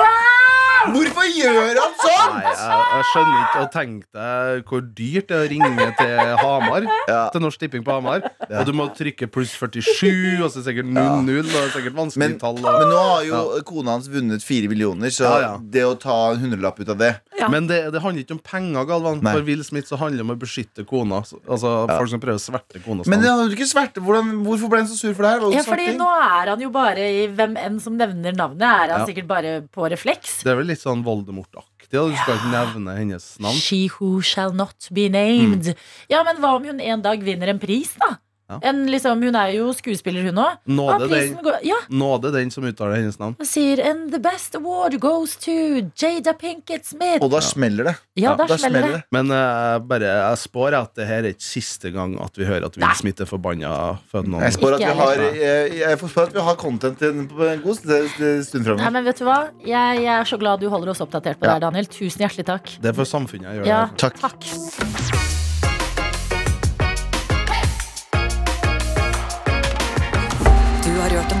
Speaker 3: Hvorfor gjør han
Speaker 12: sånn?
Speaker 10: Nei, jeg, jeg skjønner ikke og tenk deg hvor dyrt det er å ringe til Hamar. Til Norsk Tipping på Hamar. Og du må trykke pluss 47, og så er det sikkert 00. Og det er sikkert
Speaker 3: Men,
Speaker 10: vanskelig tall. Og,
Speaker 3: men nå har jo
Speaker 10: Ja.
Speaker 3: kona hans vunnet fire millioner, så
Speaker 10: Ja, ja.
Speaker 3: det å ta en hundrelapp ut av det
Speaker 10: Men det, det handler ikke om penger, Galvan.
Speaker 3: Nei.
Speaker 10: For Will Smith så handler det om å beskytte kona. Så- Altså Folk som prøver å sverte kona. sånn.
Speaker 3: Men det hadde du ikke sverte. Hvordan, hvorfor ble han så sur for det her? Var det
Speaker 2: Ja,
Speaker 3: sverting?
Speaker 2: fordi nå er han jo bare i Hvem enn som nevner navnet, er han
Speaker 10: Ja.
Speaker 2: sikkert bare på refleks.
Speaker 10: Det er vel litt sånn Voldemort-aktig. da. Du skal ikke nevne hennes navn. Mm.
Speaker 2: She who shall not be named. Ja, men hva om hun en dag vinner en pris, da?
Speaker 10: Ja.
Speaker 2: En, liksom, hun er jo skuespiller, hun òg.
Speaker 10: Nåde den,
Speaker 2: Ja,
Speaker 10: nåde den som uttaler hennes navn.
Speaker 2: og sier And the best award goes to Jada Pinkett Smith.
Speaker 10: Og da
Speaker 3: smeller det.
Speaker 2: Ja, da smeller det.
Speaker 10: Men eh, bare, jeg spår at det her er ikke siste gang at vi hører at Will Smith er forbanna. For noen.
Speaker 3: Jeg spår at vi har,
Speaker 2: liksom.
Speaker 3: jeg, jeg får spå at vi har content en, på en god stund, stund
Speaker 2: Nei,
Speaker 3: framover.
Speaker 2: men vet du hva? Jeg, jeg er så glad du holder oss oppdatert på det
Speaker 3: Ja.
Speaker 2: her, Daniel. Tusen hjertelig takk.
Speaker 10: Det er for samfunnet jeg gjør
Speaker 2: Ja,
Speaker 10: det.
Speaker 2: takk.
Speaker 1: Du har hørt en